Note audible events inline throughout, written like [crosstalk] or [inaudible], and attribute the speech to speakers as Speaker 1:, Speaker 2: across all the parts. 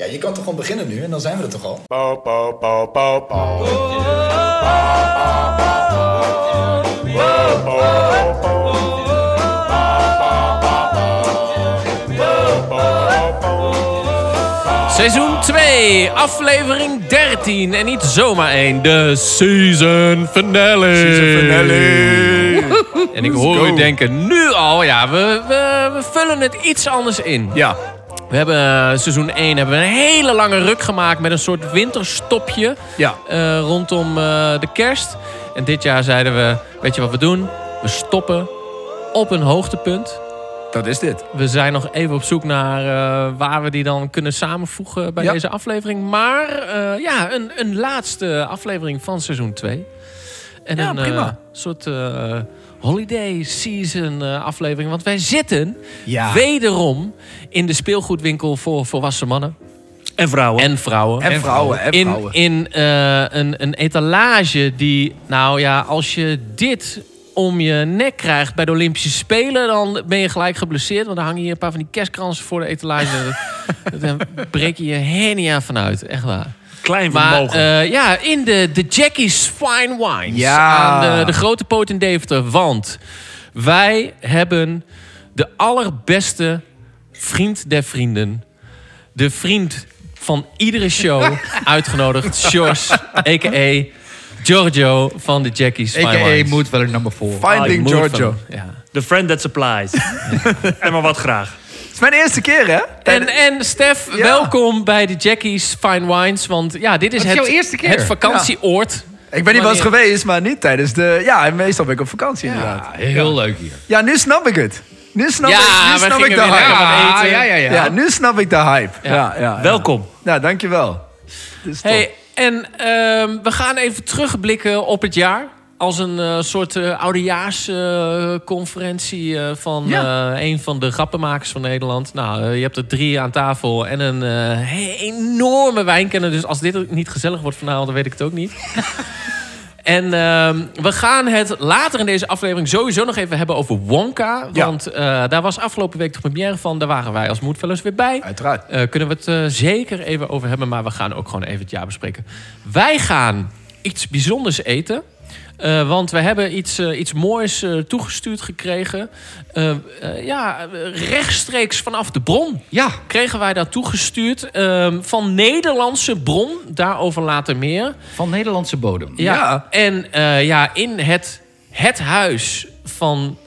Speaker 1: Ja, je kan toch gewoon beginnen nu en dan zijn we er toch al?
Speaker 2: Bow, bow, bow, bow, bow.
Speaker 3: Seizoen 2, aflevering 13. En niet zomaar één, de season finale. [laughs] En ik hoor u denken, nu al, ja, we, we, we vullen het iets anders in.
Speaker 4: Ja,
Speaker 3: We hebben eh, seizoen 1 hebben we een hele lange ruk gemaakt met een soort winterstopje
Speaker 4: ja.
Speaker 3: eh, rondom eh, de kerst. En dit jaar zeiden we, weet je wat we doen? We stoppen op een hoogtepunt.
Speaker 4: Dat is dit.
Speaker 3: We zijn nog even op zoek naar eh, waar we die dan kunnen samenvoegen bij
Speaker 4: Ja.
Speaker 3: deze aflevering. Maar eh, ja, een, een laatste aflevering van seizoen 2. En
Speaker 4: Ja,
Speaker 3: een
Speaker 4: prima.
Speaker 3: eh, soort eh, holiday season eh, aflevering. Want wij zitten
Speaker 4: Ja.
Speaker 3: wederom in de speelgoedwinkel voor volwassen mannen
Speaker 5: En vrouwen.
Speaker 3: en vrouwen.
Speaker 4: En vrouwen, en vrouwen.
Speaker 3: In, in eh, een, een etalage die, nou ja, als je dit om je nek krijgt bij de Olympische Spelen, dan ben je gelijk geblesseerd. Want dan hangen hier een paar van die kerstkransen voor de
Speaker 4: [laughs]
Speaker 3: etalage. Dat- Dan breek je je hernia vanuit, echt waar.
Speaker 5: Klein
Speaker 3: Maar
Speaker 5: vermogen.
Speaker 3: eh, ja, in de, de Jackie's Fine Wines.
Speaker 4: Ja.
Speaker 3: Aan de, de grote poot in Deventer. Want wij hebben de allerbeste vriend der vrienden. De vriend van iedere
Speaker 6: [laughs]
Speaker 3: show uitgenodigd. Sjors, a.k.a. Giorgio van de Jackie's Fine
Speaker 6: A.k.a.
Speaker 3: Wines.
Speaker 6: moet wel een nummer voor.
Speaker 4: Finding
Speaker 3: Moed van-
Speaker 4: Giorgio.
Speaker 3: ja.
Speaker 5: The friend that
Speaker 4: [laughs]
Speaker 5: supplies. en maar wat graag.
Speaker 4: Het is mijn eerste keer, hè?
Speaker 3: En, en Stef,
Speaker 4: Ja.
Speaker 3: welkom bij de Jackie's Fine Wines. Want ja, dit is
Speaker 6: Dat is
Speaker 3: het,
Speaker 6: jouw eerste keer.
Speaker 3: het vakantieoord.
Speaker 4: Ik ben niet wel eens
Speaker 3: Wanneer-
Speaker 4: geweest, maar niet tijdens de... Ja, en meestal ben ik op vakantie, inderdaad.
Speaker 6: Ja, heel leuk hier.
Speaker 4: Ja, nu snap ik het. Nu snap
Speaker 3: Ja,
Speaker 4: ik, nu
Speaker 3: we
Speaker 4: snap
Speaker 3: gingen
Speaker 4: ik de
Speaker 3: weer lekker
Speaker 4: hype.
Speaker 3: wat
Speaker 6: Ah,
Speaker 3: eten.
Speaker 6: ja, ja, ja.
Speaker 4: Ja, nu snap ik de hype. Ja, ja, ja.
Speaker 5: Welkom.
Speaker 4: Ja, dankjewel. Dit is top.
Speaker 3: Hey, en ehm, we gaan even terugblikken op het jaar. Als een eh, soort eh oudejaarsconferentie van
Speaker 4: Ja.
Speaker 3: eh, een van de grappenmakers van Nederland. Nou, eh, je hebt er drie aan tafel en een eh, he- enorme wijnkenner. Dus als dit ook niet gezellig wordt vanavond, dan weet ik het ook niet. [laughs] En ehm, we gaan het later in deze aflevering sowieso nog even hebben over Wonka.
Speaker 4: Ja.
Speaker 3: Want eh, daar was afgelopen week de première van. Daar waren wij als Moedfellows weer bij.
Speaker 4: Uiteraard.
Speaker 3: Eh, kunnen we het eh, zeker even over hebben. Maar we gaan ook gewoon even het jaar bespreken. Wij gaan iets bijzonders eten. eh, want we hebben iets, eh, iets moois eh, toegestuurd gekregen. Eh, eh, ja, eh, rechtstreeks vanaf de bron
Speaker 6: Ja,
Speaker 3: kregen wij dat toegestuurd. eh, van Nederlandse bron, daarover later meer.
Speaker 6: van Nederlandse bodem.
Speaker 3: Ja.
Speaker 4: Ja.
Speaker 3: En eh, ja, in het, het huis van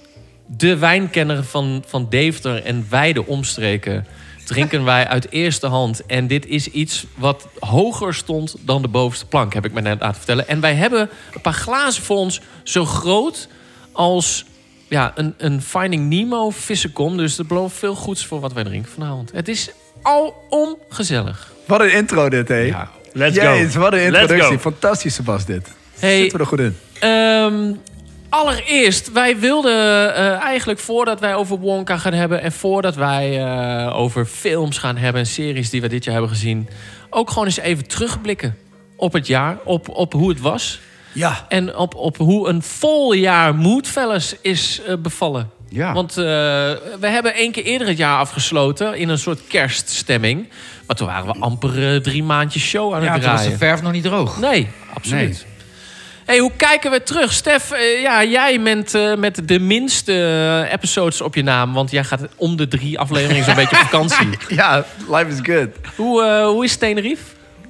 Speaker 3: de wijnkenner van, van Deventer en wijde omstreken drinken wij uit eerste hand. En dit is iets wat hoger stond dan de bovenste plank, heb ik me net laten vertellen. En wij hebben een paar glazen voor ons zo groot als ja, een, een Finding Nemo vissenkom. Dus dat belooft veel goeds voor wat wij drinken vanavond. Het is alom gezellig.
Speaker 4: Wat een intro dit, hé.
Speaker 3: Ja.
Speaker 5: Let's
Speaker 4: Jezus,
Speaker 5: go.
Speaker 4: wat een
Speaker 5: Let's
Speaker 4: introductie.
Speaker 5: go.
Speaker 4: Fantastische was dit.
Speaker 3: Hey,
Speaker 4: Zitten we er goed in.
Speaker 3: Ehm, allereerst, wij wilden eh, eigenlijk voordat wij over Wonka gaan hebben... en voordat wij eh, over films gaan hebben en series die we dit jaar hebben gezien... ook gewoon eens even terugblikken op het jaar, op, op hoe het was...
Speaker 4: Ja.
Speaker 3: en op, op hoe een vol jaar Moodfellas is eh, bevallen.
Speaker 6: Ja.
Speaker 3: Want eh, we hebben één keer eerder het jaar afgesloten in een soort kerststemming. Maar toen waren we amper eh, drie maandjes show aan het
Speaker 6: Ja, toen
Speaker 3: draaien.
Speaker 6: was de verf nog niet droog.
Speaker 3: Nee, absoluut.
Speaker 6: Nee.
Speaker 3: Hey, hoe kijken we terug? Stef, eh, ja, jij bent eh, met de minste eh, episodes op je naam. Want jij gaat om de drie afleveringen zo'n beetje op
Speaker 6: [laughs]
Speaker 3: vakantie.
Speaker 4: Ja, life is good.
Speaker 3: Hoe, eh, hoe is Tenerife?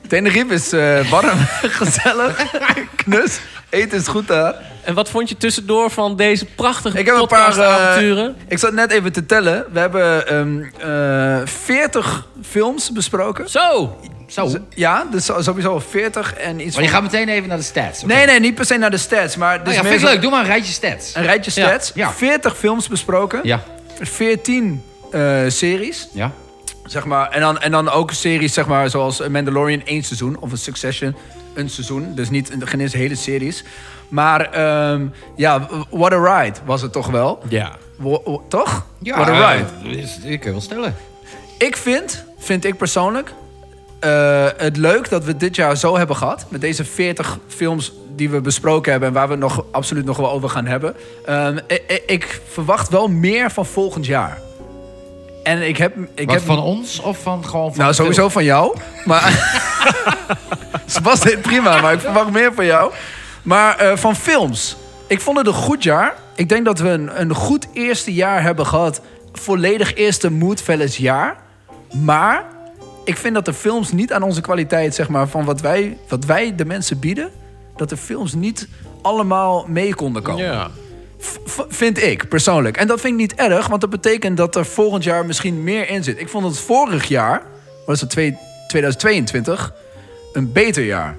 Speaker 4: Tenerife is eh, warm, [laughs] gezellig, knus. Eten is goed daar.
Speaker 3: En wat vond je tussendoor van deze prachtige
Speaker 4: Ik heb een paar, eh,
Speaker 3: podcastavonturen?
Speaker 4: Ik zat net even te tellen. We hebben ehm, eh, 40 films besproken.
Speaker 3: Zo!
Speaker 6: Zo.
Speaker 4: Z- Ja, dus zo- sowieso 40 en iets
Speaker 6: Maar je
Speaker 4: van-
Speaker 6: gaat meteen even naar de stats. oké?
Speaker 4: Nee, nee, niet per se naar de stats. Maar dus
Speaker 6: Nou ja,
Speaker 4: meer
Speaker 6: vind ik
Speaker 4: zo-
Speaker 6: leuk. Doe maar een rijtje stats.
Speaker 4: Een rijtje
Speaker 3: Ja,
Speaker 4: stats.
Speaker 6: ja.
Speaker 4: 40 films besproken.
Speaker 6: Ja.
Speaker 4: 14 eh, series.
Speaker 6: Ja.
Speaker 4: Zeg maar, en, dan, en dan ook series zeg maar, zoals Mandalorian één seizoen. Of een Succession een seizoen. Dus niet geen eens hele series. Maar ehm, ja, What a Ride was het toch wel.
Speaker 3: Ja.
Speaker 4: Wo- wo- toch?
Speaker 6: Ja,
Speaker 4: What a Ride.
Speaker 6: eh, is- ik kan wel stellen.
Speaker 4: Ik vind, vind ik persoonlijk, eh, het leuk dat we het dit jaar zo hebben gehad. Met deze 40 films die we besproken hebben en waar we het nog absoluut nog wel over gaan hebben. Ehm, i- i- ik, verwacht wel meer van volgend jaar. En ik heb... Ik
Speaker 6: Wat,
Speaker 4: heb
Speaker 6: van ons of van gewoon van
Speaker 4: nou,
Speaker 6: de film?
Speaker 4: sowieso van jou. Maar. Ze was dit prima, maar ik verwacht meer van jou. Maar eh, van films. Ik vond het een goed jaar. Ik denk dat we een, een goed eerste jaar hebben gehad. Volledig eerste Moodfellas jaar. Maar ik vind dat de films niet aan onze kwaliteit, zeg maar, van wat wij, wat wij de mensen bieden, dat de films niet allemaal mee konden komen.
Speaker 3: Ja.
Speaker 4: V- vind ik persoonlijk. En dat vind ik niet erg, want dat betekent dat er volgend jaar misschien meer in zit. Ik vond het vorig jaar, was het twee- 2022, een beter jaar.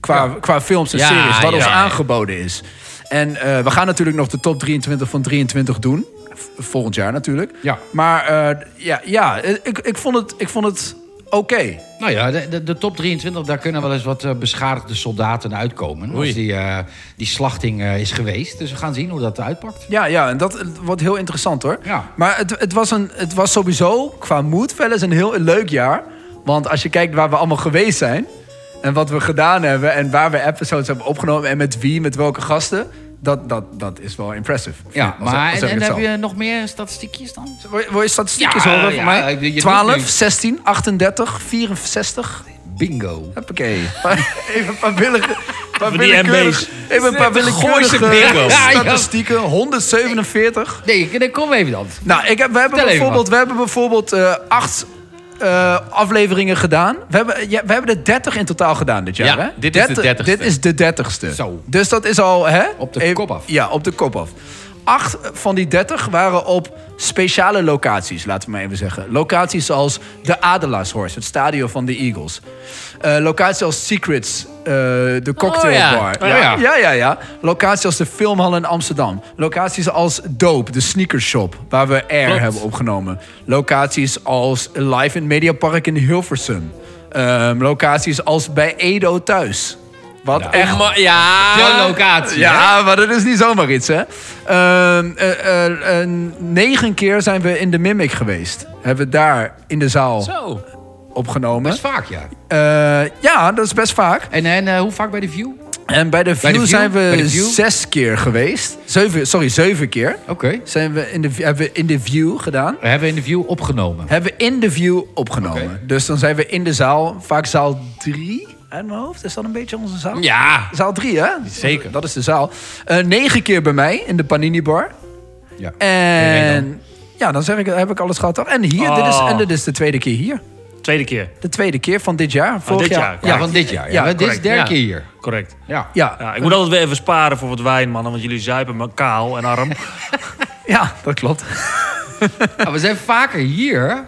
Speaker 4: Qua, qua films en
Speaker 3: Ja,
Speaker 4: series, wat
Speaker 3: ja,
Speaker 4: ons
Speaker 3: ja.
Speaker 4: aangeboden is. En eh, we gaan natuurlijk nog de top 23 van 23 doen. V- volgend jaar natuurlijk.
Speaker 6: Ja.
Speaker 4: Maar eh, ja, ja eh, ik, ik vond het, ik vond het oké.
Speaker 6: Nou ja, de, de, de top 23, daar kunnen wel eens wat eh, beschadigde soldaten uitkomen.
Speaker 3: Oei.
Speaker 6: Als die, eh, die slachting eh, is geweest. Dus we gaan zien hoe dat uitpakt.
Speaker 4: Ja, ja, en dat eh, wordt heel interessant hoor.
Speaker 6: Ja.
Speaker 4: Maar het, het, was een, het was sowieso qua mood fellas een heel leuk jaar. Want als je kijkt waar we allemaal geweest zijn... en wat we gedaan hebben en waar we episodes hebben opgenomen... en met wie, met welke gasten... dat, dat, dat is wel impressive.
Speaker 6: Ja,
Speaker 4: Als-
Speaker 6: maar
Speaker 4: als
Speaker 6: en,
Speaker 4: ik
Speaker 6: en
Speaker 4: het
Speaker 6: heb
Speaker 4: zo-
Speaker 6: je nog meer statistiekjes dan?
Speaker 4: Wil je, wil je statistiekjes
Speaker 6: Ja,
Speaker 4: horen
Speaker 6: ja,
Speaker 4: van mij?
Speaker 6: ik- je doet
Speaker 4: 12,
Speaker 6: niks.
Speaker 4: 16, 38, 64...
Speaker 6: Bingo.
Speaker 4: Hoppakee. [laughs] Even een paar willige... Paar
Speaker 5: Van die
Speaker 4: willekeurig- Even een paar
Speaker 3: Gooise
Speaker 4: willekeurige
Speaker 3: bingo.
Speaker 4: statistieken. 147.
Speaker 6: Nee, ik- nee, kom even dan.
Speaker 4: Nou, ik heb, we, hebben
Speaker 6: Vertel even
Speaker 4: bijvoorbeeld,
Speaker 6: wat.
Speaker 4: we hebben bijvoorbeeld eh, acht eh, afleveringen gedaan. We hebben, ja, we hebben er 30 in totaal gedaan dit jaar.
Speaker 3: Ja,
Speaker 4: hè?
Speaker 3: dit is de
Speaker 4: 30
Speaker 3: 30ste.
Speaker 4: Dit is de 30ste.
Speaker 6: Zo.
Speaker 4: Dus dat is al. Hè?
Speaker 6: Op de
Speaker 4: Even-
Speaker 6: kop af.
Speaker 4: Ja, op de kop af. Acht van die 30 waren op speciale locaties, laten we maar even zeggen. Locaties als de Adelaarshorst, het stadion van de Eagles. Eh, locaties als Secrets, eh, de cocktailbar.
Speaker 3: Oh ja.
Speaker 4: ja.
Speaker 3: Oh ja.
Speaker 4: Ja, ja, ja. Locaties als de Filmhal in Amsterdam. Locaties als Dope, de sneakershop, waar we Air
Speaker 3: Klopt.
Speaker 4: hebben opgenomen. Locaties als Live in Media Park in Hilversum. Ehm, locaties als bij Edo thuis. Wat echt...
Speaker 3: Maar- ja.
Speaker 6: De locatie. hè?
Speaker 4: Ja, maar dat is niet zomaar iets, hè? Ehm, eh, eh, eh, negen keer zijn we in de Mimic geweest. Hebben we daar in de zaal
Speaker 3: Zo.
Speaker 4: opgenomen.
Speaker 6: Dat is vaak, ja.
Speaker 4: Eh, ja, dat is best vaak.
Speaker 6: En, en eh, hoe vaak bij de View? Oké.
Speaker 4: En bij de View,
Speaker 6: Bij de View?
Speaker 4: zijn
Speaker 6: Bij
Speaker 4: we
Speaker 6: de View?
Speaker 4: zes keer geweest. Zeven, sorry, zeven keer. Zijn we in de, hebben we in de View gedaan.
Speaker 6: We hebben in de View opgenomen.
Speaker 4: Hebben we in de View opgenomen. Dus dan zijn we in de zaal, vaak zaal drie uit mijn hoofd. Is dat een beetje onze zaal?
Speaker 3: Ja.
Speaker 4: Zaal drie, hè?
Speaker 3: Zeker.
Speaker 4: Dat is de zaal. Eh, negen keer bij mij in de Panini Bar.
Speaker 6: Ja.
Speaker 4: En ja, dan zeg ik, heb ik alles gehad. toch? En hier, dit is,
Speaker 5: Oh.
Speaker 4: en dit is de tweede keer hier.
Speaker 5: Tweede keer.
Speaker 4: De tweede keer van dit jaar. Vorig
Speaker 5: dit jaar,
Speaker 4: jaar.
Speaker 5: correct.
Speaker 6: Ja, van dit jaar.
Speaker 4: Ja,
Speaker 6: Ja, Maar dit is
Speaker 5: correct.
Speaker 6: derde
Speaker 3: Ja.
Speaker 6: keer hier.
Speaker 5: Correct.
Speaker 6: Ja.
Speaker 4: Ja.
Speaker 5: Ja, ik moet altijd weer even sparen voor wat wijn, mannen. Want jullie zuipen me kaal en arm.
Speaker 4: ja, dat klopt.
Speaker 6: Maar we zijn vaker hier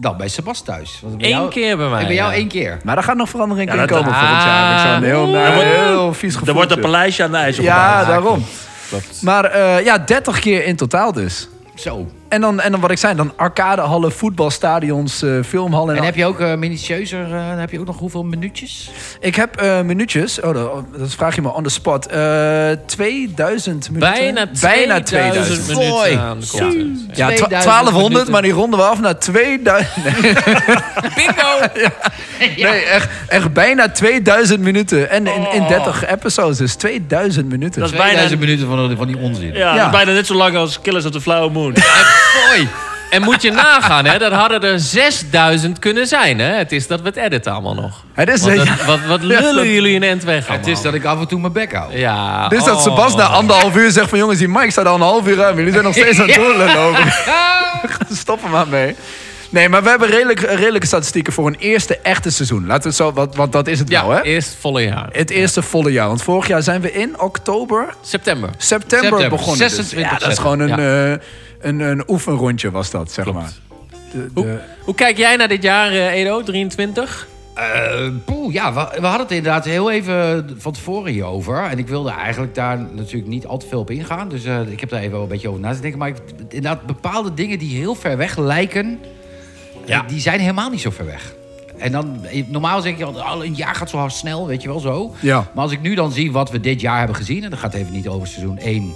Speaker 6: dan bij Sebas thuis. Want bij
Speaker 3: Eén
Speaker 6: jou-
Speaker 3: keer bij mij,
Speaker 6: Ik bij jou
Speaker 3: ja.
Speaker 6: één keer.
Speaker 4: Maar daar gaat nog verandering
Speaker 5: Ja,
Speaker 4: in
Speaker 5: dat- Ah,
Speaker 4: komen volgend jaar. Ik zou een heel, naar,
Speaker 5: wordt-
Speaker 4: heel vies gevoel.
Speaker 5: Dan wordt een
Speaker 4: hebben.
Speaker 5: paleisje aan de ijs
Speaker 4: Ja,
Speaker 5: opgebouwd.
Speaker 4: daarom. Maar eh, ja, 30 keer in totaal dus.
Speaker 6: Zo.
Speaker 4: En dan, en dan wat ik zei, dan arcadehallen, voetbalstadions, eh, filmhallen.
Speaker 6: En heb je ook eh, minutieuzer, eh, heb je ook nog hoeveel minuutjes?
Speaker 4: Ik heb eh, minuutjes, oh, dat, dat vraag je me on the spot, Eh 2000 minuten.
Speaker 3: Bijna 2000,
Speaker 4: Bijna 2000.
Speaker 6: Mooi.
Speaker 3: minuten aan de content.
Speaker 4: Ja, twa-
Speaker 6: 2000
Speaker 4: 1200,
Speaker 6: minuten.
Speaker 4: maar die ronden we af naar 2000. Nee,
Speaker 3: Bingo!
Speaker 4: nee, echt, echt bijna 2000 minuten. En in, in 30 episodes, dus 2000 minuten.
Speaker 5: Dat is bijna,
Speaker 6: 2000 minuten van, van die onzin.
Speaker 5: ja, dat
Speaker 4: Ja.
Speaker 5: is bijna net zo lang als Killers of the Flower Moon.
Speaker 3: Mooi. En moet je nagaan, hè, dat hadden er 6000 kunnen zijn. Hè? Het is dat we het editen allemaal nog.
Speaker 4: Het is,
Speaker 3: Want dat-
Speaker 4: ja. [laughs]
Speaker 3: wat, wat lullen jullie in end weg
Speaker 6: Het is dat ik af en toe mijn bek hou.
Speaker 3: Ja.
Speaker 4: Dus dat
Speaker 3: oh.
Speaker 4: Sebas na anderhalf uur zegt van... jongens, die mic staat al een half uur ruim. Jullie
Speaker 6: [laughs]
Speaker 4: zijn nog steeds aan het doorlopen. [laughs] Stop er maar mee. Nee, maar we hebben redelijk, redelijke statistieken voor een eerste echte seizoen. Laten we het zo... Want, want dat is het
Speaker 3: Ja,
Speaker 4: nou, hè?
Speaker 3: eerst volle jaar.
Speaker 4: Het eerste volle jaar. Want vorig jaar zijn we in oktober,
Speaker 3: September.
Speaker 4: september,
Speaker 6: September,
Speaker 4: begonnen. dus.
Speaker 6: 26
Speaker 4: ja, dat is gewoon een, eh, een, een oefenrondje was dat, zeg maar. De- de-
Speaker 3: Hoe kijk jij naar dit jaar, eh, Edo? 23?
Speaker 6: Eh, poeh, ja, we, we hadden het inderdaad heel even van tevoren hierover. En ik wilde eigenlijk daar natuurlijk niet al te veel op ingaan. Dus eh, ik heb daar even wel een beetje over na te denken. Maar ik, inderdaad, bepaalde dingen die heel ver weg lijken...
Speaker 3: Ja.
Speaker 6: eh, die zijn helemaal niet zo ver weg. En dan, eh, normaal zeg je, altijd, "Oh, een jaar gaat zo hard snel, weet je wel zo.
Speaker 4: Ja.
Speaker 6: Maar als ik nu dan zie wat we dit jaar hebben gezien... en dat gaat even niet over seizoen 1,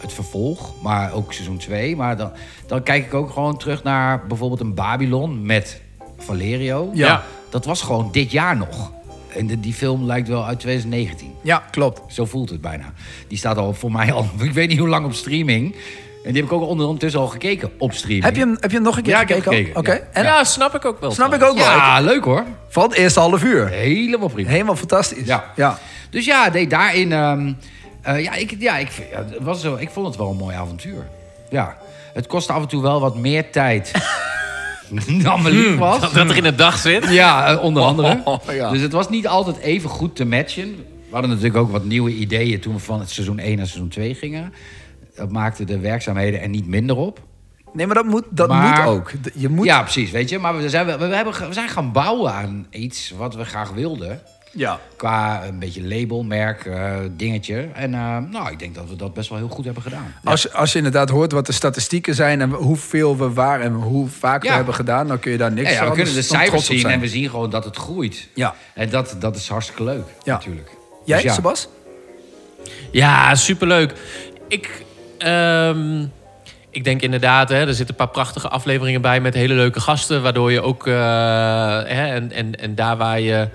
Speaker 6: het vervolg... maar ook seizoen 2. Maar dan, dan kijk ik ook gewoon terug naar bijvoorbeeld een Babylon met Valerio.
Speaker 4: Ja. Ja.
Speaker 6: Dat was gewoon dit jaar nog. En de- die film lijkt wel uit 2019.
Speaker 4: ja, klopt.
Speaker 6: [laughs] Zo voelt het bijna. Die staat al voor mij al, ik weet niet hoe lang op streaming. En die heb ik ook ondertussen al gekeken op streaming.
Speaker 4: Heb je hem, heb je hem nog een keer
Speaker 6: Ja, ik heb
Speaker 4: gekeken? ook?
Speaker 6: gekeken,
Speaker 4: Oké. En
Speaker 6: ja.
Speaker 3: ja, snap ik ook wel.
Speaker 4: snap ik
Speaker 3: trouwens.
Speaker 4: ook wel. Ik-
Speaker 6: Ja, leuk hoor.
Speaker 4: Van het eerste half uur.
Speaker 6: Helemaal prima.
Speaker 4: Helemaal fantastisch.
Speaker 6: Ja.
Speaker 4: ja.
Speaker 6: Dus ja, nee, daarin... ehm, eh, ja, ik, ja, ik, vind- ja, het was, wel- ik vond het wel een mooi avontuur. Ja. Het kostte af en toe wel wat meer
Speaker 4: [laughs]
Speaker 6: tijd [laughs] dan me lief was.
Speaker 3: Dat er in de dag zit.
Speaker 6: Ja, eh, onder
Speaker 4: [laughs]
Speaker 6: andere.
Speaker 4: Oh, ja.
Speaker 6: Dus het was niet altijd even goed te matchen. We hadden natuurlijk ook wat nieuwe ideeën toen we van het seizoen 1 naar seizoen 2 gingen. Dat maakte de werkzaamheden er niet minder op.
Speaker 4: Nee, maar dat moet, dat
Speaker 6: Maar-
Speaker 4: moet ook. D- Je moet...
Speaker 6: Ja, precies, weet je. Maar we zijn, wel- we, we hebben, ge- we zijn gaan bouwen aan iets wat we graag wilden.
Speaker 4: ja.
Speaker 6: Qua een beetje label, merk, eh, dingetje. En eh, nou, ik denk dat we dat best wel heel goed hebben gedaan.
Speaker 4: Als, je- als je inderdaad hoort wat de statistieken zijn... en hoeveel we waar en hoe vaak
Speaker 6: Ja.
Speaker 4: we hebben gedaan... dan kun je daar niks
Speaker 6: Ja, ja, we
Speaker 4: anders
Speaker 6: kunnen de
Speaker 4: dan
Speaker 6: cijfers
Speaker 4: dus trots op
Speaker 6: zien
Speaker 4: zijn.
Speaker 6: en we zien gewoon dat het groeit.
Speaker 4: Ja.
Speaker 6: En dat, dat is hartstikke leuk,
Speaker 4: Ja.
Speaker 6: natuurlijk.
Speaker 4: Jij,
Speaker 6: Dus ja.
Speaker 4: Sebas?
Speaker 3: Ja, superleuk. Ik, ehm, ik denk inderdaad, hè, er zitten een paar prachtige afleveringen bij met hele leuke gasten. Waardoor je ook, eh, hè, en, en, en daar waar je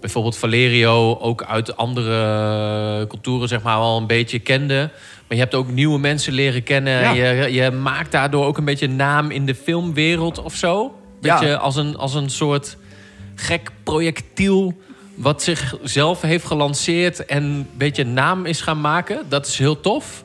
Speaker 3: bijvoorbeeld Valerio ook uit andere culturen zeg maar al een beetje kende. Maar je hebt ook nieuwe mensen leren kennen.
Speaker 6: Ja.
Speaker 3: Je, je maakt daardoor ook een beetje naam in de filmwereld of zo.
Speaker 4: Ja.
Speaker 3: Beetje als, een, als een soort gek projectiel wat zichzelf heeft gelanceerd en een beetje naam is gaan maken. Dat is heel tof.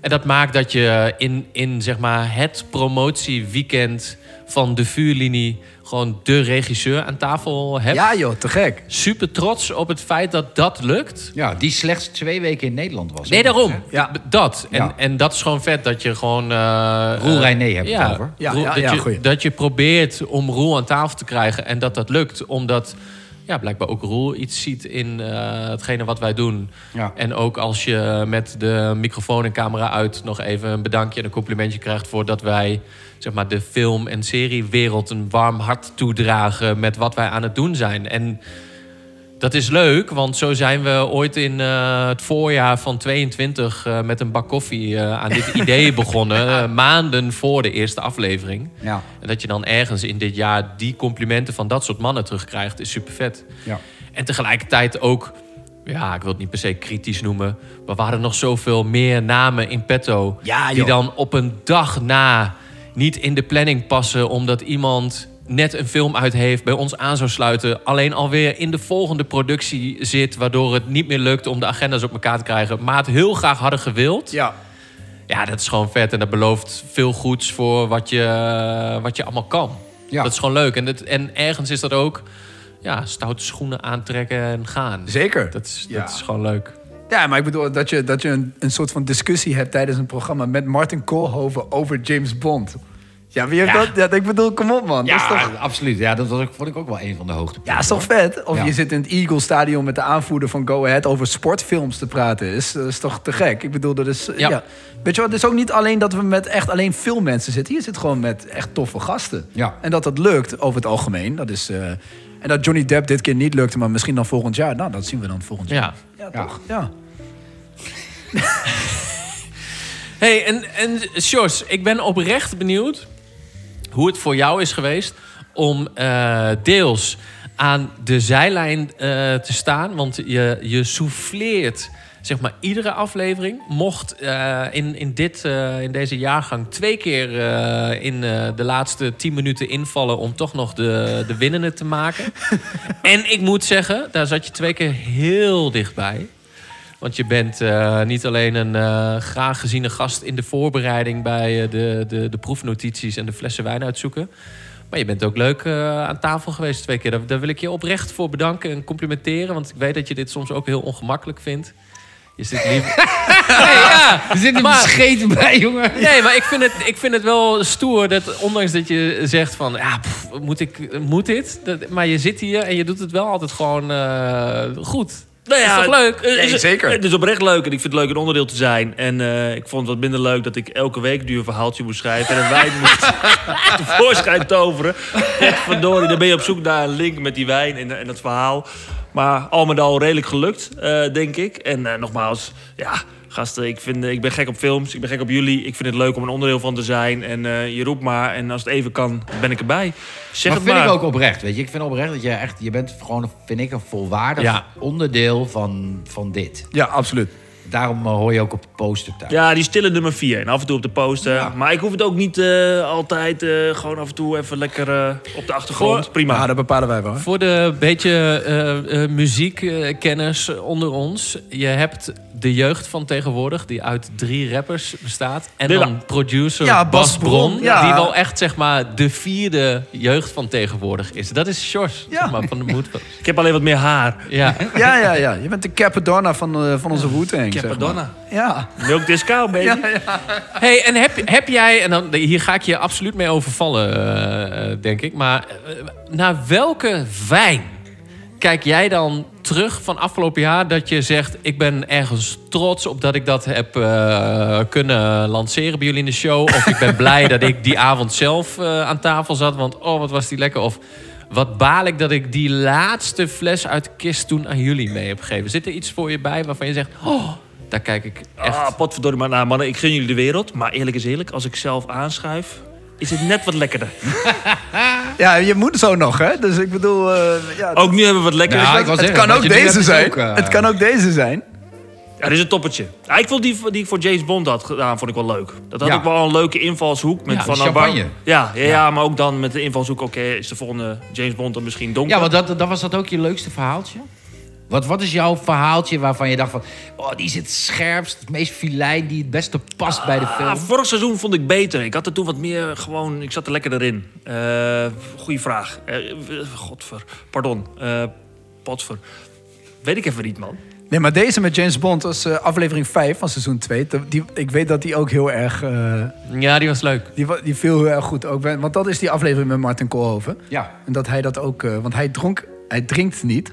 Speaker 3: En dat maakt dat je in, in zeg maar het promotieweekend van de vuurlinie gewoon de regisseur aan tafel hebt.
Speaker 4: Ja joh, te gek.
Speaker 3: Super trots op het feit dat dat lukt.
Speaker 6: Ja, die slechts twee weken in Nederland was.
Speaker 3: Nee,
Speaker 6: hè?
Speaker 3: daarom.
Speaker 4: Ja.
Speaker 3: Dat. En,
Speaker 6: Ja.
Speaker 3: en dat is gewoon vet dat je gewoon... eh,
Speaker 6: Roel
Speaker 3: eh,
Speaker 6: Reijnen heb ik het over.
Speaker 4: Ja,
Speaker 3: Roel-
Speaker 4: ja,
Speaker 3: dat,
Speaker 4: ja,
Speaker 3: je,
Speaker 4: goeie.
Speaker 3: dat je probeert om Roel aan tafel te krijgen en dat dat lukt. Omdat ja, blijkbaar ook Roel iets ziet in eh, hetgene wat wij doen.
Speaker 6: Ja.
Speaker 3: En ook als je met de microfoon en camera uit nog even een bedankje en een complimentje krijgt... voor dat wij zeg maar, de film- en seriewereld een warm hart toedragen met wat wij aan het doen zijn. En dat is leuk, want zo zijn we ooit in eh, het voorjaar van 22 eh, met een bak koffie eh, aan dit idee begonnen. eh, maanden voor de eerste aflevering.
Speaker 6: Ja.
Speaker 3: En dat je dan ergens in dit jaar die complimenten van dat soort mannen terugkrijgt, is super vet.
Speaker 6: Ja.
Speaker 3: En tegelijkertijd ook, ja, ik wil het niet per se kritisch noemen, maar waren er nog zoveel meer namen in petto
Speaker 4: Ja,
Speaker 3: die
Speaker 4: joh.
Speaker 3: dan op een dag na niet in de planning passen omdat iemand net een film uit heeft, bij ons aan zou sluiten, alleen alweer in de volgende productie zit, waardoor het niet meer lukt om de agendas op elkaar te krijgen, maar het heel graag hadden gewild.
Speaker 4: Ja.
Speaker 3: Ja, dat is gewoon vet en dat belooft veel goeds voor wat je, wat je allemaal kan.
Speaker 6: Ja.
Speaker 3: Dat is gewoon leuk. En, het, en ergens is dat ook ja, stoute schoenen aantrekken en gaan.
Speaker 4: Zeker.
Speaker 3: Dat is,
Speaker 4: Ja.
Speaker 3: dat is gewoon leuk.
Speaker 4: Ja, maar ik bedoel dat je, dat je een, een soort van discussie hebt tijdens een programma met Martin Koolhoven over James Bond. Ja, wie heeft
Speaker 6: Ja.
Speaker 4: dat? Ja, ik bedoel, kom op man.
Speaker 6: Ja,
Speaker 4: dat is toch,
Speaker 6: absoluut. Ja, dat was ook, vond ik ook wel een van de hoogtepunten.
Speaker 4: ja, is toch vet? Of
Speaker 6: Ja.
Speaker 4: je zit in het Eagle Stadion met de aanvoerder van Go Ahead over sportfilms te praten. Is, dat is toch te gek? Ik bedoel, dat is. eh,
Speaker 3: Ja.
Speaker 4: Ja. Weet je wat? Het is ook niet alleen dat we met echt alleen filmmensen zitten. Hier zit gewoon met echt toffe gasten.
Speaker 6: Ja.
Speaker 4: En dat dat lukt over het algemeen. Dat is. eh, en dat Johnny Depp dit keer niet lukte, maar misschien dan volgend jaar. Nou, dat zien we dan volgend jaar.
Speaker 3: Ja.
Speaker 4: Ja,
Speaker 6: Ja.
Speaker 4: toch? Ja.
Speaker 3: Hey, en, en Sjors, ik ben oprecht benieuwd hoe het voor jou is geweest om eh, deels aan de zijlijn eh, te staan. Want je, je souffleert zeg maar iedere aflevering. Mocht eh, in, in, dit, eh, in deze jaargang twee keer eh, in eh, de laatste tien minuten invallen... om toch nog de, de winnende te maken. en ik moet zeggen, daar zat je twee keer heel dichtbij. Want je bent eh, niet alleen een eh, graag geziene gast in de voorbereiding bij eh, de, de, de proefnotities en de flessen wijn uitzoeken. Maar je bent ook leuk eh, aan tafel geweest twee keer. Daar, daar wil ik je oprecht voor bedanken en complimenteren. Want ik weet dat je dit soms ook heel ongemakkelijk vindt. Je zit
Speaker 6: [laughs]
Speaker 3: liever. Nee, ja.
Speaker 6: Er zit een
Speaker 3: Maar-
Speaker 6: scheet bij, jongen.
Speaker 3: Nee, maar ik vind, het, ik vind het wel stoer dat ondanks dat je zegt van... Ja, pff, moet, ik, moet dit? Dat- maar je zit hier en je doet het wel altijd gewoon eh, goed.
Speaker 5: Nou
Speaker 3: Dat is toch leuk?
Speaker 5: eh,
Speaker 4: Nee,
Speaker 5: is-
Speaker 4: zeker.
Speaker 5: Het is oprecht leuk en ik vind het leuk een onderdeel te zijn. En eh, ik vond het wat minder leuk dat ik elke week duur verhaaltje moest schrijven. En een wijn moest [laughs] tevoorschijn toveren. Echt verdorie, dan ben je op zoek naar een link met die wijn en, en dat verhaal. Maar al met al redelijk gelukt, eh, denk ik. En eh, nogmaals, ja, gasten, ik, vind, eh, ik ben gek op films. Ik ben gek op jullie. Ik vind het leuk om een onderdeel van te zijn. En eh, je roept maar. En als het even kan, ben ik erbij. Zeg
Speaker 6: Maar
Speaker 5: het
Speaker 6: vind
Speaker 5: maar.
Speaker 6: ik ook oprecht, weet je. Ik vind oprecht dat je echt... Je bent gewoon, vind ik, een volwaardig
Speaker 3: Ja.
Speaker 6: onderdeel van, van dit.
Speaker 4: ja, absoluut.
Speaker 6: daarom eh, hoor je ook op de poster thuis.
Speaker 5: Ja, die stille nummer 4. En af en toe op de poster. Maar ik hoef het ook niet eh, altijd. eh, gewoon af en toe even lekker eh, op de achtergrond. Prima.
Speaker 4: Maar dat bepalen wij wel. hè?
Speaker 3: Voor de beetje eh, eh, muziekkenners onder ons. Je hebt de jeugd van tegenwoordig, die uit drie rappers bestaat. En
Speaker 5: Dilla.
Speaker 3: dan producer
Speaker 4: Ja,
Speaker 3: Bas,
Speaker 4: Bas
Speaker 3: Bron.
Speaker 4: Bron, ja.
Speaker 3: Die wel echt, zeg maar, de vierde jeugd van tegenwoordig is. Dat is Sjors,
Speaker 4: Ja.
Speaker 3: zeg maar, van de moed.
Speaker 5: Ik heb alleen wat meer haar.
Speaker 3: Ja.
Speaker 4: Ja, ja, ja. Je bent de Capadonna van, eh, van onze Wu-Tang. zeg maar.
Speaker 5: Capadonna.
Speaker 4: Ja.
Speaker 5: Milk discount, baby.
Speaker 4: Ja, ja.
Speaker 3: Hey, en heb, heb jij, en dan, hier ga ik je absoluut mee overvallen, eh, eh, denk ik. Maar eh, naar welke wijn kijk jij dan terug van afgelopen jaar dat je zegt: Ik ben ergens trots op dat ik dat heb eh, kunnen lanceren bij jullie in de show? Of ik ben blij dat ik die avond zelf eh, aan tafel zat, want oh wat was die lekker? Of wat baal ik dat ik die laatste fles uit de kist toen aan jullie mee heb gegeven? Zit er iets voor je bij waarvan je zegt: Oh, daar kijk ik echt.
Speaker 5: Ah, potverdorie. Maar nou, mannen, ik gun jullie de wereld. Maar eerlijk is eerlijk, als ik zelf aanschuif, is het net wat lekkerder.
Speaker 4: ja, je moet zo nog, hè? Dus ik bedoel... eh, ja,
Speaker 5: Ook nu hebben we wat lekkerder.
Speaker 6: Ja,
Speaker 5: Ja,
Speaker 6: ik wou
Speaker 4: het
Speaker 6: zeggen,
Speaker 4: kan
Speaker 6: wat
Speaker 4: ook
Speaker 6: je nu hebt
Speaker 4: deze
Speaker 6: is
Speaker 4: zijn.
Speaker 6: ook, eh,
Speaker 4: Het kan ook deze zijn.
Speaker 5: er is een toppertje. Ah, ik vond die, die ik voor James Bond had gedaan, vond ik wel leuk. Dat had
Speaker 6: Ja.
Speaker 5: ook wel een leuke invalshoek. Met
Speaker 6: Ja,
Speaker 5: van,
Speaker 6: die
Speaker 5: nou, waar-
Speaker 6: champagne.
Speaker 5: Ja, ja, ja, maar ook dan met de invalshoek. Oké, is de volgende James Bond dan misschien donker?
Speaker 6: Ja, want dat, dat was dat ook je leukste verhaaltje? Wat, wat is jouw verhaaltje waarvan je dacht van... Oh, die zit scherpst, het meest filijn, die het beste past bij de film?
Speaker 5: Ah, vorig seizoen vond ik beter. Ik had er toen wat meer gewoon... Ik zat er lekker erin. Eh goeie vraag. Eh, w- godver. Pardon. Eh potver. Weet ik even niet, man.
Speaker 4: Nee, maar deze met James Bond was eh, aflevering 5 van seizoen 2. Dat- Die, ik weet dat die ook heel erg... eh,
Speaker 3: Ja, die was leuk.
Speaker 4: die, wa- die viel heel erg goed. Ook, bij- want dat is die aflevering met Martin Koolhoven.
Speaker 6: Ja.
Speaker 4: En dat hij dat ook... eh, want hij dronk... Hij drinkt niet.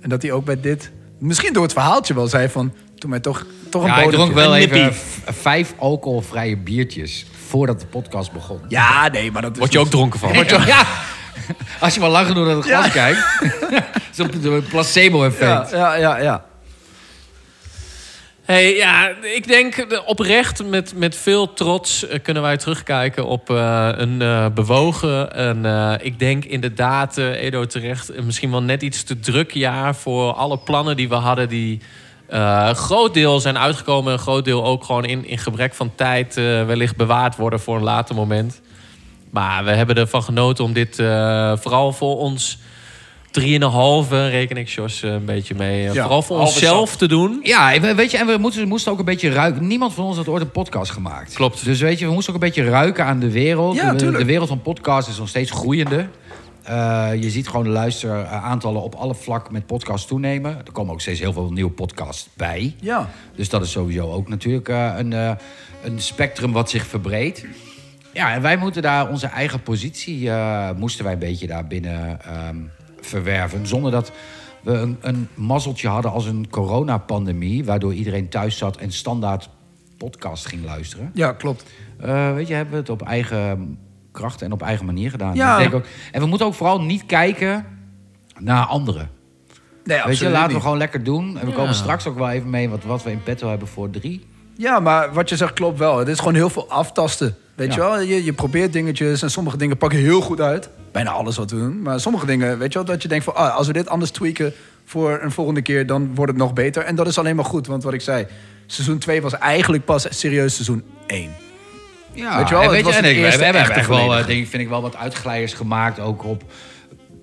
Speaker 4: En dat hij ook bij dit... Misschien door het verhaaltje wel zei van... Toen mij toch, toch een
Speaker 6: Ja, ik
Speaker 4: bodempje.
Speaker 6: dronk wel
Speaker 5: Een
Speaker 6: even
Speaker 5: nippie.
Speaker 6: v- vijf alcoholvrije biertjes voordat de podcast begon.
Speaker 4: Ja, nee, maar dat is...
Speaker 3: Word je ook dronken van?
Speaker 6: [laughs] Ja. Als je maar lang genoeg naar het glas kijkt.
Speaker 4: [laughs]
Speaker 6: Zo'n placebo-effect.
Speaker 4: Ja, ja, ja, ja.
Speaker 3: Hey, ja, ik denk eh, oprecht met, met veel trots eh, kunnen wij terugkijken op eh, een eh, bewogen. En eh, ik denk inderdaad, eh, Edo terecht, eh, misschien wel net iets te druk jaar voor alle plannen die we hadden. Die eh, een groot deel zijn uitgekomen. Een groot deel ook gewoon in, in gebrek van tijd eh, wellicht bewaard worden voor een later moment. Maar we hebben ervan genoten om dit eh, vooral voor ons 3,5 reken ik Jos eh, een beetje mee. eh,
Speaker 4: Ja,
Speaker 3: vooral voor
Speaker 5: halve
Speaker 3: onszelf te doen.
Speaker 6: Ja, en we- weet je, en we moesten, moesten ook een beetje ruiken. Niemand van ons had ooit een podcast gemaakt.
Speaker 3: Klopt.
Speaker 6: Dus weet je, we moesten ook een beetje ruiken aan de wereld.
Speaker 4: Ja,
Speaker 6: de,
Speaker 4: tuurlijk.
Speaker 6: de wereld van podcasts is nog steeds groeiende. Eh, je ziet gewoon de luisteraantallen op alle vlakken met podcasts toenemen. Er komen ook steeds heel veel nieuwe podcasts bij.
Speaker 4: Ja.
Speaker 6: Dus dat is sowieso ook natuurlijk eh, een, eh, een spectrum wat zich verbreedt. Ja, en wij moeten daar onze eigen positie eh, moesten wij een beetje daarbinnen ehm verwerven. Zonder dat we een, een mazzeltje hadden als een coronapandemie... waardoor iedereen thuis zat en standaard podcast ging luisteren.
Speaker 4: Ja, klopt.
Speaker 6: Eh, weet je, hebben we het op eigen kracht en op eigen manier gedaan.
Speaker 4: Ja.
Speaker 6: Ik denk ook, en we moeten ook vooral niet kijken naar anderen.
Speaker 4: Nee,
Speaker 6: Weet
Speaker 4: absoluut
Speaker 6: je, laten
Speaker 4: niet.
Speaker 6: we gewoon lekker doen. En we komen straks ook wel even mee wat, wat we in petto hebben voor drie.
Speaker 4: Ja, maar wat je zegt klopt wel. Het is gewoon heel veel aftasten. Weet
Speaker 6: Ja.
Speaker 4: je wel, je, je probeert dingetjes en sommige dingen pakken heel goed uit. Bijna alles wat we doen. Maar sommige dingen, weet je wel, dat je denkt van... Ah, als we dit anders tweaken voor een volgende keer, dan wordt het nog beter. En dat is alleen maar goed, want wat ik zei... Seizoen 2 was eigenlijk pas serieus seizoen 1.
Speaker 6: Ja,
Speaker 4: Weet je wel,
Speaker 6: en
Speaker 4: het was
Speaker 6: en
Speaker 4: het
Speaker 6: ik- we
Speaker 4: eerste
Speaker 6: hebben
Speaker 4: echte
Speaker 6: echt wel,
Speaker 4: volledige.
Speaker 6: eh, denk, ik- vind ik wel wat uitglijers gemaakt ook op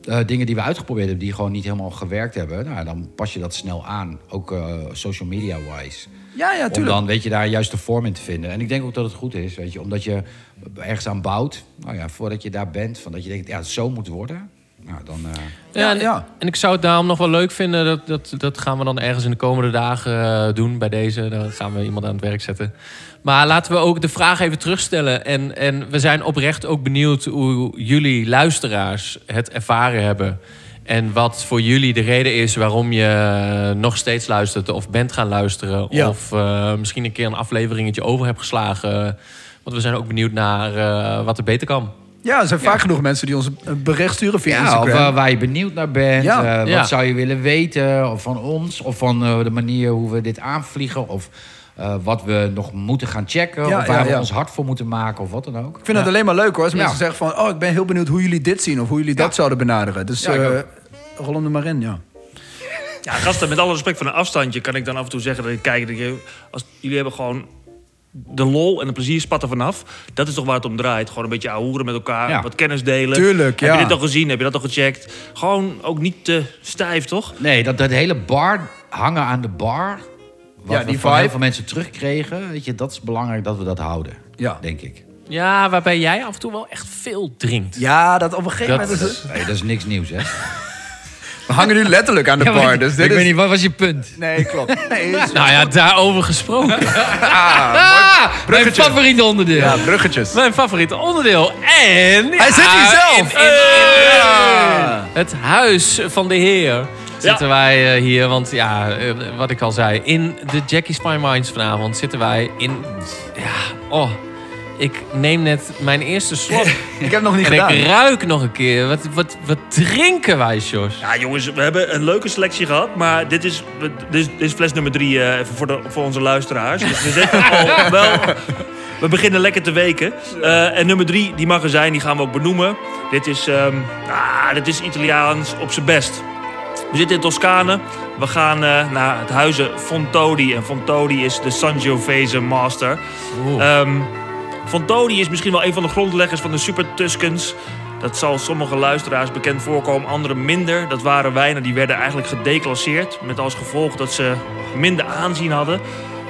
Speaker 6: eh, dingen die we uitgeprobeerd hebben, die gewoon niet helemaal gewerkt hebben. Nou, dan pas je dat snel aan, ook eh, social media-wise.
Speaker 4: Ja, ja,
Speaker 6: Om
Speaker 4: tuurlijk.
Speaker 6: dan, weet je, daar juist de vorm in te vinden. En ik denk ook dat het goed is, weet je, omdat je ergens aan bouwt. Nou ja, voordat je daar bent, van dat je denkt, ja, zo moet worden. Nou, dan... eh,
Speaker 3: Ja,
Speaker 4: Ja,
Speaker 3: en,
Speaker 4: ja.
Speaker 3: en ik zou het daarom nog wel leuk vinden. Dat, dat, dat gaan we dan ergens in de komende dagen eh, doen bij deze. Dan gaan we iemand aan het werk zetten. Maar laten we ook de vraag even terugstellen. En, en we zijn oprecht ook benieuwd hoe jullie luisteraars het ervaren hebben. En wat voor jullie de reden is waarom je eh, nog steeds luistert of bent gaan luisteren.
Speaker 4: Ja.
Speaker 3: Of eh, misschien een keer een afleveringetje over hebt geslagen. Want we zijn ook benieuwd naar eh, wat er beter kan.
Speaker 4: Ja, er zijn vaak genoeg mensen die ons een bericht sturen via
Speaker 6: Ja, of
Speaker 4: Instagram.
Speaker 6: eh, waar je benieuwd naar bent.
Speaker 4: Ja.
Speaker 6: eh, wat
Speaker 3: Ja.
Speaker 6: zou je willen weten of van ons? Of van eh, de manier hoe we dit aanvliegen? Of eh, wat we nog moeten gaan checken?
Speaker 4: Ja,
Speaker 6: of waar
Speaker 4: ja,
Speaker 6: we
Speaker 4: ja.
Speaker 6: ons hard voor moeten maken? Of wat dan ook.
Speaker 4: ik vind het alleen maar leuk hoor. Als
Speaker 6: Ja.
Speaker 4: mensen zeggen van... Oh, ik ben heel benieuwd hoe jullie dit zien of hoe jullie
Speaker 6: Ja.
Speaker 4: dat zouden benaderen. Dus
Speaker 6: Ja, ik
Speaker 4: eh,
Speaker 6: ook.
Speaker 4: rol hem er maar in, ja.
Speaker 5: Ja, gasten, met alle respect van een afstandje kan ik dan af en toe zeggen dat ik kijk. Dat je, als, jullie hebben gewoon de lol en de plezier spatten vanaf. Dat is toch waar het om draait. Gewoon een beetje ahoeren met elkaar,
Speaker 6: Ja.
Speaker 5: wat kennis delen.
Speaker 4: Tuurlijk,
Speaker 5: Heb
Speaker 4: ja.
Speaker 5: je dit al gezien? Heb je dat al gecheckt? Gewoon ook niet te stijf, toch?
Speaker 6: Nee, dat, dat hele bar, hangen aan de bar... Wat
Speaker 4: Ja,
Speaker 6: we
Speaker 4: die
Speaker 6: van heel
Speaker 4: vibe.
Speaker 6: veel mensen terugkregen. Weet je, dat is belangrijk dat we dat houden.
Speaker 4: Ja.
Speaker 6: Denk ik.
Speaker 3: Ja, waarbij jij af en toe wel echt veel drinkt.
Speaker 4: Ja, dat op een gegeven
Speaker 3: Dat
Speaker 4: moment... Is,
Speaker 6: Nee, dat is niks nieuws, hè?
Speaker 4: we hangen nu letterlijk aan de
Speaker 6: Ja, maar
Speaker 4: bar,
Speaker 6: [laughs] ik-
Speaker 4: dus
Speaker 6: ik
Speaker 4: dit is...
Speaker 6: weet niet, wat was je punt?
Speaker 4: Nee, klopt.
Speaker 6: [laughs]
Speaker 4: Nee, is-
Speaker 3: Nou ja, daarover
Speaker 4: [laughs] Ah,
Speaker 3: gesproken. Ah,
Speaker 6: Mijn favoriete onderdeel.
Speaker 4: Ja, bruggetjes.
Speaker 3: Mijn favoriete onderdeel. En...
Speaker 4: Hij zit hier
Speaker 3: Ja,
Speaker 4: zelf.
Speaker 3: in- in- in-
Speaker 4: Ja.
Speaker 3: Het huis van de heer zitten wij eh, hier. Want ja, eh, wat ik al zei. In de Jackie Spine Minds vanavond zitten wij in... Ja, oh. Ik neem net mijn eerste
Speaker 4: [laughs]
Speaker 3: slok.
Speaker 4: Ik heb het nog niet
Speaker 3: en
Speaker 4: gedaan.
Speaker 3: ik ruik nog een keer. Wat, wat, wat drinken wij, Sjors?
Speaker 5: Ja, jongens, we hebben een leuke selectie gehad. Maar dit is, dit is, dit is fles nummer drie eh, even voor, de, voor onze luisteraars. Dus we zitten al wel... We beginnen lekker te weken. Eh, en nummer drie, die mag er zijn. Die gaan we ook benoemen. Dit is, ehm, ah, dit is Italiaans op zijn best. We zitten in Toscane. We gaan eh, naar het huizen Fontodi. En Fontodi is de Sangiovese master. Ehm Fontoni is misschien wel een van de grondleggers van de Super Tuscans. Dat zal sommige luisteraars bekend voorkomen, anderen minder. Dat waren wijnen die werden eigenlijk gedeclasseerd. Met als gevolg dat ze minder aanzien hadden.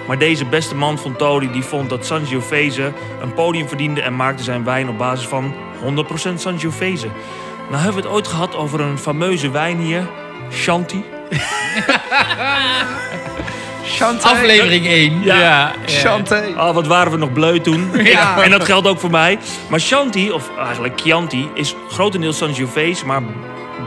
Speaker 5: Maar deze beste man Fontoni die vond dat Sangiovese een podium verdiende... en maakte zijn wijn op basis van 100% Sangiovese. Nou hebben we het ooit gehad over een fameuze wijn hier. Chianti.
Speaker 4: Chanté.
Speaker 6: Aflevering 1.
Speaker 5: Ja.
Speaker 4: Chanté.
Speaker 5: Ah, wat waren we nog bleu toen.
Speaker 4: Ja.
Speaker 5: En dat geldt ook voor mij. Maar Chianti, of eigenlijk Chianti, is grotendeels Sangiovese, maar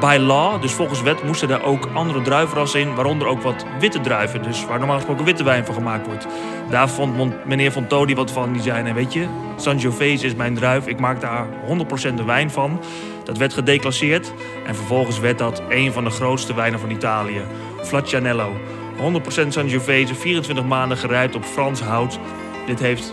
Speaker 5: by law, dus volgens wet, moesten daar ook andere druivenrassen in, waaronder ook wat witte druiven, dus waar normaal gesproken witte wijn van gemaakt wordt. Daar vond mon- meneer Von Todi wat van, die zei, nee, weet je, Sangiovese is mijn druif, ik maak daar 100% de wijn van. Dat werd gedeclasseerd en vervolgens werd dat een van de grootste wijnen van Italië, Flacianello. 100% Sangiovese, 24 maanden gerijpt op Frans hout. Dit heeft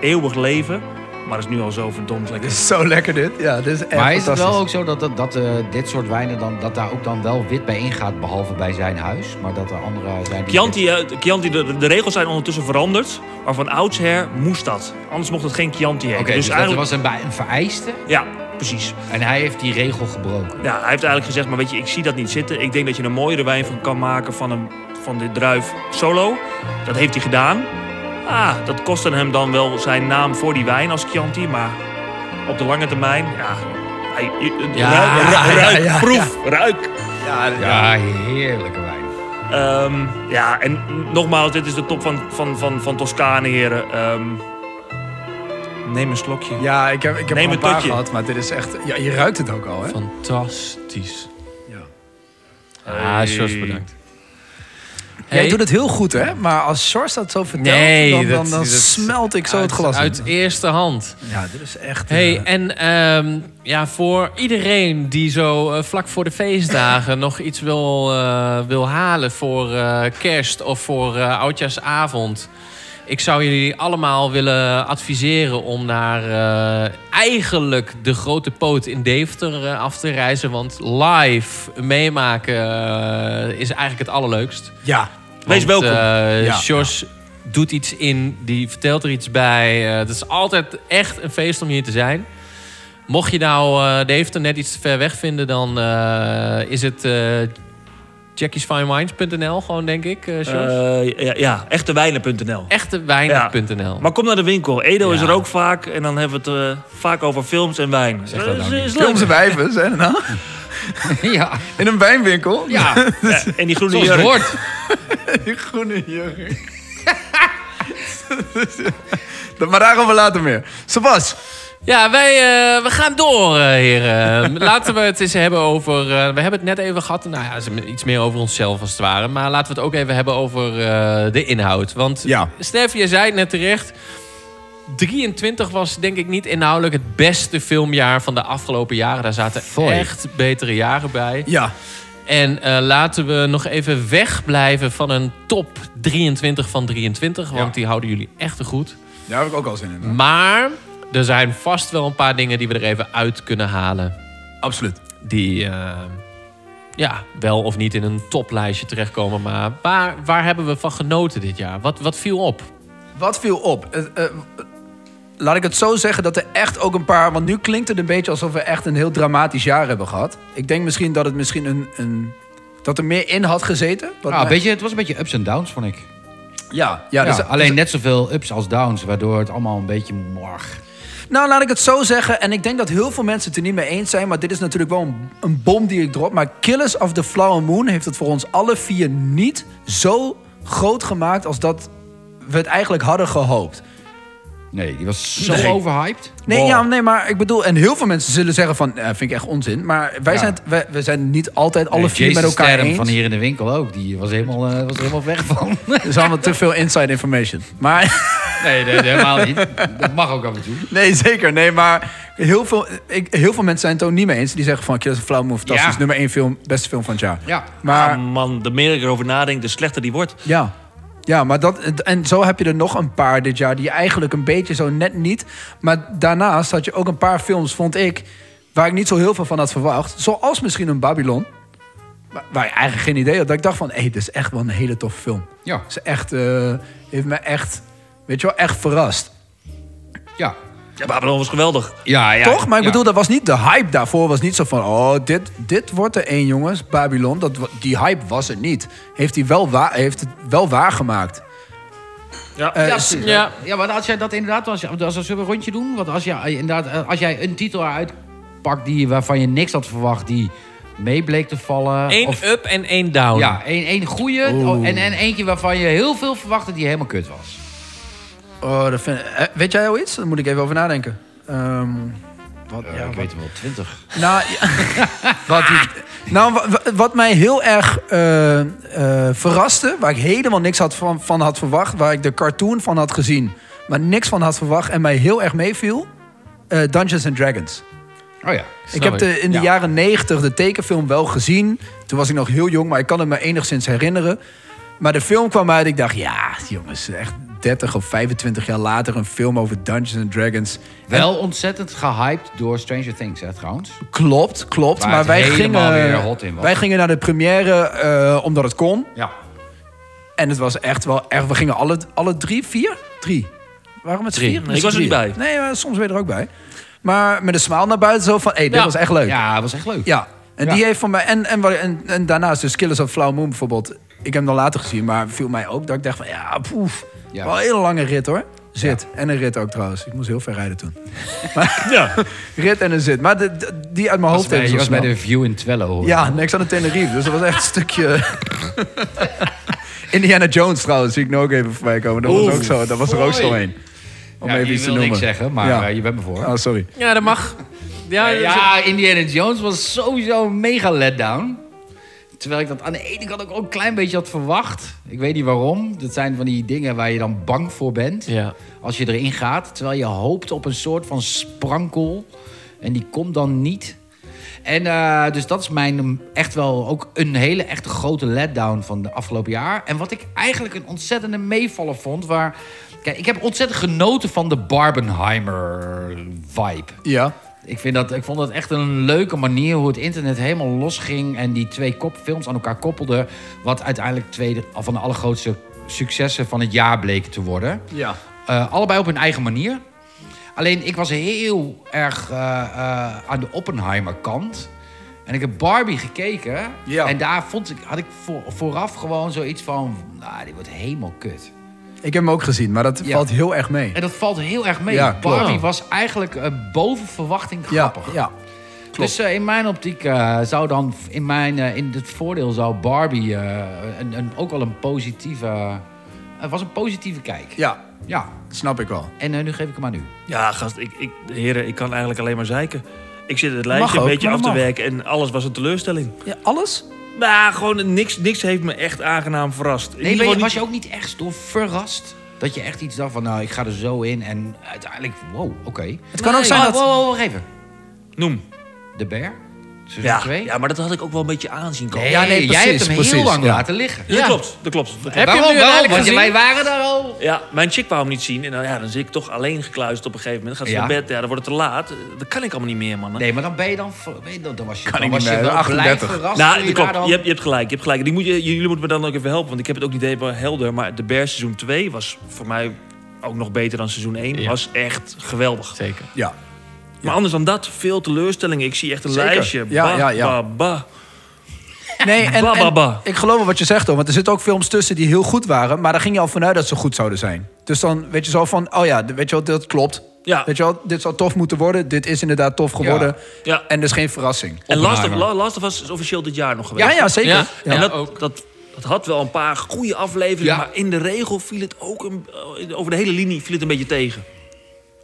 Speaker 5: eeuwig leven, maar is nu al zo verdomd lekker.
Speaker 4: Dit
Speaker 6: Dus-
Speaker 4: is zo lekker dit. Ja, dit is echt
Speaker 6: Maar is het
Speaker 4: fantastisch.
Speaker 6: wel ook zo dat, dat, dat eh, dit soort wijnen dan, dat daar ook dan wel wit bij ingaat, behalve bij zijn huis, maar dat er andere zijn die...
Speaker 5: Chianti, eh, Chianti de, de regels zijn ondertussen veranderd, maar van oudsher moest dat. Anders mocht het geen Chianti heten.
Speaker 6: Oké, dus,
Speaker 5: dus
Speaker 6: dat
Speaker 5: eigenlijk,
Speaker 6: was een, bij- een vereiste
Speaker 5: ja, precies.
Speaker 6: en hij heeft die regel gebroken.
Speaker 5: Ja, hij heeft eigenlijk gezegd, maar weet je, ik zie dat niet zitten. Ik denk dat je een mooiere wijn van kan maken van, een, van dit druif solo. Dat heeft hij gedaan. Ah, dat kostte hem dan wel zijn naam voor die wijn als Chianti, maar op de lange termijn, ja. Hij,
Speaker 3: Ja,
Speaker 5: ruik, ruik,
Speaker 4: ja, ja, ja.
Speaker 5: proef, ruik.
Speaker 4: Ja, ja.
Speaker 6: Ja, heerlijke wijn.
Speaker 5: Ehm, ja, en nogmaals, dit is de top van, van, van, van Toscane, heren. Ehm, neem een slokje.
Speaker 4: Ja, ik heb, ik heb
Speaker 5: Neem
Speaker 4: al een
Speaker 5: een
Speaker 4: paar
Speaker 5: totje.
Speaker 4: gehad, maar dit is echt... Ja, je ruikt het ook al, hè?
Speaker 3: Fantastisch.
Speaker 5: Hey.
Speaker 3: Ah, Sjors, bedankt.
Speaker 4: Jij doet het heel goed, hè? Maar als Sjors dat zo vertelt,
Speaker 3: Nee,
Speaker 4: dan, dan,
Speaker 3: dat-
Speaker 4: dan
Speaker 3: dat-
Speaker 4: smelt ik zo het glas in.
Speaker 3: Uit eerste hand.
Speaker 4: Ja, dit is echt...
Speaker 3: Hey,
Speaker 4: eh,
Speaker 3: en ehm, ja, voor iedereen die zo eh, vlak voor de feestdagen [laughs] nog iets wil, eh, wil halen voor eh, kerst of voor eh, oudjaarsavond. Ik zou jullie allemaal willen adviseren om naar eh, eigenlijk de grote poot in Deventer eh, af te reizen. Want live meemaken eh, is eigenlijk het allerleukst.
Speaker 4: ja.
Speaker 5: Wees
Speaker 3: Want,
Speaker 5: welkom.
Speaker 3: eh,
Speaker 4: Ja.
Speaker 3: Sjors doet iets in, die vertelt er iets bij. Eh, Het is altijd echt een feest om hier te zijn. Mocht je nou eh Deventer net iets te ver weg vinden, dan eh, is het eh jackiesfinemines.nl gewoon, denk ik, eh Sjors.
Speaker 5: Eh, ja, ja, echtewijnen.nl.
Speaker 3: Echtewijnen.nl.
Speaker 5: Maar kom naar de winkel. Edo is
Speaker 3: Ja.
Speaker 5: er ook vaak. En dan hebben we het eh, vaak over films en wijn. Eh,
Speaker 6: Zeg dat nou niet.
Speaker 5: leuk.
Speaker 4: Filmse wijven, zijn er nou?
Speaker 6: [laughs] ja,
Speaker 4: In een wijnwinkel?
Speaker 6: ja,
Speaker 5: Ja, Eh, en die groene
Speaker 6: zoals het
Speaker 5: jurk.
Speaker 6: hoort.
Speaker 4: Die groene jurk. [laughs] Dat- maar daarover later meer. Sebas,
Speaker 3: Ja, wij eh, we gaan door, eh,
Speaker 4: [laughs]
Speaker 3: heren. laten we het eens hebben over... eh, we hebben het net even gehad, nou ja, ze- iets meer over onszelf als het ware. Maar laten we het ook even hebben over eh, de inhoud. Want
Speaker 4: Ja.
Speaker 3: Stef, je zei het net terecht... 23 was denk ik niet inhoudelijk het beste filmjaar van de afgelopen jaren. Daar zaten
Speaker 6: Foei.
Speaker 3: echt betere jaren bij.
Speaker 4: ja,
Speaker 3: En eh, laten we nog even wegblijven van een top 23 van 23. Want
Speaker 4: Ja.
Speaker 3: die houden jullie echt te goed.
Speaker 4: daar heb ik ook al zin in. hoor.
Speaker 3: Maar er zijn vast wel een paar dingen die we er even uit kunnen halen.
Speaker 4: Absoluut.
Speaker 3: Die, eh, ja, wel of niet in een toplijstje terechtkomen. Maar waar, waar hebben we van genoten dit jaar? Wat, wat viel op?
Speaker 4: Wat viel op? Eh, eh, laat ik het zo zeggen dat er echt ook een paar... Want nu klinkt het een beetje alsof we echt een heel dramatisch jaar hebben gehad. Ik denk misschien dat het misschien een... een dat er meer in had gezeten. Wat
Speaker 6: Ah,
Speaker 4: mij-
Speaker 6: een beetje, het was een beetje ups en downs, vond ik.
Speaker 4: Ja, ja,
Speaker 6: Ja,
Speaker 4: dus-
Speaker 6: alleen net zoveel ups als downs, waardoor het allemaal een beetje morg.
Speaker 4: Nou, laat ik het zo zeggen. En ik denk dat heel veel mensen het er niet mee eens zijn. Maar dit is natuurlijk wel een, een bom die ik drop. Maar Killers of the Flower Moon heeft het voor ons alle vier niet zo groot gemaakt... als dat we het eigenlijk hadden gehoopt.
Speaker 6: Nee, die was zo
Speaker 4: Nee.
Speaker 6: overhyped.
Speaker 4: Nee,
Speaker 6: Wow.
Speaker 4: ja, nee, maar ik bedoel... En heel veel mensen zullen zeggen van... eh, vind ik echt onzin. Maar wij
Speaker 6: Ja.
Speaker 4: zijn, het- wij, wij zijn niet altijd alle
Speaker 6: Nee,
Speaker 4: vier
Speaker 6: Jason
Speaker 4: met elkaar
Speaker 6: Statham
Speaker 4: eens.
Speaker 6: van hier in de winkel ook. Die was helemaal, eh, was er helemaal weg
Speaker 4: [laughs]
Speaker 6: van.
Speaker 4: Er is allemaal te veel inside information. Maar... [laughs]
Speaker 6: Nee, nee, helemaal niet. Dat mag ook af en toe.
Speaker 4: Nee, zeker. Nee, maar heel veel, ik, heel veel mensen zijn het ook niet mee eens. Die zeggen van, Killers of the Flower Moon, fantastisch.
Speaker 6: Ja.
Speaker 4: Nummer één film, beste film van het jaar.
Speaker 6: Ja.
Speaker 4: Maar...
Speaker 5: Ah, man, de meer ik erover nadenk, de slechter die wordt.
Speaker 4: Ja. Ja, maar dat, en zo heb je er nog een paar dit jaar die eigenlijk een beetje zo net niet. Maar daarnaast had je ook een paar films, vond ik, waar ik niet zo heel veel van had verwacht. Zoals misschien een Babylon, waar, waar ik eigenlijk geen idee had. Dat ik dacht van, hé, dit is echt wel een hele toffe film.
Speaker 6: Ja.
Speaker 4: Ze echt, eh, heeft me echt, weet je wel, echt verrast.
Speaker 6: Ja.
Speaker 5: Ja, Babylon was geweldig.
Speaker 6: Ja, ja.
Speaker 4: Toch? Maar ik
Speaker 6: ja.
Speaker 4: bedoel, dat was niet de hype daarvoor. was niet zo van, oh, dit, dit wordt er één, jongens. Babylon, dat, wa- die hype was er niet. Heeft hij wel, wa- heeft het wel waargemaakt.
Speaker 5: Ja.
Speaker 4: Eh,
Speaker 6: Ja,
Speaker 4: s-
Speaker 6: precies.
Speaker 3: Ja.
Speaker 6: ja. maar als jij dat inderdaad, als, als, als zullen we een rondje doen, want als, je, inderdaad, eh, als jij een titel uitpakt die, waarvan je niks had verwacht, die mee bleek te vallen.
Speaker 3: Eén
Speaker 6: Nou, of,
Speaker 3: up en één down.
Speaker 6: ja, één, één goede oh, en, en eentje waarvan je heel veel verwachtte die helemaal kut was.
Speaker 4: Oh, dat vind eh, Weet jij al iets? Daar moet ik even over nadenken. Ehm, wat, ja,
Speaker 6: Ja, Eh, ik
Speaker 4: wat,
Speaker 6: weet er wel, twintig.
Speaker 4: nou,
Speaker 6: [laughs]
Speaker 4: ja, wat, die- nou, wa- wa- wat mij heel erg eh, eh, verraste, waar ik helemaal niks had van, van had verwacht, waar ik de cartoon van had gezien, maar niks van had verwacht en mij heel erg meeviel, eh, Dungeons and Dragons.
Speaker 6: Oh ja.
Speaker 4: Ik heb de, in de
Speaker 6: Ja.
Speaker 4: jaren negentig de tekenfilm wel gezien. Toen was ik nog heel jong, maar ik kan het me enigszins herinneren. Maar de film kwam uit. Ik dacht, ja, jongens, echt 30 of 25 jaar later een film over Dungeons and Dragons.
Speaker 6: Wel ontzettend gehyped door Stranger Things, hè, trouwens.
Speaker 4: Klopt, klopt.
Speaker 6: Waar
Speaker 4: maar
Speaker 6: het
Speaker 4: wij
Speaker 6: helemaal
Speaker 4: gingen,
Speaker 6: weer hot in was.
Speaker 4: wij gingen naar de première eh, omdat het kon.
Speaker 6: Ja.
Speaker 4: En het was echt wel echt. We gingen alle, alle drie, vier? Drie. Waarom het
Speaker 5: Drie.
Speaker 4: vier?
Speaker 5: Ik
Speaker 4: Met z'n
Speaker 5: was er niet
Speaker 4: drieën.
Speaker 5: bij.
Speaker 4: Nee, maar soms ben je er ook bij. Maar met een smaal naar buiten zo van, hé, hey, dit
Speaker 3: Ja.
Speaker 4: was echt leuk.
Speaker 6: Ja, het was echt leuk.
Speaker 4: Ja, en
Speaker 6: Ja.
Speaker 4: die heeft van mij. En, en, wat- en, en daarnaast, dus Killers of Flower Moon bijvoorbeeld. Ik heb hem dan later gezien, maar viel mij ook dat ik dacht van ja, poef.
Speaker 6: Ja.
Speaker 4: Wel een hele lange rit hoor. Zit. En een rit ook trouwens. Ik moest heel ver rijden
Speaker 6: [laughs]
Speaker 4: toen. Maar,
Speaker 5: Ja.
Speaker 4: [laughs] Rit en een zit. Maar de- de- die uit mijn
Speaker 6: Was
Speaker 4: hoofd
Speaker 6: bij,
Speaker 4: even
Speaker 6: je
Speaker 4: zo
Speaker 6: was bij
Speaker 4: snel.
Speaker 6: de View in Twello. hoor.
Speaker 4: Ja, niks aan de Tenerife. Dus dat was echt een stukje. [laughs] Indiana Jones trouwens, zie ik nu ook even voorbij komen. Dat was, ook zo, dat was er ook zo
Speaker 6: foei.
Speaker 4: een. Om
Speaker 6: Ja,
Speaker 4: even
Speaker 6: je
Speaker 4: iets te
Speaker 6: wil
Speaker 4: noemen.
Speaker 6: niks zeggen, maar
Speaker 4: Ja.
Speaker 6: eh, je bent me voor.
Speaker 4: Oh, sorry.
Speaker 3: Ja, dat mag. Ja, ja.
Speaker 6: Eh, Ja, Indiana Jones was sowieso een mega letdown. Terwijl ik dat aan de ene kant ook al een klein beetje had verwacht. Ik weet niet waarom. Dat zijn van die dingen waar je dan bang voor bent.
Speaker 3: Ja.
Speaker 6: Als je erin gaat. Terwijl je hoopt op een soort van sprankel. En die komt dan niet. En eh, dus dat is mijn mm, echt wel ook een hele echt grote letdown van de afgelopen jaar. En wat ik eigenlijk een ontzettende meevaller vond. Waar, kijk, ik heb ontzettend genoten van de Barbenheimer vibe.
Speaker 4: Ja.
Speaker 6: Ik, vind dat, ik vond dat echt een leuke manier hoe het internet helemaal losging en die twee kop films aan elkaar koppelde. Wat uiteindelijk twee van de allergrootste successen van het jaar bleek te worden.
Speaker 4: Ja.
Speaker 6: Eh, allebei op hun eigen manier. Alleen ik was heel erg eh, eh, aan de Oppenheimer kant. En ik heb Barbie gekeken.
Speaker 4: Ja.
Speaker 6: En daar vond ik, had ik voor, vooraf gewoon zoiets van... Nou, dit wordt helemaal kut.
Speaker 4: Ik heb hem ook gezien, maar dat
Speaker 6: Ja.
Speaker 4: valt heel erg mee.
Speaker 6: En dat valt heel erg mee.
Speaker 4: Ja, klopt.
Speaker 6: Barbie was eigenlijk eh, boven verwachting
Speaker 4: Ja,
Speaker 6: grappig.
Speaker 4: ja.
Speaker 6: Dus eh, in mijn optiek eh, zou dan in, mijn, eh, in het voordeel zou Barbie eh, een, een- ook wel een positieve. eh, Het was een positieve kijk.
Speaker 4: Ja,
Speaker 6: Ja.
Speaker 4: snap ik wel.
Speaker 6: En eh, nu geef ik hem aan u.
Speaker 5: Ja, gast, ik, ik, heren, ik kan eigenlijk alleen maar zeiken. Ik zit het lijstje
Speaker 4: ook,
Speaker 5: een beetje
Speaker 4: maar
Speaker 5: af te
Speaker 4: mag.
Speaker 5: werken en alles was een teleurstelling.
Speaker 4: Ja, alles?
Speaker 5: Nou, gewoon niks, niks heeft me echt aangenaam verrast. In
Speaker 6: Nee,
Speaker 5: ieder
Speaker 6: ben je,
Speaker 5: geval
Speaker 6: was
Speaker 5: niet-
Speaker 6: je ook niet echt door verrast? Dat je echt iets dacht van, nou, ik ga er zo in en uiteindelijk, wow, oké.
Speaker 4: Het kan ook zijn
Speaker 6: Oh,
Speaker 4: dat...
Speaker 6: wow, wow, wacht even.
Speaker 5: Noem.
Speaker 6: De bear? Seizoen
Speaker 5: Ja,
Speaker 6: 2?
Speaker 5: ja, maar dat had ik ook wel een beetje aanzien komen.
Speaker 6: Nee,
Speaker 4: Ja, nee,
Speaker 6: jij hebt
Speaker 4: precies,
Speaker 6: hem heel
Speaker 4: precies,
Speaker 6: lang
Speaker 4: ja.
Speaker 6: laten liggen.
Speaker 5: Ja, Dat klopt, dat klopt. dat klopt.
Speaker 3: Heb je hem
Speaker 6: Waarom?
Speaker 3: nu
Speaker 6: Waarom?
Speaker 3: uiteindelijk
Speaker 6: Want
Speaker 3: gezien?
Speaker 6: wij waren daar al.
Speaker 5: Ja, mijn chick wou hem niet zien. En dan, ja, dan zit ik toch alleen gekluisterd op een gegeven moment. Dan gaat ze
Speaker 6: Ja.
Speaker 5: naar bed, ja, dan wordt het te laat. Eh, Dat kan ik allemaal niet meer, man.
Speaker 6: Nee, maar dan ben je dan... ver- weet je, dan- Dan was je,
Speaker 4: Kan
Speaker 6: dan
Speaker 4: ik
Speaker 6: was
Speaker 4: niet
Speaker 6: je
Speaker 4: meer,
Speaker 6: wel blij
Speaker 4: 38.
Speaker 6: verrast.
Speaker 5: Nou,
Speaker 6: toen je
Speaker 5: dat klopt.
Speaker 6: daar dan-
Speaker 5: Je, hebt, je hebt gelijk. Je hebt gelijk. Die moet je, jullie moeten me dan ook even helpen. Want ik heb het ook niet helemaal helder. Maar de Bears seizoen 2 was voor mij ook nog beter dan seizoen 1.
Speaker 3: Ja.
Speaker 5: Was echt geweldig.
Speaker 3: Zeker.
Speaker 4: Ja.
Speaker 5: Maar anders dan dat, veel teleurstellingen. Ik zie echt een
Speaker 4: Zeker.
Speaker 5: lijstje.
Speaker 4: Ja,
Speaker 5: Ba,
Speaker 4: ja, ja.
Speaker 5: ba, ba.
Speaker 4: Nee, en,
Speaker 5: Ba, ba,
Speaker 4: en
Speaker 5: ba.
Speaker 4: ik geloof wel wat je zegt, hoor. Want er zitten ook films tussen die heel goed waren. Maar daar ging je al vanuit dat ze goed zouden zijn. Dus dan weet je zo van, oh ja, weet je wel, dat klopt.
Speaker 5: Ja.
Speaker 4: Weet je wel, dit zou tof moeten worden. Dit is inderdaad tof geworden.
Speaker 5: Ja.
Speaker 4: En dus geen verrassing.
Speaker 5: En Last of,
Speaker 6: Oppenheimer.
Speaker 5: La- Last of Us is officieel dit jaar nog geweest.
Speaker 4: Ja, ja, zeker.
Speaker 3: Ja.
Speaker 5: en dat,
Speaker 3: ook.
Speaker 5: Dat, dat had wel een paar goede afleveringen.
Speaker 6: Ja.
Speaker 5: Maar in de regel viel het ook... Een, eh, over de hele linie viel het een beetje tegen.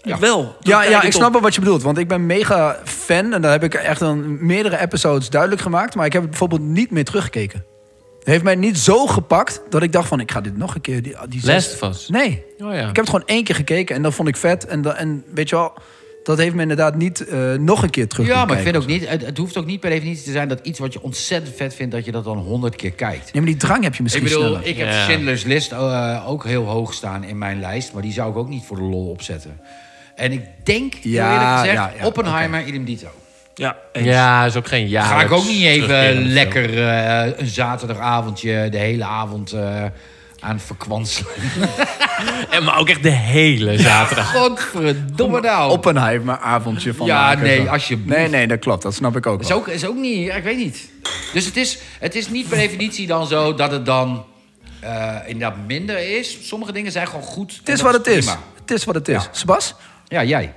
Speaker 6: Ja.
Speaker 5: Wel. Dan
Speaker 4: Ja,
Speaker 5: kijk
Speaker 4: ja,
Speaker 5: op-
Speaker 4: ik snap wel wat je bedoelt. Want ik ben mega fan. En dat heb ik echt dan meerdere episodes duidelijk gemaakt. Maar ik heb het bijvoorbeeld niet meer teruggekeken. Het heeft mij niet zo gepakt dat ik dacht van... ik ga dit nog een keer... Die, die zes-
Speaker 3: Last of Us.
Speaker 4: Nee.
Speaker 3: Oh ja.
Speaker 4: Ik heb het gewoon één keer gekeken en dat vond ik vet. En, da- en weet je wel, dat heeft me inderdaad niet eh, nog een keer terug
Speaker 6: Ja,
Speaker 4: doen
Speaker 6: maar ik vind
Speaker 4: kijken.
Speaker 6: ook niet... Het, het hoeft ook niet per definitie te zijn dat iets wat je ontzettend vet vindt... dat je dat dan honderd keer kijkt.
Speaker 4: Nee, maar die drang heb je
Speaker 6: Ik
Speaker 4: misschien
Speaker 6: bedoel,
Speaker 4: sneller.
Speaker 6: ik heb
Speaker 3: Ja.
Speaker 6: Schindler's List eh, ook heel hoog staan in mijn lijst. Maar die zou ik ook niet voor de lol opzetten. En ik denk, heel
Speaker 4: Ja,
Speaker 6: eerlijk
Speaker 4: ja,
Speaker 6: gezegd,
Speaker 4: ja,
Speaker 6: Oppenheimer idem dito.
Speaker 5: Ja, eens.
Speaker 3: Ja, is ook geen jaar.
Speaker 6: Ga ik ook niet even lekker eh, een zaterdagavondje de hele avond eh, aan verkwanselen.
Speaker 3: En maar ook echt de hele zaterdag.
Speaker 6: [laughs] Godverdomme nou.
Speaker 4: Oppenheimer avondje van
Speaker 6: Ja,
Speaker 4: maken.
Speaker 6: nee, alsjeblieft.
Speaker 4: Nee, nee, dat klopt. Dat snap ik ook
Speaker 6: is
Speaker 4: wel.
Speaker 6: ook, is ook niet, ja, ik weet niet. Dus het is, het is niet per definitie dan zo dat het dan eh, inderdaad minder is. Sommige dingen zijn gewoon goed.
Speaker 4: Het is wat het is. Het is wat het is. Sebas?
Speaker 6: Ja, jij.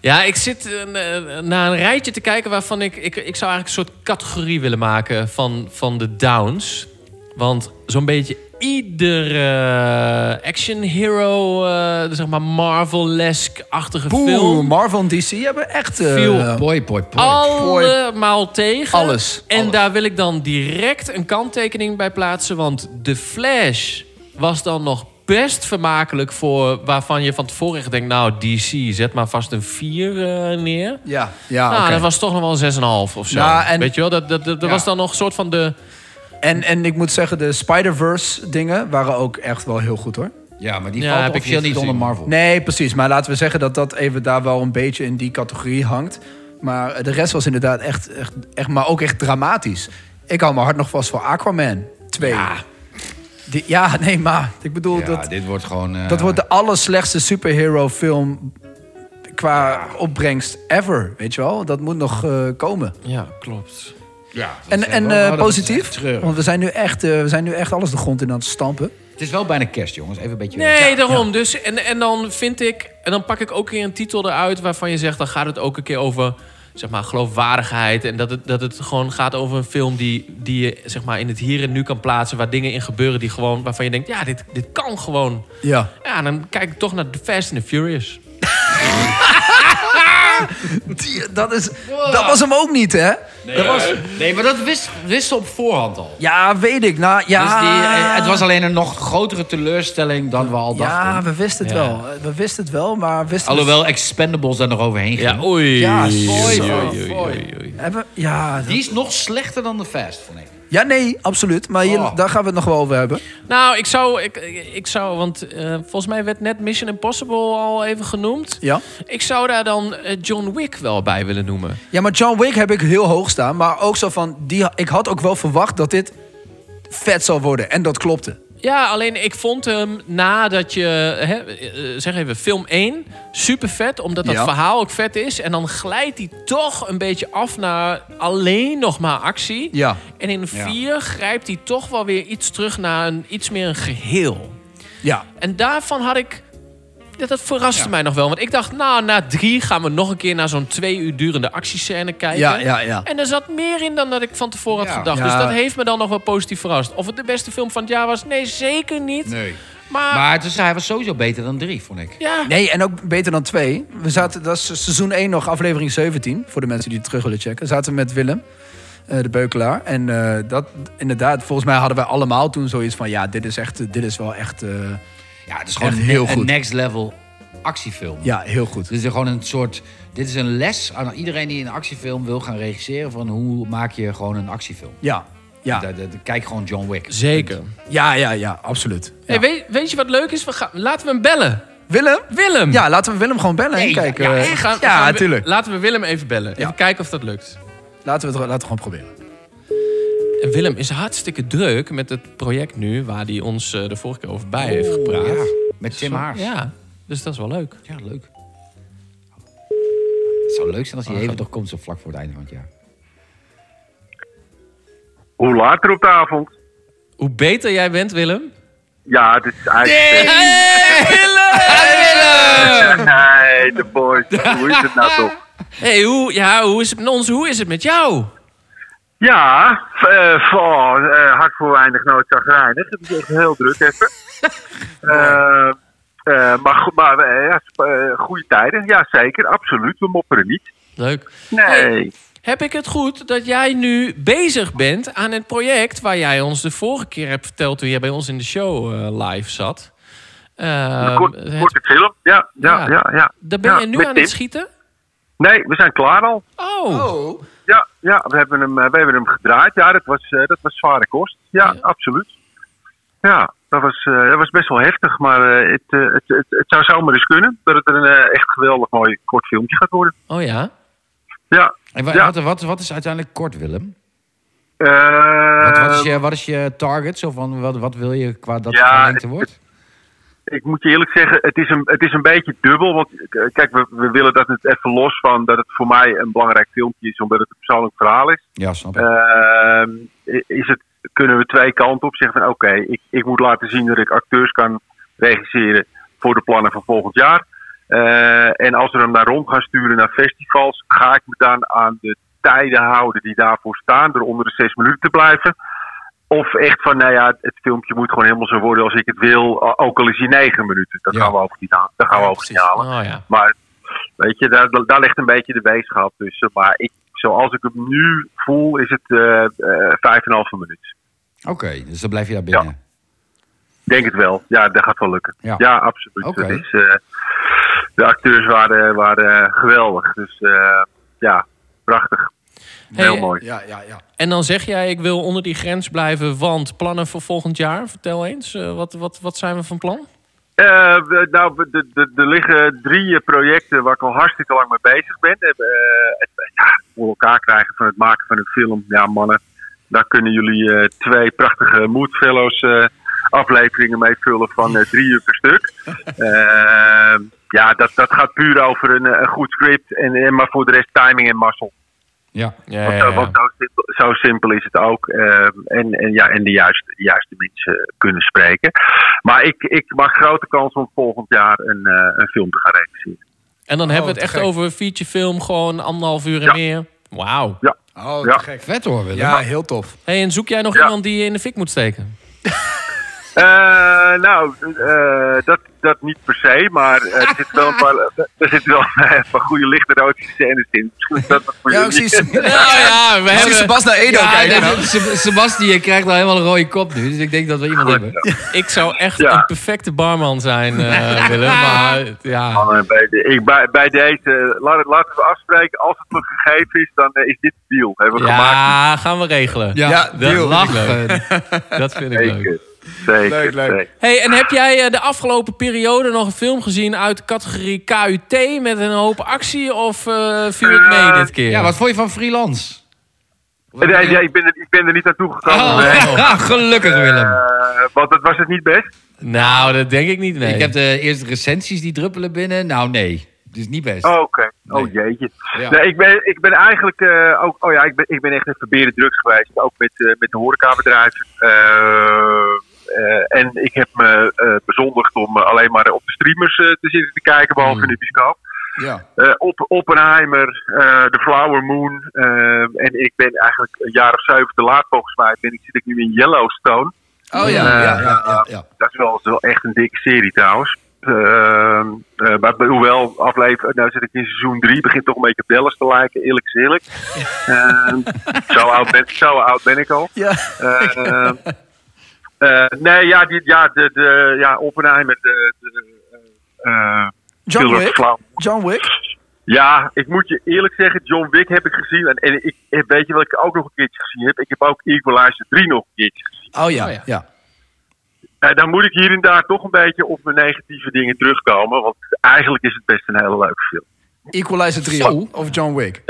Speaker 3: Ja, ik zit eh, na- naar een rijtje te kijken waarvan ik, ik... Ik zou eigenlijk een soort categorie willen maken van, van de downs. Want zo'n beetje iedere action hero, eh, zeg maar Marvel-esque-achtige
Speaker 4: Boe,
Speaker 3: film...
Speaker 4: Marvel en DC hebben echt... eh,
Speaker 3: Viel.
Speaker 6: Poi, poi, poi.
Speaker 3: Oh. Allemaal tegen.
Speaker 4: Alles,
Speaker 3: En
Speaker 4: alles.
Speaker 3: daar wil ik dan direct een kanttekening bij plaatsen. Want The Flash was dan nog best vermakelijk voor waarvan je van tevoren echt denkt... nou, DC, zet maar vast een 4 eh, neer.
Speaker 4: ja, ja
Speaker 3: nou,
Speaker 4: oké.
Speaker 3: dat was toch nog wel een 6,5 of zo.
Speaker 4: Ja, en-
Speaker 3: Weet je wel, dat, dat, dat, dat
Speaker 6: Ja.
Speaker 3: was dan nog een soort van de...
Speaker 4: En, en ik moet zeggen, de Spider-Verse dingen waren ook echt wel heel goed hoor.
Speaker 6: Ja, maar die
Speaker 3: Ja,
Speaker 6: valt
Speaker 3: heb ik
Speaker 6: officieel
Speaker 3: niet
Speaker 6: niet onder
Speaker 3: gezien.
Speaker 6: Marvel.
Speaker 4: Nee, precies. Maar laten we zeggen dat dat even daar wel een beetje in die categorie hangt. Maar eh, de rest was inderdaad echt, echt, echt maar ook echt dramatisch. Ik hou mijn hart nog vast voor Aquaman 2. Ja, ja nee, maar ik bedoel,
Speaker 6: Ja,
Speaker 4: dat,
Speaker 6: dit wordt gewoon... eh,
Speaker 4: dat wordt de allerslechtste superhero film qua opbrengst ever, weet je wel? Dat moet nog eh, komen.
Speaker 3: Ja, klopt.
Speaker 6: Ja, dat
Speaker 4: En,
Speaker 6: is
Speaker 4: en
Speaker 6: wel-
Speaker 4: eh,
Speaker 6: oh, dat is echt
Speaker 4: positief,
Speaker 6: treurig.
Speaker 4: want we zijn, nu echt, eh, we zijn nu echt alles de grond in aan het stampen.
Speaker 6: Het is wel bijna kerst, jongens. Even een beetje...
Speaker 3: Nee, daarom. Dus, en, en dan vind ik... En dan pak ik ook weer een titel eruit waarvan je zegt... dan gaat het ook een keer over zeg maar, geloofwaardigheid. En dat het, dat het gewoon gaat over een film die, die je zeg maar, in het hier en nu kan plaatsen... waar dingen in gebeuren die gewoon, waarvan je denkt... ja, dit, dit kan gewoon.
Speaker 4: Ja.
Speaker 3: Ja, dan kijk ik toch naar The Fast and the Furious.
Speaker 4: Die- dat, is, dat was hem ook niet, hè?
Speaker 6: Dat was... nee maar dat wist, wist ze op voorhand al.
Speaker 4: Ja, weet ik. Nou, ja.
Speaker 6: Dus die, eh, het was alleen een nog grotere teleurstelling dan we al
Speaker 4: Ja,
Speaker 6: dachten.
Speaker 4: we wisten het
Speaker 3: Ja.
Speaker 4: wel. Eh, We wisten het wel, maar wisten
Speaker 6: Alhoewel Expendables daar nog overheen ging.
Speaker 3: Ja, oei.
Speaker 4: Ja,
Speaker 3: Oei,
Speaker 4: mooi,
Speaker 3: oei,
Speaker 4: mooi,
Speaker 3: oei, oei, oei.
Speaker 4: we het... Hebben, ja, dat-
Speaker 6: Die is nog slechter dan de Fast, vond ik.
Speaker 4: ja, nee, absoluut. Maar hier,
Speaker 6: Oh.
Speaker 4: daar gaan we het nog wel over hebben.
Speaker 3: Nou, ik zou, ik, ik zou want eh, volgens mij werd net Mission Impossible al even genoemd.
Speaker 4: Ja.
Speaker 3: Ik zou daar dan eh, John Wick wel bij willen noemen.
Speaker 4: ja, maar John Wick heb ik heel hoog staan. Maar ook zo van, die, ik had ook wel verwacht dat dit vet zou worden. En dat klopte.
Speaker 3: Ja, alleen ik vond hem nadat je, hè, eh, zeg even, film 1, super vet, omdat dat
Speaker 4: Ja.
Speaker 3: verhaal ook vet is. En dan glijdt hij toch een beetje af naar alleen nog maar actie.
Speaker 4: Ja.
Speaker 3: En in 4 grijpt hij toch wel weer iets terug naar een, iets meer een geheel.
Speaker 4: Ja.
Speaker 3: En daarvan had ik. ja, dat verraste mij nog wel. Want ik dacht, nou, na drie gaan we nog een keer naar zo'n twee uur durende actiescène kijken.
Speaker 4: Ja, ja, ja.
Speaker 3: En er zat meer in dan dat ik van tevoren had
Speaker 6: Ja.
Speaker 3: gedacht.
Speaker 4: Ja.
Speaker 3: Dus dat heeft me dan nog wel positief verrast. Of het de beste film van het jaar was? Nee, zeker niet.
Speaker 6: Nee.
Speaker 3: Maar,
Speaker 6: Maar het is, hij was sowieso beter dan drie, vond ik.
Speaker 3: ja.
Speaker 4: Nee, en ook beter dan twee. We zaten, dat is seizoen 1 nog, aflevering 17. Voor de mensen die het terug willen checken. Zaten we met Willem, eh, de beukelaar. En eh, dat, inderdaad, volgens mij hadden wij allemaal toen zoiets van... Ja, dit is, echt, dit is wel echt... eh,
Speaker 6: Ja, het is gewoon
Speaker 4: Echt
Speaker 6: een-
Speaker 4: heel
Speaker 6: een
Speaker 4: goed.
Speaker 6: next level actiefilm.
Speaker 4: Ja, heel goed.
Speaker 6: Dit is gewoon een soort. Dit is een les aan iedereen die een actiefilm wil gaan regisseren. van hoe maak je gewoon een actiefilm.
Speaker 4: Ja, ja,
Speaker 6: Daar- daar- daar- Kijk gewoon John Wick.
Speaker 3: Zeker.
Speaker 4: ja, ja, ja absoluut.
Speaker 3: Hey, weet, weet je wat leuk is? We gaan, laten we hem bellen.
Speaker 4: Willem?
Speaker 3: Willem!
Speaker 4: Ja, laten we Willem gewoon bellen. en
Speaker 6: Nee,
Speaker 4: kijken.
Speaker 6: ja,
Speaker 4: eh,
Speaker 3: We gaan- we
Speaker 4: ja
Speaker 3: gaan-
Speaker 4: tuurlijk.
Speaker 3: Laten we Willem even bellen.
Speaker 4: Ja.
Speaker 3: Even kijken of dat lukt.
Speaker 4: Laten we het laten we gewoon proberen.
Speaker 3: En Willem is hartstikke druk met het project nu... waar hij ons eh, de vorige keer over bij heeft gepraat.
Speaker 6: Ja, met Tim Haars.
Speaker 3: Ja, dus dat is wel leuk.
Speaker 6: Ja, leuk. Het zou leuk zijn als hij even nog komt Oh, zo vlak voor het einde van het jaar.
Speaker 7: Hoe later op de avond?
Speaker 3: Hoe beter jij bent, Willem...
Speaker 7: Ja, het is eigenlijk... Nee, de boys. Hoe is het nou toch?
Speaker 3: hey, hoe, ja, hoe is het met ons? Hoe is het met jou?
Speaker 7: Ja, eh oh, eh, hard voor weinig nooit chagrijnig. Het is echt heel druk even. Eh, eh, maar goed, maar eh, ja, sp- eh, goede tijden. Ja, zeker. Absoluut. We mopperen niet.
Speaker 3: Leuk.
Speaker 7: Nee.
Speaker 3: Heb ik het goed dat jij nu bezig bent aan het project waar jij ons de vorige keer hebt verteld toen jij bij ons in de show eh, live zat? Ehm,
Speaker 7: Kort,
Speaker 3: het-
Speaker 7: korte film. Ja, ja,
Speaker 3: Ja.
Speaker 7: ja. ja,
Speaker 3: daar ben
Speaker 7: Ja,
Speaker 3: je nu
Speaker 7: met
Speaker 3: aan
Speaker 7: Tim.
Speaker 3: het schieten?
Speaker 7: Nee, we zijn klaar al.
Speaker 3: Oh,
Speaker 7: Ja, ja we, hebben hem, eh, we hebben hem gedraaid. Ja, dat was, eh, dat was zware kost. Ja, absoluut. Ja, dat was, eh, dat was best wel heftig. Maar eh, het, eh, het, het, het zou zomaar eens kunnen dat het een eh, echt geweldig mooi kort filmpje gaat worden.
Speaker 3: oh ja.
Speaker 7: Ja.
Speaker 6: En wa-
Speaker 7: Ja.
Speaker 6: wat, wat, wat is uiteindelijk kort, Willem?
Speaker 7: Eh,
Speaker 6: Wat, wat, is je, wat is je target? Zo van, wat, wat wil je qua dat
Speaker 7: Ja,
Speaker 6: het verlengde
Speaker 7: het-
Speaker 6: wordt?
Speaker 7: Ik moet je eerlijk zeggen, het is een, het is een beetje dubbel. Want eh, kijk, we, we willen dat het even los van dat het voor mij een belangrijk filmpje is, omdat het een persoonlijk verhaal is.
Speaker 6: Ja, snap ik.
Speaker 7: Ehm, is het, kunnen we twee kanten op zeggen van oké, ik, ik moet laten zien dat ik acteurs kan regisseren voor de plannen van volgend jaar. Eh, en als we hem naar rond gaan sturen naar festivals, ga ik me dan aan de tijden houden die daarvoor staan, door onder de zes minuten te blijven. Of echt van, nou ja, het filmpje moet gewoon helemaal zo worden als ik het wil, o- ook al is hij negen minuten. Dat
Speaker 6: Ja.
Speaker 7: gaan we ook niet, aan, dat gaan we ook niet halen.
Speaker 3: Oh ja.
Speaker 7: Maar weet je, daar, daar ligt een beetje de weegschaal tussen. Maar ik, zoals ik hem nu voel, is het eh vijf en een halve minuut.
Speaker 6: Oké, dus dan blijf je daar binnen.
Speaker 7: Denk het wel. Ja, dat gaat wel lukken.
Speaker 6: Ja.
Speaker 7: Ja, absoluut.
Speaker 6: Oké.
Speaker 7: Dat is, eh, de acteurs waren, waren geweldig. Dus eh, ja, prachtig.
Speaker 3: Hey,
Speaker 7: Heel mooi.
Speaker 4: Ja, ja, ja.
Speaker 3: En dan zeg jij, ik wil onder die grens blijven, want plannen voor volgend jaar. Vertel eens, eh, wat, wat, wat zijn we van plan?
Speaker 7: Eh, we- nou, we- de- de- er liggen drie eh, projecten waar ik al hartstikke lang mee bezig ben. Eh, het, ja, voor elkaar krijgen van het maken van een film. Ja, mannen, daar kunnen jullie eh, twee prachtige Mood Fellows eh, afleveringen mee vullen van eh, drie uur per stuk. Eh, ja, dat, dat gaat puur over een, eh, een goed script. En, en, maar voor de rest timing en muscle.
Speaker 6: Ja.
Speaker 3: Ja,
Speaker 7: Want, zo- want zo, simpel, zo simpel is het ook. eh, en, en, ja, en de juiste, de juiste mensen kunnen spreken. Maar ik, ik maak grote kans om volgend jaar een, eh, een film te gaan regisseren.
Speaker 3: En
Speaker 6: Oh,
Speaker 3: dan hebben we het
Speaker 4: te
Speaker 3: echt
Speaker 4: gek.
Speaker 3: over featurefilm, gewoon anderhalf uur en
Speaker 7: Ja.
Speaker 3: meer. Wauw.
Speaker 4: Oh, te
Speaker 7: Ja.
Speaker 4: gek.
Speaker 6: Vet hoor, Willem.
Speaker 4: Ja, heel tof.
Speaker 3: Hey, en zoek jij nog
Speaker 7: Ja.
Speaker 3: iemand die je in de fik moet steken?
Speaker 7: Eh, nou, eh, dat, dat niet per se. Maar eh, er zitten wel een paar, er zitten wel een paar goede lichte erotische scènes in. Misschien is dat wat voor
Speaker 3: [laughs]
Speaker 4: Ja, ik
Speaker 7: jullie.
Speaker 4: zie, ik
Speaker 3: Nou ja, we
Speaker 4: zie Sebastian Edo kijken. dan.
Speaker 6: Sebastian krijgt nou helemaal een rode kop nu. Dus ik denk dat we iemand hebben.
Speaker 3: Ik zou echt
Speaker 7: Ja.
Speaker 3: een perfecte barman
Speaker 7: [laughs]
Speaker 3: zijn eh, Willem. Maar ja,
Speaker 7: Mannen, eh, bij, de, ik, bij, bij deze, laat het, laten we afspreken. Als het een gegeven is, dan eh, is dit de deal. Hebben we gemaakt.
Speaker 3: ja gaan we regelen.
Speaker 6: Ja,
Speaker 4: Ja,
Speaker 3: dat
Speaker 4: deal.
Speaker 3: vind ik leuk. Dat vind ik leuk.
Speaker 7: Zeker. Zeker.
Speaker 4: Leuk, leuk.
Speaker 7: zeker.
Speaker 3: Hey, en heb jij eh, de afgelopen periode nog een film gezien uit de categorie KUT met een hoop actie? Of eh, viel het mee dit keer?
Speaker 6: Ja, wat vond je van freelance?
Speaker 7: Nee, nee, ik, ben er, ik ben er niet naartoe gekomen.
Speaker 3: [laughs]
Speaker 6: Oh,
Speaker 7: Nee.
Speaker 6: [laughs] gelukkig Willem.
Speaker 7: Eh, want dat was het niet best.
Speaker 3: Nou, dat denk ik niet, nee.
Speaker 6: Ik heb de eerste recensies die druppelen binnen. Nou, nee. Het is niet best.
Speaker 7: Oh, oké. Oh jeetje. Nee, ik, ben, ik ben eigenlijk eh, ook. Oh ja, ik ben, ik ben echt even beren drugs geweest. Ook met, eh, met de horecabedrijven. Eh, eh, en ik heb me eh, bezondigd om eh, alleen maar op de streamers eh, te zitten te kijken, behalve in de bioscoop.
Speaker 4: Ja.
Speaker 7: Eh, op, Oppenheimer, eh The Flower Moon. eh, en ik ben eigenlijk een jaar of zeven te laat volgens mij. Ben ik, zit ik nu in Yellowstone.
Speaker 4: Oh ja, ja, ja, ja. ja.
Speaker 7: Dat is wel, dat is wel echt een dikke serie trouwens. Eh, eh, maar hoewel aflevering, nou zit ik in seizoen 3, begint toch een beetje op Dallas te lijken, eerlijk is
Speaker 4: [laughs]
Speaker 7: eerlijk. Eh, zo, oud ben, zo oud ben ik al.
Speaker 4: Ja.
Speaker 7: Eh, eh, eh, nee, ja, die, ja, de, de, ja Oppenheimer, de, de, eh, eh,
Speaker 4: John
Speaker 7: Schilder
Speaker 4: Wick.
Speaker 7: flauw.
Speaker 4: John Wick.
Speaker 7: Ja, ik moet je eerlijk zeggen, John Wick heb ik gezien. En, en ik, en weet je wat ik ook nog een keertje gezien heb? Ik heb ook Equalizer 3 nog een keertje gezien.
Speaker 4: Oh ja,
Speaker 6: Oh ja.
Speaker 4: ja.
Speaker 7: Nou, dan moet ik hier en daar toch een beetje op mijn negatieve dingen terugkomen. Want eigenlijk is het best een hele leuke film.
Speaker 4: Equalizer 3
Speaker 6: Zo.
Speaker 4: of John Wick.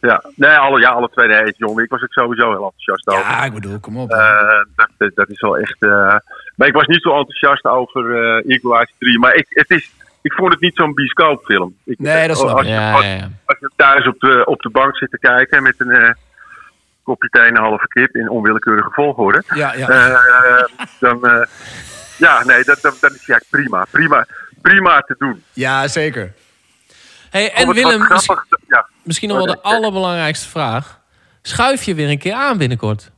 Speaker 7: Ja, nee, alle, ja, alle twee nee, het John Wick was ik sowieso heel enthousiast over.
Speaker 4: Ja, ik bedoel, kom op.
Speaker 7: Oh. Eh, dat- dat, dat is wel echt. eh, Maar ik was niet zo enthousiast over eh Equalizer 3. Maar ik, het is, ik vond het niet zo'n bioscoopfilm. Ik, eh,
Speaker 4: Nee, dat snap
Speaker 7: als, je-
Speaker 3: Ja,
Speaker 7: als,
Speaker 3: ja, ja.
Speaker 7: als je thuis op de, op de bank zit te kijken met een eh, kopje thee en een halve kip in onwillekeurige volgorde.
Speaker 4: ja, ja.
Speaker 7: eh, dan, eh, ja, nee, dat, dat, dat is ja, prima. Prima, prima te doen.
Speaker 4: ja, zeker.
Speaker 3: Hey,
Speaker 7: Om
Speaker 3: en
Speaker 7: het Oh, wat
Speaker 3: Willem, misschien,
Speaker 7: grappig te- ja.
Speaker 3: misschien nog wel de allerbelangrijkste vraag. Schuif je weer een keer aan binnenkort?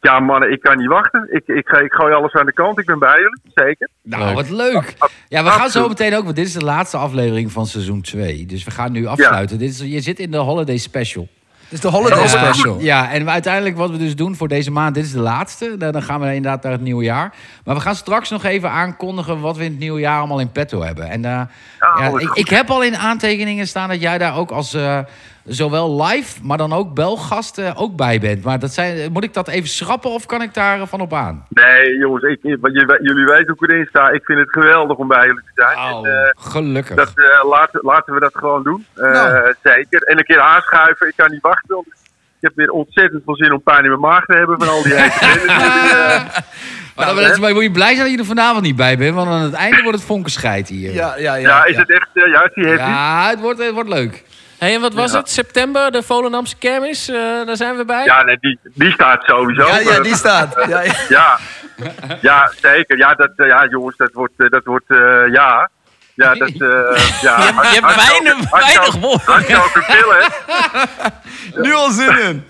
Speaker 7: ja, mannen, ik kan niet wachten. Ik, ik, ga- ik gooi alles aan de kant. Ik ben bij jullie, zeker.
Speaker 6: Nou,
Speaker 3: Leuk.
Speaker 6: wat leuk. Ja, we gaan zo meteen ook, want dit is de laatste aflevering van seizoen 2. Dus we gaan nu afsluiten. Dit is, je zit in de holiday special.
Speaker 4: Dus de holiday
Speaker 6: Eh,
Speaker 4: special.
Speaker 6: Ja, en we- uiteindelijk wat we dus doen voor deze maand, dit is de laatste. Dan dan gaan we inderdaad naar het nieuwe jaar. Maar we gaan straks nog even aankondigen wat we in het nieuwe jaar allemaal in petto hebben. En eh, ja,
Speaker 7: oh, is
Speaker 6: ik,
Speaker 7: goed.
Speaker 6: ik heb al in aantekeningen staan dat jij daar ook als eh, zowel live, maar dan ook belgast eh, ook bij bent. Maar dat zijn, moet ik dat even schrappen of kan ik daar eh, van op aan?
Speaker 7: Nee, jongens, ik, ik- want je- jullie weten hoe ik erin sta. Ik vind het geweldig om bij jullie te zijn.
Speaker 6: Oh,
Speaker 7: En, eh,
Speaker 6: gelukkig.
Speaker 7: dat, eh, laten, laten we dat gewoon doen. Eh,
Speaker 4: Nou.
Speaker 7: Zeker. En een keer aanschuiven. Ik kan niet wachten. want ik heb weer ontzettend veel zin om pijn in mijn maag te hebben van al die eten. Dus, eh,
Speaker 6: Maar dan,
Speaker 7: Nou,
Speaker 6: dat is- maar moet je blij zijn dat je er vanavond niet bij bent, want aan het einde wordt het vonkenscheid hier.
Speaker 4: Ja, ja, ja.
Speaker 7: ja, is
Speaker 4: ja.
Speaker 7: het echt... eh, ja, is die heavy?
Speaker 6: Ja, het wordt, het wordt leuk.
Speaker 3: Hey, en wat was het? September, de Volendamse kermis, eh, daar zijn we bij.
Speaker 7: Ja, nee, die, die staat sowieso.
Speaker 4: Ja, ja,
Speaker 7: Eh,
Speaker 4: die staat. Ja, ja.
Speaker 7: ja. ja, zeker. Ja, dat, eh, ja, jongens, dat wordt... eh, dat wordt eh, ja. Ja,
Speaker 3: [laughs]
Speaker 7: dat... eh, ja. Je
Speaker 3: hebt weinig- weinig woorden.
Speaker 7: Hardkoken pillen.
Speaker 4: Nu al zin in.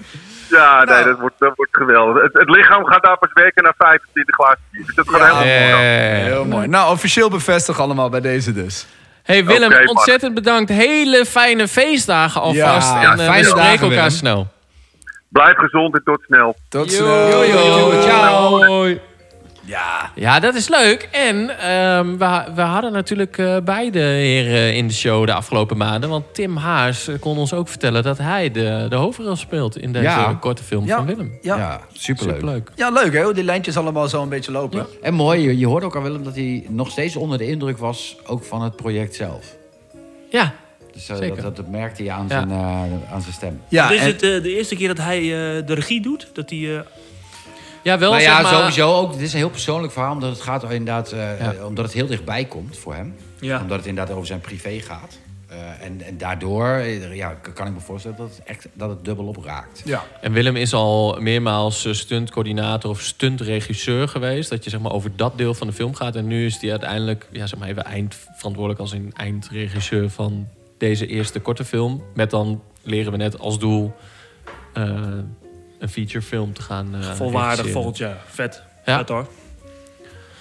Speaker 7: Ja, nee, dat wordt, dat wordt geweldig. Het, het lichaam gaat daar pas werken na 25 glazen bier. Dus dat gaat helemaal goed.
Speaker 4: Heel mooi. Nou, officieel bevestigd allemaal bij deze dus.
Speaker 3: Hey Willem,
Speaker 7: Oké, Bart.
Speaker 3: ontzettend bedankt. Hele fijne feestdagen alvast.
Speaker 4: Ja,
Speaker 3: en eh, we
Speaker 6: fijne
Speaker 3: spreken
Speaker 6: dagen,
Speaker 3: elkaar
Speaker 6: Willem.
Speaker 3: snel.
Speaker 7: Blijf gezond en tot snel.
Speaker 4: Tot
Speaker 3: Yo, yo,
Speaker 6: ciao.
Speaker 4: Ja.
Speaker 3: Ja, dat is leuk. En ehm, we, we hadden natuurlijk eh, beide heren eh, in de show de afgelopen maanden. Want Tim Haars eh, kon ons ook vertellen dat hij de, de hoofdrol speelt in deze
Speaker 6: Ja.
Speaker 3: korte film
Speaker 4: Ja.
Speaker 3: van Willem.
Speaker 4: Ja.
Speaker 6: Ja, superleuk.
Speaker 3: Superleuk.
Speaker 4: Ja, leuk hè, hoe die lijntjes allemaal zo een beetje lopen.
Speaker 6: En mooi, je, je hoorde ook aan Willem dat hij nog steeds onder de indruk was, ook van het project zelf.
Speaker 3: Ja,
Speaker 6: Dus eh,
Speaker 3: Zeker.
Speaker 6: dat, dat, dat merkte hij aan,
Speaker 3: Ja.
Speaker 6: zijn, eh, aan zijn stem.
Speaker 4: Ja,
Speaker 5: Dit is
Speaker 4: en-
Speaker 5: het eh, de eerste keer dat hij eh, de regie doet? Dat hij, eh,
Speaker 3: ja wel
Speaker 6: Maar
Speaker 3: zeg
Speaker 6: Nou ja,
Speaker 3: maar...
Speaker 6: sowieso ook. Dit is een heel persoonlijk verhaal, omdat het gaat inderdaad, eh, eh, omdat het heel dichtbij komt voor hem.
Speaker 5: Ja.
Speaker 6: Omdat het inderdaad over zijn privé gaat. Eh, en, en daardoor eh, ja, k- kan ik me voorstellen dat het, echt, dat het dubbel opraakt.
Speaker 4: ja.
Speaker 3: En Willem is al meermaals eh, stuntcoördinator of stuntregisseur geweest. Dat je zeg maar over dat deel van de film gaat. En nu is hij uiteindelijk ja, zeg maar even eindverantwoordelijk als een eindregisseur van deze eerste korte film. Met dan leren we net als doel eh, een featurefilm te gaan. eh,
Speaker 5: volwaardig
Speaker 3: regisseren.
Speaker 5: volgend jaar. Vet.
Speaker 3: Ja.
Speaker 5: Vet hoor.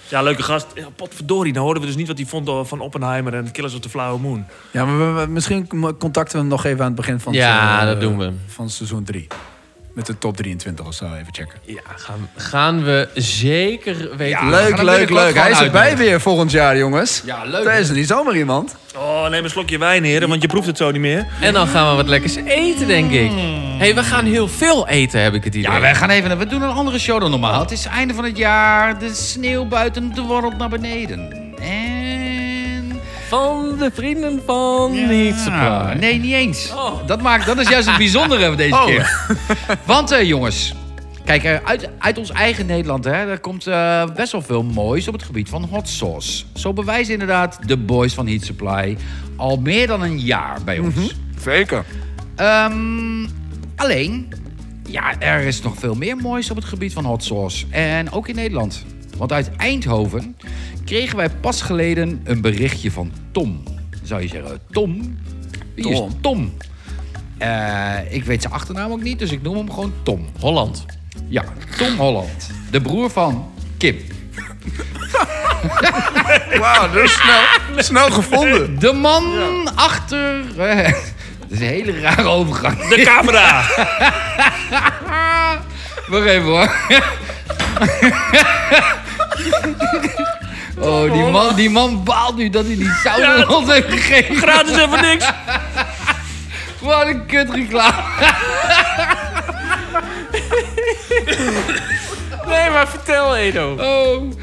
Speaker 5: Ja, leuke gast. Ja, potverdorie, nou hoorden we dus niet wat hij vond van Oppenheimer en Killers of the Flower Moon.
Speaker 4: ja maar we- we- misschien m- contacten we hem nog even aan het begin van,
Speaker 3: Ja,
Speaker 4: eh,
Speaker 3: dat doen we.
Speaker 4: van seizoen 3. Met de top 23 of zo, even checken.
Speaker 3: Ja, gaan, gaan we zeker weten.
Speaker 6: Ja, nou, we gaan
Speaker 4: leuk,
Speaker 6: hem
Speaker 4: leuk, leuk.
Speaker 6: binnenkort
Speaker 4: Hij is
Speaker 6: gewoon
Speaker 4: erbij
Speaker 6: uitnodigen.
Speaker 4: weer volgend jaar, jongens.
Speaker 6: Ja, leuk,
Speaker 4: Hij
Speaker 6: hè?
Speaker 4: is er niet zomaar
Speaker 6: [laughs]
Speaker 4: iemand.
Speaker 5: Oh, neem een slokje wijn, heren, want je proeft het zo niet meer.
Speaker 3: En dan gaan we wat lekkers eten, denk ik. hey, we gaan heel veel eten, heb ik het idee.
Speaker 6: Hmm. Ja, wij gaan even. We doen een andere show dan normaal. Het is einde van het jaar. De sneeuw buiten de wereld naar beneden. En.
Speaker 3: Van de vrienden van Niet Surprise. Oh.
Speaker 6: Nee, niet eens. Dat, maakt, dat is juist het bijzondere van deze keer. Want eh, jongens. Kijk, eh, uit, uit ons eigen Nederland hè, daar komt eh, best wel veel moois op het gebied van hot sauce. Zo bewijzen inderdaad de boys van Heat Supply al meer dan een jaar bij
Speaker 3: Mhm.
Speaker 6: ons.
Speaker 4: Zeker.
Speaker 6: Ehm, alleen, ja, er is nog veel meer moois op het gebied van hot sauce. En ook in Nederland. Want uit Eindhoven kregen wij pas geleden een berichtje van Tom. Zou je zeggen, Tom? Wie is
Speaker 4: Tom.
Speaker 6: Tom? Eh, ik weet zijn achternaam ook niet, dus ik noem hem gewoon Tom.
Speaker 3: Holland.
Speaker 6: Ja, Tom Holland. De broer van Kim.
Speaker 4: Wauw, dat is snel, snel
Speaker 6: [laughs]
Speaker 4: gevonden.
Speaker 6: De man achter... eh, [laughs] dat is een hele rare overgang.
Speaker 5: De camera! [laughs]
Speaker 6: Wacht even hoor. Oh, die man, die man baalt nu dat hij die sauna [laughs]
Speaker 5: Ja.
Speaker 6: rond heeft gegeven.
Speaker 5: [laughs] Gratis en voor niks.
Speaker 6: Wat een kut reclame.
Speaker 3: Nee, maar vertel, Edo.
Speaker 6: Oh.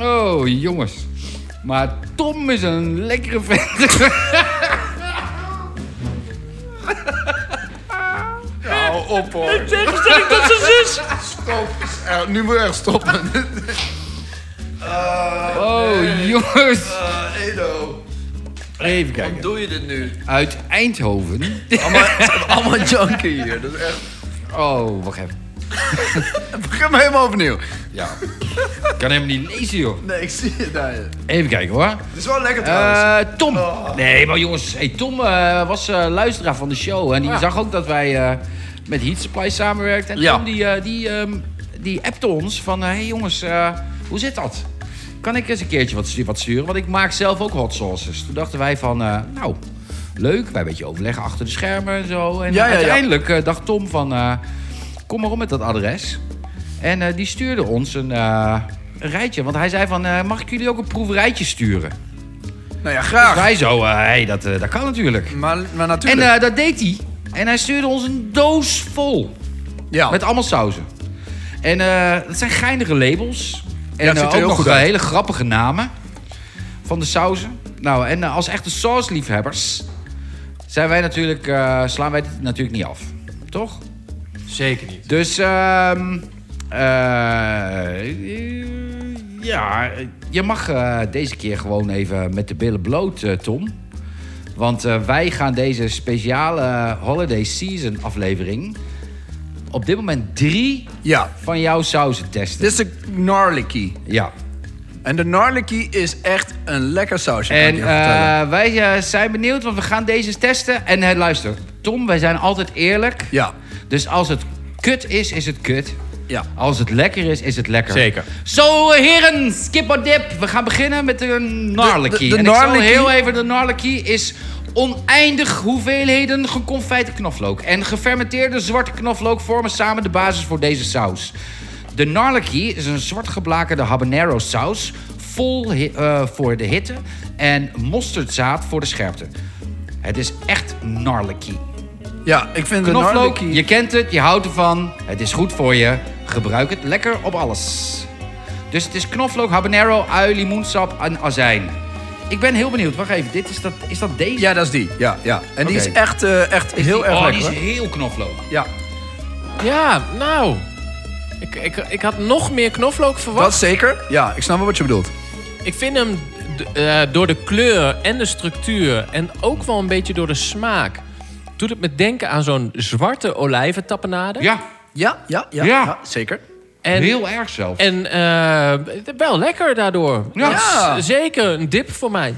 Speaker 6: oh, jongens. Maar Tom is een lekkere vent.
Speaker 4: Hou op hoor.
Speaker 5: Tegenstelling tot zijn zus.
Speaker 4: Stop. Eh, nu moet je echt stoppen.
Speaker 6: Oh, jongens.
Speaker 4: Edo.
Speaker 6: Even kijken.
Speaker 4: Doe je dit nu?
Speaker 6: Uit Eindhoven.
Speaker 4: Allemaal junkie hier. Dat is echt...
Speaker 6: Oh,
Speaker 4: [laughs]
Speaker 6: wacht even.
Speaker 4: Begin maar helemaal opnieuw.
Speaker 6: Ja. Ik kan helemaal niet lezen, joh.
Speaker 4: Nee, ik zie het daar. Het
Speaker 6: Even kijken, hoor.
Speaker 4: is wel lekker
Speaker 6: Eh, Tom. Nee, maar jongens. Hey, Tom eh, was eh, luisteraar van de show. En die zag ook dat wij eh, met Heat Supply samenwerkten. En
Speaker 4: Ja.
Speaker 6: Tom die, eh, die, ehm, die appte ons van... Hé hey, jongens, eh, hoe zit dat? Kan ik eens een keertje wat, stu- wat sturen? Want ik maak zelf ook hot sauces. Toen dachten wij van... eh, nou, leuk. Wij een beetje overleggen achter de schermen en zo. En
Speaker 4: Ja, ja, ja.
Speaker 6: uiteindelijk eh, dacht Tom van... eh, kom maar om met dat adres. En eh, die stuurde ons een, eh, een rijtje. Want hij zei van... eh, mag ik jullie ook een proeverijtje sturen?
Speaker 4: Nou ja, graag.
Speaker 6: Wij zo, eh, hey, dat, eh, dat kan natuurlijk.
Speaker 4: Maar, maar
Speaker 6: En
Speaker 4: natuurlijk.
Speaker 6: eh, dat deed hij. En hij stuurde ons een doos vol.
Speaker 4: ja.
Speaker 6: Met allemaal sauzen. En eh, dat zijn geinige labels. En
Speaker 4: het
Speaker 6: eh,
Speaker 4: ziet er
Speaker 6: ook
Speaker 4: heel
Speaker 6: nog
Speaker 4: goed
Speaker 6: eh,
Speaker 4: uit.
Speaker 6: hele grappige namen. Van de sauzen. Nou, en eh, als echte sausliefhebbers... Zijn wij natuurlijk, eh, slaan wij dit natuurlijk niet af. Toch?
Speaker 3: Zeker niet.
Speaker 6: Dus, ehm eh, eh, ja, je mag eh, deze keer gewoon even met de billen bloot, eh, Tom. Want eh, wij gaan deze speciale Holiday Season aflevering... op dit moment drie
Speaker 4: ja.
Speaker 6: van jouw sauzen testen.
Speaker 4: Dit is de gnarlicky.
Speaker 6: Ja.
Speaker 4: En de gnarlicky is echt een lekker sausje. kan ik
Speaker 6: En
Speaker 4: je vertellen.
Speaker 6: eh, wij eh, zijn benieuwd, want we gaan deze testen. En eh, luister, Tom, wij zijn altijd eerlijk.
Speaker 4: Ja.
Speaker 6: Dus als het kut is, is het kut.
Speaker 4: Ja.
Speaker 6: Als het lekker is, is het lekker.
Speaker 3: Zeker.
Speaker 6: Zo, heren, skip or dip. We gaan beginnen met de Narlekie.
Speaker 4: De- de- de
Speaker 6: en ik zal
Speaker 4: Narlekie-
Speaker 6: heel even... De Narlekie is oneindig hoeveelheden geconfijte knoflook. En gefermenteerde zwarte knoflook vormen samen de basis voor deze saus. De Narlekie is een zwart geblakerde habanero saus... vol hi- eh, voor de hitte en mosterdzaad voor de scherpte. Het is echt Narlekie.
Speaker 4: Ja, ik vind de
Speaker 6: Knoflook,
Speaker 4: gnarlicky...
Speaker 6: je kent het, je houdt ervan. Het is goed voor je. Gebruik het lekker op alles. Dus het is knoflook, habanero, ui, limoensap en azijn. Ik ben heel benieuwd. Wacht even, dit is, dat, is dat deze?
Speaker 4: Ja, dat is die. Ja, ja. En die
Speaker 6: Oké.
Speaker 4: is echt, eh, echt
Speaker 6: Is
Speaker 4: heel
Speaker 6: die-
Speaker 4: erg
Speaker 6: oh,
Speaker 4: lekker.
Speaker 6: die is
Speaker 4: hoor.
Speaker 6: heel knoflook.
Speaker 4: Ja,
Speaker 3: Ja, nou. Ik, ik, ik had nog meer knoflook verwacht.
Speaker 4: dat zeker. Ja, ik snap wel wat je bedoelt.
Speaker 3: Ik vind hem d- eh, door de kleur en de structuur en ook wel een beetje door de smaak. Doet het me denken aan zo'n zwarte olijventappenade.
Speaker 6: Ja,
Speaker 4: Ja, ja, ja.
Speaker 6: Ja.
Speaker 4: zeker.
Speaker 3: en,
Speaker 6: heel erg zelf.
Speaker 3: En eh, wel lekker daardoor.
Speaker 6: Ja.
Speaker 3: Dat is Zeker een dip voor mij.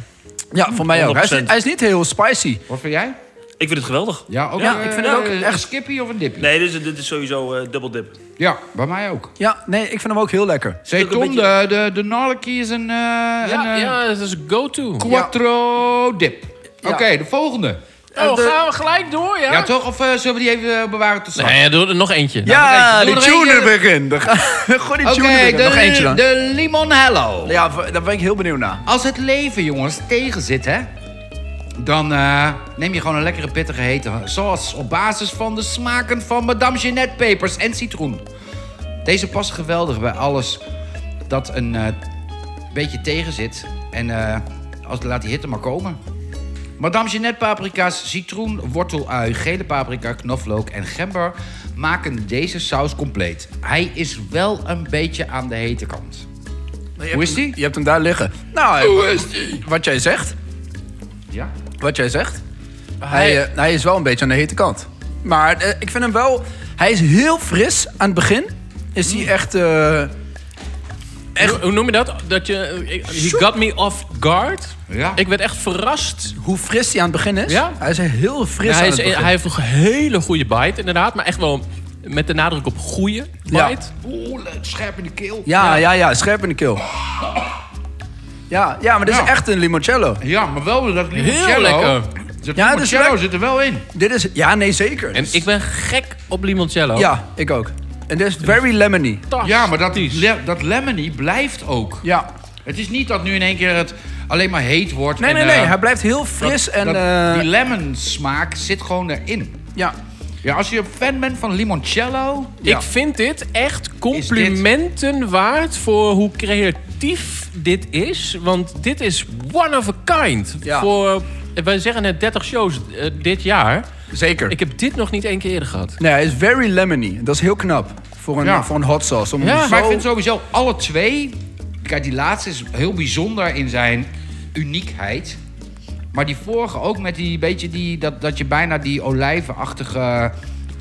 Speaker 4: Ja, voor mij ook. Hij is,
Speaker 5: 100%.
Speaker 4: hij is niet heel spicy.
Speaker 6: Wat vind jij?
Speaker 5: Ik vind het geweldig.
Speaker 6: Ja, ook
Speaker 4: Ja,
Speaker 6: een,
Speaker 4: ik vind
Speaker 6: eh,
Speaker 4: het ook
Speaker 6: een
Speaker 4: echt-
Speaker 6: skippy of een dippy?
Speaker 5: Nee, dit is, dit is sowieso eh dubbel dip.
Speaker 6: Ja, bij mij ook.
Speaker 4: Ja, nee, ik vind hem ook heel lekker.
Speaker 6: Zegt
Speaker 5: ook een
Speaker 6: Tom,
Speaker 5: beetje-
Speaker 6: de, de, de Narlekie is een, eh een
Speaker 3: Ja,
Speaker 6: eh,
Speaker 3: ja dat is een go-to.
Speaker 6: quattro dip.
Speaker 4: Ja.
Speaker 6: Oké, de volgende.
Speaker 3: Oh,
Speaker 4: de-
Speaker 3: gaan we gelijk door, ja?
Speaker 6: Ja, toch? Of eh, zullen we die even eh, bewaren tot straks?
Speaker 3: Nee, doe er nog eentje.
Speaker 6: Ja,
Speaker 4: Ja,
Speaker 6: doe
Speaker 4: die
Speaker 6: er nog
Speaker 4: tuner
Speaker 6: eentje.
Speaker 4: begint. Dan ga- Gooi die
Speaker 6: Oké,
Speaker 4: tuner begin. Nog eentje
Speaker 6: de,
Speaker 4: dan.
Speaker 6: de Limon Hello.
Speaker 4: Ja, v- daar ben ik heel benieuwd naar.
Speaker 6: Als het leven, jongens, tegen zit, hè... Dan eh, neem je gewoon een lekkere pittige hete sauce... op basis van de smaken van Madame Jeanette pepers en citroen. Deze past geweldig bij alles dat een eh, beetje tegen zit. En eh, als, laat die hitte maar komen. Madame Jeanette paprika's, citroen, wortelui, gele paprika, knoflook en gember... maken deze saus compleet. Hij is wel een beetje aan de hete kant. Hoe is die?
Speaker 4: Je hebt hem daar liggen. Nou, Hoe is die? Wat jij zegt.
Speaker 6: Ja.
Speaker 4: Wat jij zegt. Hij, eh, hij is wel een beetje aan de hete kant. Maar eh, ik vind hem wel... Hij is heel fris aan het begin. Is hij echt... eh,
Speaker 3: Echt, hoe noem je dat? dat je, ik- he got me off guard.
Speaker 6: Ja.
Speaker 3: Ik werd echt verrast.
Speaker 4: hoe fris hij aan het begin is.
Speaker 3: Ja.
Speaker 4: Hij is heel fris
Speaker 3: Ja,
Speaker 4: aan
Speaker 3: Nou, hij, is,
Speaker 4: het begin.
Speaker 3: hij heeft een hele goede bite, inderdaad. Maar echt wel met de nadruk op goede bite.
Speaker 4: Ja.
Speaker 6: Oeh, scherp in de keel.
Speaker 4: Ja, ja, ja, scherp in de keel. Ja, ja maar dit
Speaker 6: Ja.
Speaker 4: is echt een limoncello.
Speaker 6: Ja, maar wel dat limoncello.
Speaker 3: Heel lekker.
Speaker 6: Dat
Speaker 4: Ja,
Speaker 6: ja,
Speaker 4: dat is
Speaker 6: limoncello
Speaker 4: lekker.
Speaker 6: zit er wel in.
Speaker 4: Dit is... Ja, nee, zeker.
Speaker 3: En ik ben gek op limoncello.
Speaker 4: Ja, ik ook. En dat is very lemony.
Speaker 6: Ja, maar dat, le- dat lemony blijft ook.
Speaker 4: Ja.
Speaker 6: Het is niet dat nu in één keer het alleen maar heet wordt.
Speaker 4: Nee,
Speaker 6: en,
Speaker 4: nee, nee.
Speaker 6: eh,
Speaker 4: Hij blijft heel fris
Speaker 6: dat-
Speaker 4: en...
Speaker 6: dat-
Speaker 4: eh,
Speaker 6: die lemon smaak zit gewoon erin.
Speaker 4: ja.
Speaker 6: Ja, als je een fan bent van limoncello...
Speaker 4: Ja.
Speaker 3: Ik vind dit echt complimenten waard voor hoe creatief dit is. Want dit is one of a kind.
Speaker 4: Ja.
Speaker 3: Voor, wij zeggen net 30 shows eh, dit jaar.
Speaker 4: Zeker.
Speaker 3: Ik heb dit nog niet één keer eerder gehad.
Speaker 4: Nee, hij is very lemony. Dat is heel knap. Voor een,
Speaker 6: Ja.
Speaker 4: voor een hot sauce. Om
Speaker 3: Ja,
Speaker 4: hem
Speaker 3: maar
Speaker 4: zo-
Speaker 6: Maar ik vind sowieso alle twee... Kijk, die laatste is heel bijzonder in zijn uniekheid. Maar die vorige ook met die beetje die... Dat, dat je bijna die olijvenachtige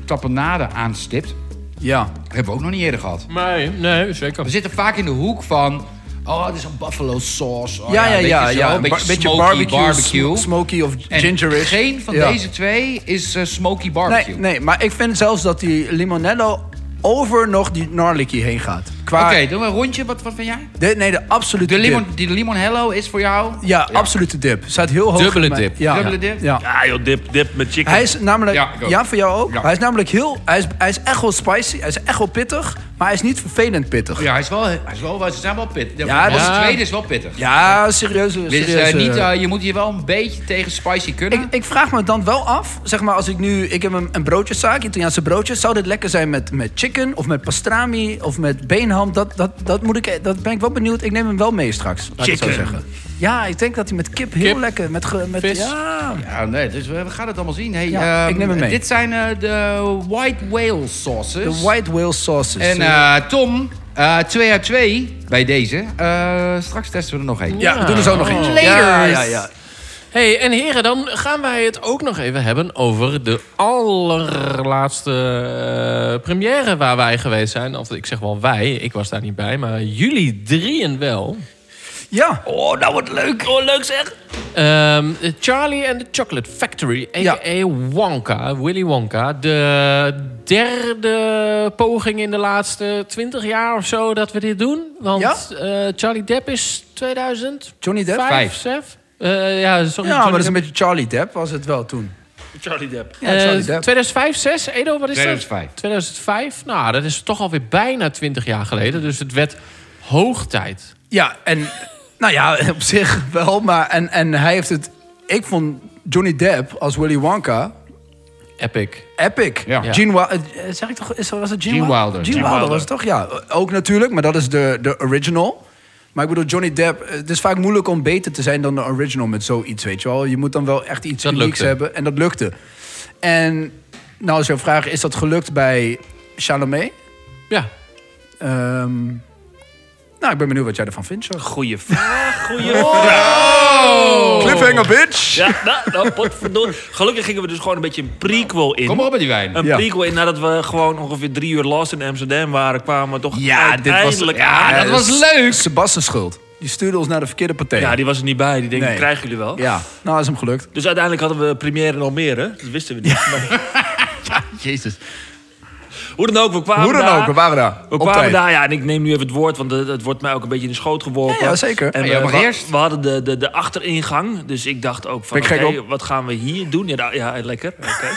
Speaker 6: tapenade aanstipt.
Speaker 4: Ja.
Speaker 6: Hebben we ook nog niet eerder gehad.
Speaker 3: Nee, nee, zeker.
Speaker 6: We zitten vaak in de hoek van... Oh, het is een buffalo sauce. Oh,
Speaker 4: Ja, ja,
Speaker 6: weet
Speaker 4: ja.
Speaker 6: je zo,
Speaker 4: ja.
Speaker 6: Een beetje,
Speaker 4: Ba- beetje
Speaker 6: smoky
Speaker 4: barbecue.
Speaker 6: barbecue.
Speaker 4: sm- Smoky of
Speaker 6: En
Speaker 4: gingerish.
Speaker 6: geen van
Speaker 4: Ja.
Speaker 6: deze twee is eh, smoky
Speaker 4: Nee,
Speaker 6: barbecue.
Speaker 4: nee, maar ik vind zelfs dat die limonello over nog die gnarlicky heen gaat. Qua...
Speaker 6: Oké, doen we een rondje. Wat, wat vind jij?
Speaker 4: De, nee, de absolute
Speaker 6: De limon,
Speaker 4: dip.
Speaker 6: die limon hello is voor jou...
Speaker 4: Ja, absolute dip. Staat heel hoog.
Speaker 3: Dubbele
Speaker 4: in mijn-
Speaker 3: dip.
Speaker 4: Ja.
Speaker 6: Dubbele dip?
Speaker 4: Ja.
Speaker 5: Ja joh, dip, dip met chicken.
Speaker 4: Hij is namelijk... Ja,
Speaker 6: Ja, ik ook.
Speaker 4: voor jou ook?
Speaker 6: Ja.
Speaker 4: Hij is namelijk heel... Hij is, hij is echt wel spicy. Hij is echt wel pittig. Maar hij is niet vervelend pittig.
Speaker 6: Ja, hij is wel, hij is wel, ze zijn wel pittig. De,
Speaker 4: Ja,
Speaker 6: ja,
Speaker 4: dat-
Speaker 6: de tweede is wel pittig.
Speaker 4: Ja, serieus. serieus
Speaker 6: Dus eh, niet,
Speaker 4: eh,
Speaker 6: eh, je moet hier wel een beetje tegen spicy kunnen.
Speaker 4: ik, ik vraag me dan wel af, zeg maar, als ik nu... Ik heb een, een broodjeszaak, Italiaanse broodjes. Zou dit lekker zijn met, met chicken of met pastrami of met beenham? Dat, dat, dat, moet ik, dat ben ik wel benieuwd. Ik neem hem wel mee straks, laat ik het zo
Speaker 3: Chicken.
Speaker 4: zeggen. Ja, ik denk dat hij met kip heel
Speaker 3: Kip,
Speaker 4: lekker... Met, ge- met
Speaker 3: vis.
Speaker 4: Ja,
Speaker 6: ja, nee, dus we we gaan het allemaal zien. Hey,
Speaker 4: Ja,
Speaker 6: ehm,
Speaker 4: ik neem hem mee.
Speaker 6: Dit zijn eh, de white whale sauces.
Speaker 4: de white whale sauces.
Speaker 6: En eh, Tom, eh 2 uit 2 bij deze. Eh, straks testen we er nog één.
Speaker 4: ja, we doen er zo nog eentje. Ja, ja, ja.
Speaker 3: hey, en heren, dan gaan wij het ook nog even hebben over de allerlaatste eh, première waar wij geweest zijn. Of ik zeg wel wij, ik was daar niet bij, maar jullie drieën wel.
Speaker 4: Ja,
Speaker 3: Oh, nou wat leuk. Oh, leuk zeg. Ehm, Charlie and the Chocolate Factory, a.k.a. Wonka, Willy Wonka. De derde poging in de laatste twintig jaar of zo dat we dit doen. Want
Speaker 4: Ja?
Speaker 3: eh, Charlie Depp is 2000.
Speaker 4: Johnny Depp?
Speaker 3: Vijf, Sef? Eh, ja, sorry.
Speaker 4: ja
Speaker 3: Johnny
Speaker 4: maar dat is een
Speaker 3: Depp.
Speaker 4: beetje Charlie Depp was het wel toen.
Speaker 5: Charlie Depp.
Speaker 4: Ja, Charlie
Speaker 3: Eh,
Speaker 4: Depp.
Speaker 3: 2005, 6, Edo, wat is
Speaker 6: 2005.
Speaker 3: dat? 2005. Nou, dat is toch alweer bijna 20 jaar geleden. Dus het werd hoog tijd.
Speaker 4: Ja, en nou ja, [laughs] op zich wel, maar en, en hij heeft het. Ik vond Johnny Depp als Willy Wonka
Speaker 3: Epic.
Speaker 4: epic.
Speaker 6: Ja.
Speaker 4: Gene Wilder, zeg ik toch? Is, was het Gene,
Speaker 6: Gene
Speaker 4: Wil-
Speaker 6: Wilder.
Speaker 4: Gene
Speaker 6: Gene
Speaker 4: Wilder was het toch? Ja, ook natuurlijk, maar dat is de, de original. Maar ik bedoel, Johnny Depp, eh, het is vaak moeilijk om beter te zijn dan de original met zoiets, weet je wel. Je moet dan wel echt iets
Speaker 3: Dat
Speaker 4: unieks
Speaker 3: lukte.
Speaker 4: hebben en dat lukte. En nou is jouw vraag, is dat gelukt bij Chalamet?
Speaker 3: Ja.
Speaker 4: Ehm, nou, ik ben benieuwd wat jij ervan vindt, Charles.
Speaker 5: Goeie vraag,
Speaker 4: [laughs]
Speaker 5: goeie vraag.
Speaker 4: Oh. Cliffhanger, bitch!
Speaker 5: Ja, nou, nou, potverdorie. Gelukkig gingen we dus gewoon een beetje een prequel in.
Speaker 6: Kom maar op met die wijn.
Speaker 5: Een
Speaker 4: Ja.
Speaker 5: prequel in nadat we gewoon ongeveer drie uur last in Amsterdam waren, kwamen we toch
Speaker 4: Ja, dit was,
Speaker 5: uiteindelijk
Speaker 4: ja,
Speaker 6: Ah,
Speaker 5: aan.
Speaker 4: dat was leuk. Sebastian schuld. Die stuurde ons naar de verkeerde partij.
Speaker 5: Ja, die was er niet bij. Die denken,
Speaker 4: Nee.
Speaker 5: krijgen jullie wel.
Speaker 4: Ja, nou is hem gelukt.
Speaker 5: Dus uiteindelijk hadden we première in Almere. Dat wisten we niet. Maar
Speaker 6: Jezus.
Speaker 5: hoe dan ook, we kwamen
Speaker 4: Hoe dan
Speaker 5: daar.
Speaker 4: ook, we waren daar.
Speaker 5: We
Speaker 4: Op
Speaker 5: kwamen
Speaker 4: tijd.
Speaker 5: daar, ja, en ik neem nu even het woord, want het, het wordt mij ook een beetje in de schoot geworpen.
Speaker 4: Ja, ja, zeker.
Speaker 5: En
Speaker 6: Ja, jij
Speaker 5: we,
Speaker 6: mag
Speaker 5: we-
Speaker 6: eerst.
Speaker 5: we hadden de, de, de achteringang, dus ik dacht ook van,
Speaker 4: Ben ik gek
Speaker 5: oké,
Speaker 4: op?
Speaker 5: wat gaan we hier doen? Ja, da- ja lekker. oké.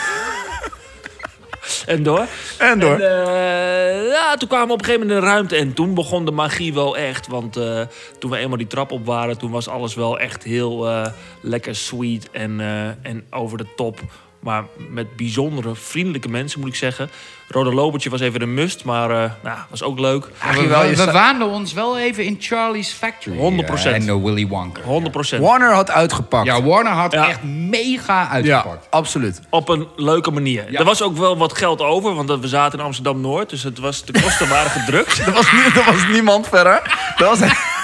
Speaker 4: [laughs]
Speaker 5: en door.
Speaker 4: En door.
Speaker 5: En, eh, ja, toen kwamen we op een gegeven moment in de ruimte en toen begon de magie wel echt. Want eh, toen we eenmaal die trap op waren, toen was alles wel echt heel eh, lekker sweet en, eh, en over de top. Maar met bijzondere, vriendelijke mensen moet ik zeggen. Rode Lobertje was even een must, maar eh, nou, was ook leuk.
Speaker 6: We,
Speaker 4: wel je
Speaker 6: we,
Speaker 4: sta-
Speaker 6: waanden ons wel even in Charlie's Factory.
Speaker 5: 100%.
Speaker 6: eh, En eh, Willy Wonka.
Speaker 5: 100 procent.
Speaker 4: Warner had uitgepakt.
Speaker 6: Ja, Warner had
Speaker 5: Ja.
Speaker 6: echt mega
Speaker 4: Ja,
Speaker 6: uitgepakt.
Speaker 4: absoluut.
Speaker 5: Op een leuke manier.
Speaker 6: Ja.
Speaker 5: Er was ook wel wat geld over, want we zaten in Amsterdam-Noord. Dus het was, de [laughs] kosten waren gedrukt.
Speaker 4: [laughs] Er was, nie- er was niemand verder. Er was,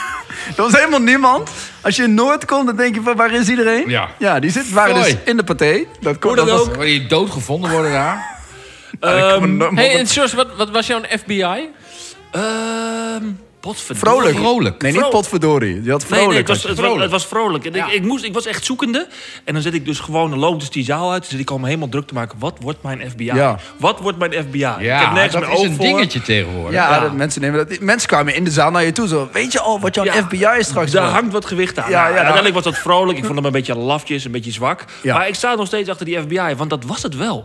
Speaker 4: [laughs] er was helemaal niemand. Als je in Noord komt, dan denk je van waar is iedereen?
Speaker 6: Ja.
Speaker 4: ja die zit, waren
Speaker 6: Hoi.
Speaker 4: dus in de partij. Dat
Speaker 5: Hoe
Speaker 4: komt
Speaker 5: dan
Speaker 4: dat was-
Speaker 5: ook.
Speaker 6: Waar die dood gevonden worden daar.
Speaker 4: Ja, dat komt-
Speaker 3: Hey, en Sjors, wat, wat was jouw FBI?
Speaker 5: Ehm potverdorie.
Speaker 4: Vrolijk.
Speaker 6: Vrolijk.
Speaker 4: Nee, niet
Speaker 5: Vrolijk.
Speaker 4: potverdorie. Die had
Speaker 5: Nee,
Speaker 4: vrolijk.
Speaker 5: nee, het was,
Speaker 4: had
Speaker 5: het
Speaker 4: je.
Speaker 5: was, het was vrolijk. En Ik, ik, moest, ik was echt zoekende. En dan zet ik dus gewoon, dan loopt dus die zaal uit. Dan zit ik al me helemaal druk te maken. Wat wordt mijn FBI?
Speaker 4: Ja.
Speaker 5: Wat wordt mijn FBI? ik heb
Speaker 6: Ja,
Speaker 5: nergens
Speaker 6: dat
Speaker 5: meer
Speaker 6: is
Speaker 5: oog
Speaker 6: een
Speaker 5: voor.
Speaker 6: dingetje tegenwoordig.
Speaker 4: ja, dat- mensen, nemen dat, mensen kwamen in de zaal naar je toe. Zo, weet je al wat jouw
Speaker 5: Ja.
Speaker 4: FBI straks
Speaker 5: Daar
Speaker 4: wordt?
Speaker 5: hangt wat gewicht aan.
Speaker 4: Ja,
Speaker 5: Ja,
Speaker 4: ja, daar-
Speaker 5: uiteindelijk was dat vrolijk. Ik vond hem een beetje lafjes, een beetje zwak.
Speaker 4: Ja.
Speaker 5: Maar ik sta nog steeds achter die FBI, want dat was het wel.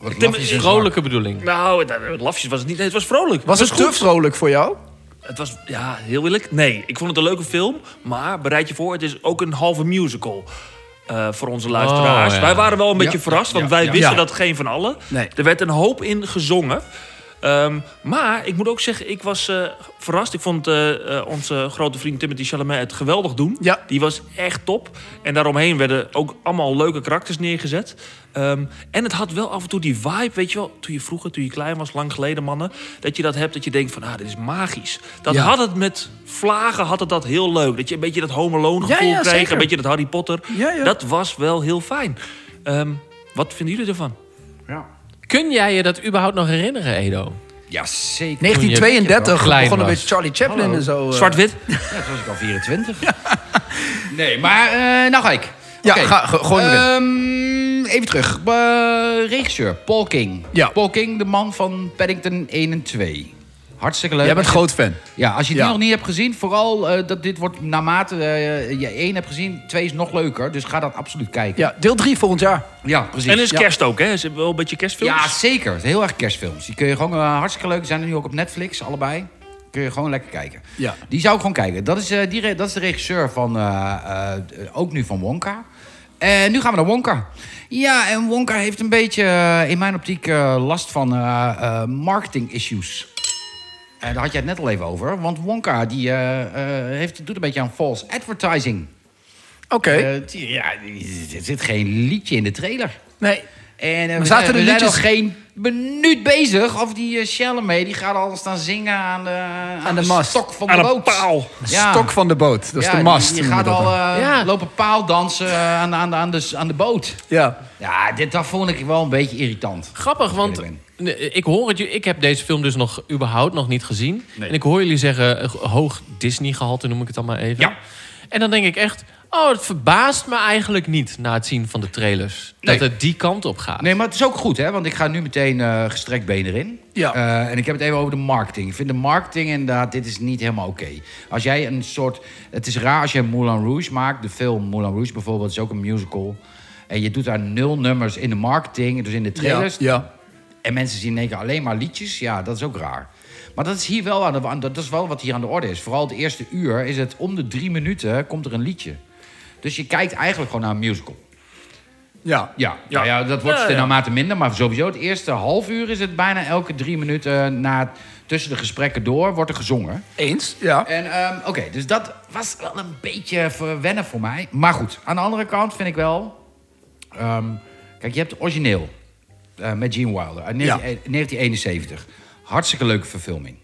Speaker 6: Wat
Speaker 5: denk-
Speaker 6: lafjes en
Speaker 3: Vrolijke bedoeling.
Speaker 5: Nou, het, het lafjes was het niet. Nee, het was vrolijk.
Speaker 4: Was
Speaker 5: het
Speaker 4: het te vrolijk voor jou?
Speaker 5: Het was, ja, heel eerlijk. Nee, ik vond het een leuke film. Maar bereid je voor, het is ook een halve musical. eh, voor onze luisteraars.
Speaker 3: ja.
Speaker 5: Wij waren wel een beetje
Speaker 4: Ja,
Speaker 5: verrast, want
Speaker 4: ja,
Speaker 5: wij
Speaker 4: ja.
Speaker 5: wisten
Speaker 4: Ja.
Speaker 5: dat geen van allen.
Speaker 4: Nee.
Speaker 5: Er werd een hoop in gezongen. Ehm, maar ik moet ook zeggen, ik was eh, verrast. Ik vond eh, eh, onze grote vriend Timothy Chalamet het geweldig doen.
Speaker 4: Ja.
Speaker 5: Die was echt top. En daaromheen werden ook allemaal leuke karakters neergezet. Ehm, en het had wel af en toe die vibe, weet je wel, toen je vroeger, toen je klein was, lang geleden mannen, dat je dat hebt, dat je denkt van, ah, dit is magisch. Dat
Speaker 4: Ja.
Speaker 5: had het met vlagen, had het dat heel leuk. Dat je een beetje dat Home Alone
Speaker 4: Ja,
Speaker 5: gevoel
Speaker 4: ja,
Speaker 5: kreeg,
Speaker 4: zeker.
Speaker 5: een beetje dat Harry Potter.
Speaker 4: Ja, ja.
Speaker 5: Dat was wel heel fijn. Ehm, wat vinden jullie ervan?
Speaker 3: Kun jij je dat überhaupt nog herinneren, Edo?
Speaker 6: Ja, zeker.
Speaker 4: 1932
Speaker 3: klein
Speaker 4: begonnen
Speaker 3: was.
Speaker 4: met Charlie Chaplin en zo. eh.
Speaker 5: Zwart-wit?
Speaker 6: Ja, toen was ik al 24. [laughs] Nee, maar eh, nou ga ik.
Speaker 4: Ja,
Speaker 6: Oké.
Speaker 4: ga, ge- gooi hem erin.
Speaker 6: Ehm, even terug. Eh, regisseur, Paul King.
Speaker 4: Ja.
Speaker 6: Paul King, de man van Paddington 1 en 2. Hartstikke leuk.
Speaker 4: Jij bent groot fan.
Speaker 6: Ja, als je die
Speaker 4: Ja.
Speaker 6: nog niet hebt gezien, vooral eh, dat dit wordt naarmate eh, je 1 hebt gezien, 2 is nog leuker. Dus ga dat absoluut kijken.
Speaker 4: Ja, deel 3 volgend jaar.
Speaker 6: Ja, precies.
Speaker 5: En het is
Speaker 6: Ja.
Speaker 5: kerst ook, hè? Ze hebben wel een beetje kerstfilms.
Speaker 6: Ja, zeker. Heel erg kerstfilms. Die kun je gewoon eh, hartstikke leuk. Die zijn er nu ook op Netflix, allebei. Kun je gewoon lekker kijken.
Speaker 4: Ja.
Speaker 6: Die zou ik gewoon kijken. Dat is, eh, die re- dat is de regisseur van, eh, eh, eh, ook nu van Wonka. En nu gaan we naar Wonka. Ja, en Wonka heeft een beetje, eh, in mijn optiek, eh, last van eh, eh, marketing issues. En daar had jij het net al even over. Want Wonka die, eh, eh, heeft, doet een beetje aan false advertising.
Speaker 4: Oké.
Speaker 6: Eh, die- ja, die- er zit geen liedje in de trailer.
Speaker 4: nee.
Speaker 6: En eh,
Speaker 4: zaten
Speaker 6: we, zijn,
Speaker 4: er
Speaker 6: we zijn al
Speaker 4: liedjes-
Speaker 6: geen minuut bezig of die eh, Chalamet, die gaat al staan zingen aan de, aan
Speaker 4: de mast.
Speaker 6: stok van
Speaker 5: Aan
Speaker 6: de
Speaker 5: een
Speaker 6: boot.
Speaker 5: paal.
Speaker 6: Ja.
Speaker 4: Stok van de boot. Dat is
Speaker 6: Ja,
Speaker 4: de
Speaker 6: die-
Speaker 4: mast.
Speaker 6: Die, gaat
Speaker 4: noemen we
Speaker 6: al
Speaker 4: dat
Speaker 6: eh,
Speaker 3: Ja.
Speaker 6: lopen paaldansen eh, aan, aan, aan, de, aan de boot.
Speaker 4: dan. Ja.
Speaker 6: Ja, dit, dat vond ik wel een beetje irritant.
Speaker 3: Grappig, want
Speaker 6: Eerlijk
Speaker 3: Nee, ik hoor het. ju- Ik heb deze film dus nog überhaupt nog niet gezien. En ik hoor jullie zeggen eh, hoog Disney-gehalte, noem ik het dan maar even.
Speaker 6: Ja.
Speaker 3: En dan denk ik echt, oh, het verbaast me eigenlijk niet na het zien van de trailers
Speaker 6: Nee.
Speaker 3: dat het die kant op gaat.
Speaker 6: Nee, maar het is ook goed, hè? Want ik ga nu meteen eh, gestrekt been erin.
Speaker 4: Ja.
Speaker 6: Eh, en ik heb het even over de marketing. Ik vind de marketing inderdaad, dit is niet helemaal oké. Als jij een soort... Het is raar als je Moulin Rouge maakt. De film Moulin Rouge bijvoorbeeld is ook een musical. En je doet daar nul nummers in de marketing, dus in de
Speaker 4: Ja.
Speaker 6: trailers.
Speaker 4: ja.
Speaker 6: En mensen zien in één keer alleen maar liedjes. Ja, dat is ook raar. Maar dat is hier wel aan de aan- dat is wel wat hier aan de orde is. Vooral het eerste uur is het om de drie minuten komt er een liedje. Dus je kijkt eigenlijk gewoon naar een musical.
Speaker 4: Ja.
Speaker 6: Ja, nou ja dat wordt
Speaker 5: Ja,
Speaker 6: steeds
Speaker 5: ja.
Speaker 6: naarmate minder. Maar sowieso het eerste half uur is het bijna elke drie minuten na, tussen de gesprekken door wordt er gezongen.
Speaker 4: Eens? Ja.
Speaker 6: En ehm, oké, dus dat was wel een beetje verwennen voor mij. Maar goed, aan de andere kant vind ik wel... ehm, kijk, je hebt het origineel eh, met Gene Wilder uit 19- 1971. Hartstikke leuke verfilming.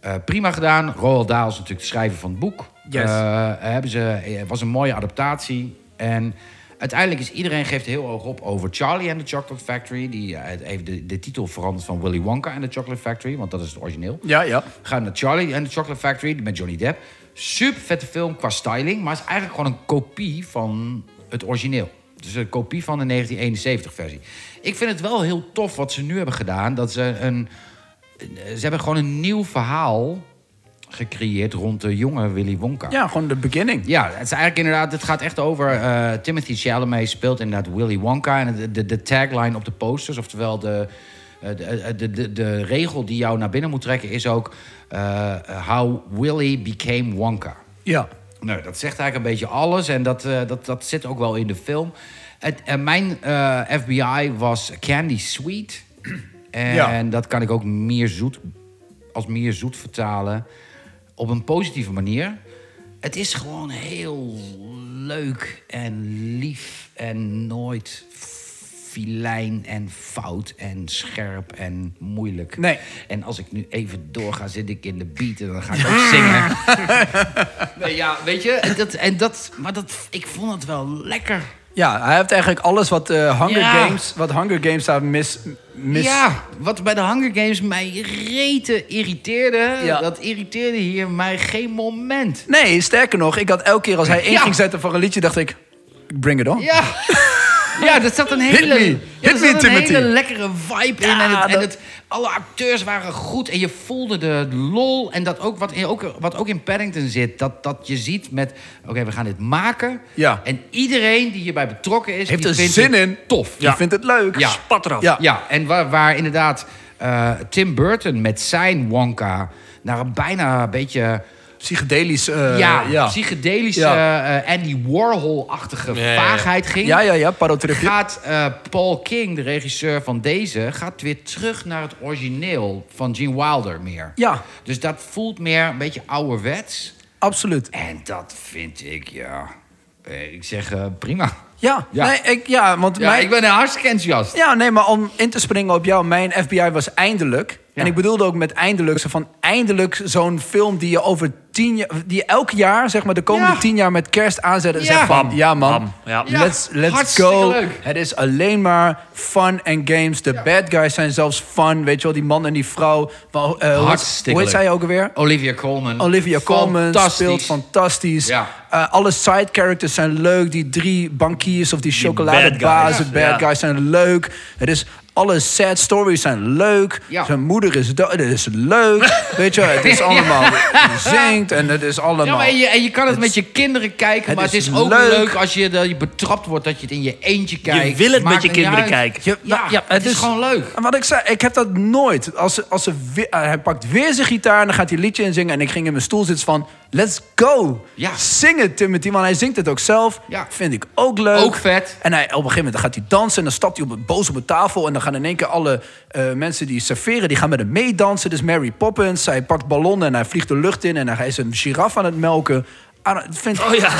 Speaker 6: Eh, prima gedaan. Roald Dahl is natuurlijk de schrijver van het boek.
Speaker 4: Yes.
Speaker 6: Eh, hebben ze, eh, was een mooie adaptatie. En uiteindelijk is iedereen geeft heel hoog op over Charlie and the Chocolate Factory. Die eh, heeft de, de titel veranderd van Willy Wonka and the Chocolate Factory. Want dat is het origineel.
Speaker 4: Ja, ja.
Speaker 6: Gaan naar Charlie and the Chocolate Factory met Johnny Depp. Super vette film qua styling, maar is eigenlijk gewoon een kopie van het origineel. Dus een kopie van de 1971-versie. Ik vind het wel heel tof wat ze nu hebben gedaan. Dat ze een. Ze hebben gewoon een nieuw verhaal gecreëerd rond de jonge Willy Wonka.
Speaker 4: Ja, gewoon de beginning.
Speaker 6: Ja, het is eigenlijk inderdaad, het gaat echt over eh, Timothy Chalamet speelt inderdaad Willy Wonka. En de, de, de tagline op de posters, oftewel de, eh, de, de, de, de regel die jou naar binnen moet trekken, is ook eh, How Willy Became Wonka.
Speaker 4: Ja.
Speaker 6: Nou, dat zegt eigenlijk een beetje alles en dat, eh, dat, dat zit ook wel in de film. Het, en mijn eh, FBI was Candy Sweet. [clears throat] En
Speaker 4: Ja.
Speaker 6: dat kan ik ook meer zoet, als meer zoet vertalen. Op een positieve manier. Het is gewoon heel leuk en lief en nooit filijn en fout en scherp en moeilijk.
Speaker 4: Nee.
Speaker 6: En als ik nu even doorga, zit ik in de beat en dan ga ik ook zingen.
Speaker 4: [laughs]
Speaker 6: Nee, ja, weet je, en dat, en dat, maar dat, ik vond het wel lekker.
Speaker 4: Ja, hij heeft eigenlijk alles wat, eh, Hunger,
Speaker 6: Ja.
Speaker 4: Games, wat Hunger Games daar mis... mis
Speaker 6: Ja, wat bij de Hunger Games mij rete irriteerde,
Speaker 4: Ja.
Speaker 6: dat irriteerde hier mij geen moment.
Speaker 4: Nee, sterker nog, ik had elke keer als hij één
Speaker 6: Ja.
Speaker 4: ging zetten voor een liedje, dacht ik... Bring it on.
Speaker 6: Ja. Ja, dat zat een hele,
Speaker 4: me.
Speaker 6: ja,
Speaker 4: Hit
Speaker 6: er zat
Speaker 4: me,
Speaker 6: een
Speaker 4: Timothy.
Speaker 6: hele lekkere vibe in.
Speaker 4: Ja,
Speaker 6: en het, en
Speaker 4: dat-
Speaker 6: het, alle acteurs waren goed en je voelde de lol. En dat ook wat, ook, wat ook in Paddington zit, dat, dat je ziet met... Oké, we gaan dit maken.
Speaker 4: Ja.
Speaker 6: En iedereen die hierbij betrokken is...
Speaker 4: Heeft
Speaker 6: die
Speaker 4: er
Speaker 6: vindt
Speaker 4: zin
Speaker 6: het
Speaker 4: in.
Speaker 6: Tof.
Speaker 4: Je vindt het leuk.
Speaker 6: Ja.
Speaker 5: Spat eraf.
Speaker 4: Ja.
Speaker 6: Ja, en waar, waar inderdaad eh, Tim Burton met zijn Wonka... naar een bijna een beetje
Speaker 4: Psychedelisch. eh,
Speaker 6: ja,
Speaker 4: ja.
Speaker 6: psychedelische
Speaker 4: Ja.
Speaker 6: eh, Andy Warhol-achtige vaagheid ging...
Speaker 4: ja, ja, ja, parotripje.
Speaker 6: gaat eh, Paul King, de regisseur van deze... gaat weer terug naar het origineel van Gene Wilder meer.
Speaker 4: Ja.
Speaker 6: Dus dat voelt meer een beetje ouderwets.
Speaker 4: Absoluut.
Speaker 6: En dat vind ik, ja... eh, Ik zeg, eh, prima.
Speaker 4: Ja,
Speaker 6: Ja.
Speaker 4: Nee, ik, ja want
Speaker 6: Ja,
Speaker 4: mijn,
Speaker 6: ik ben hartstikke enthousiast.
Speaker 4: Ja, nee, maar om in te springen op jou, mijn FBI was eindelijk. En ik bedoelde ook met eindelijk, zo van eindelijk zo'n film die je over tien jaar, die je elk jaar, zeg maar de komende
Speaker 6: Ja.
Speaker 4: tien jaar met kerst aanzet en
Speaker 6: Ja.
Speaker 4: zegt van,
Speaker 6: Bam,
Speaker 4: ja man,
Speaker 5: bam, ja.
Speaker 6: Ja,
Speaker 4: let's, let's
Speaker 6: hartstikke
Speaker 4: go.
Speaker 6: leuk.
Speaker 4: Het is alleen maar fun and games. De bad guys zijn zelfs fun, weet je wel, die man en die vrouw. Wel, eh, hoe heet-
Speaker 6: Hartstikke
Speaker 4: Hoe heet
Speaker 6: leuk.
Speaker 4: zij ook alweer?
Speaker 6: Olivia Colman.
Speaker 4: Olivia Colman
Speaker 6: Fantastisch.
Speaker 4: speelt fantastisch.
Speaker 6: Ja.
Speaker 4: Eh, alle side characters zijn leuk. Die drie bankiers of die
Speaker 5: bad
Speaker 4: chocoladebazen,
Speaker 5: guys.
Speaker 4: bad,
Speaker 5: Ja.
Speaker 4: guys zijn leuk. Het is alle sad stories zijn leuk.
Speaker 6: Ja.
Speaker 4: Zijn moeder is dood. Het is
Speaker 6: [laughs]
Speaker 4: leuk. Weet je, wel, het is allemaal zingt en het is
Speaker 6: Ja,
Speaker 4: allemaal.
Speaker 6: maar en, je, en je kan het, met je kinderen kijken,
Speaker 4: het
Speaker 6: maar het
Speaker 4: is
Speaker 6: is ook
Speaker 4: leuk.
Speaker 6: leuk, als je, dat je betrapt wordt dat je het in je eentje kijkt.
Speaker 5: Je wil het
Speaker 6: Maakt
Speaker 5: met je
Speaker 6: niet
Speaker 5: kinderen
Speaker 6: uit.
Speaker 5: kijken.
Speaker 4: Je-
Speaker 6: Ja,
Speaker 4: nou, ja,
Speaker 6: het, is, gewoon leuk.
Speaker 4: En wat ik zei, ik heb dat nooit. Als, ze- als ze weer- eh, hij pakt weer zijn gitaar en dan gaat hij een liedje inzingen. En ik ging in mijn stoel zitten van, let's go.
Speaker 6: Ja.
Speaker 4: Zing het, Timothy. Want hij zingt het ook zelf.
Speaker 6: Ja.
Speaker 4: Vind ik ook leuk.
Speaker 6: Ook vet.
Speaker 4: En hij, op een gegeven moment dan gaat hij dansen. En dan stapt hij op het, boos op de tafel. En dan gaan in één keer alle eh, mensen die serveren, die gaan met hem meedansen. Dus Mary Poppins, hij pakt ballonnen en hij vliegt de lucht in. En hij is een giraf aan het melken. Ah, dat vind
Speaker 5: Oh ja.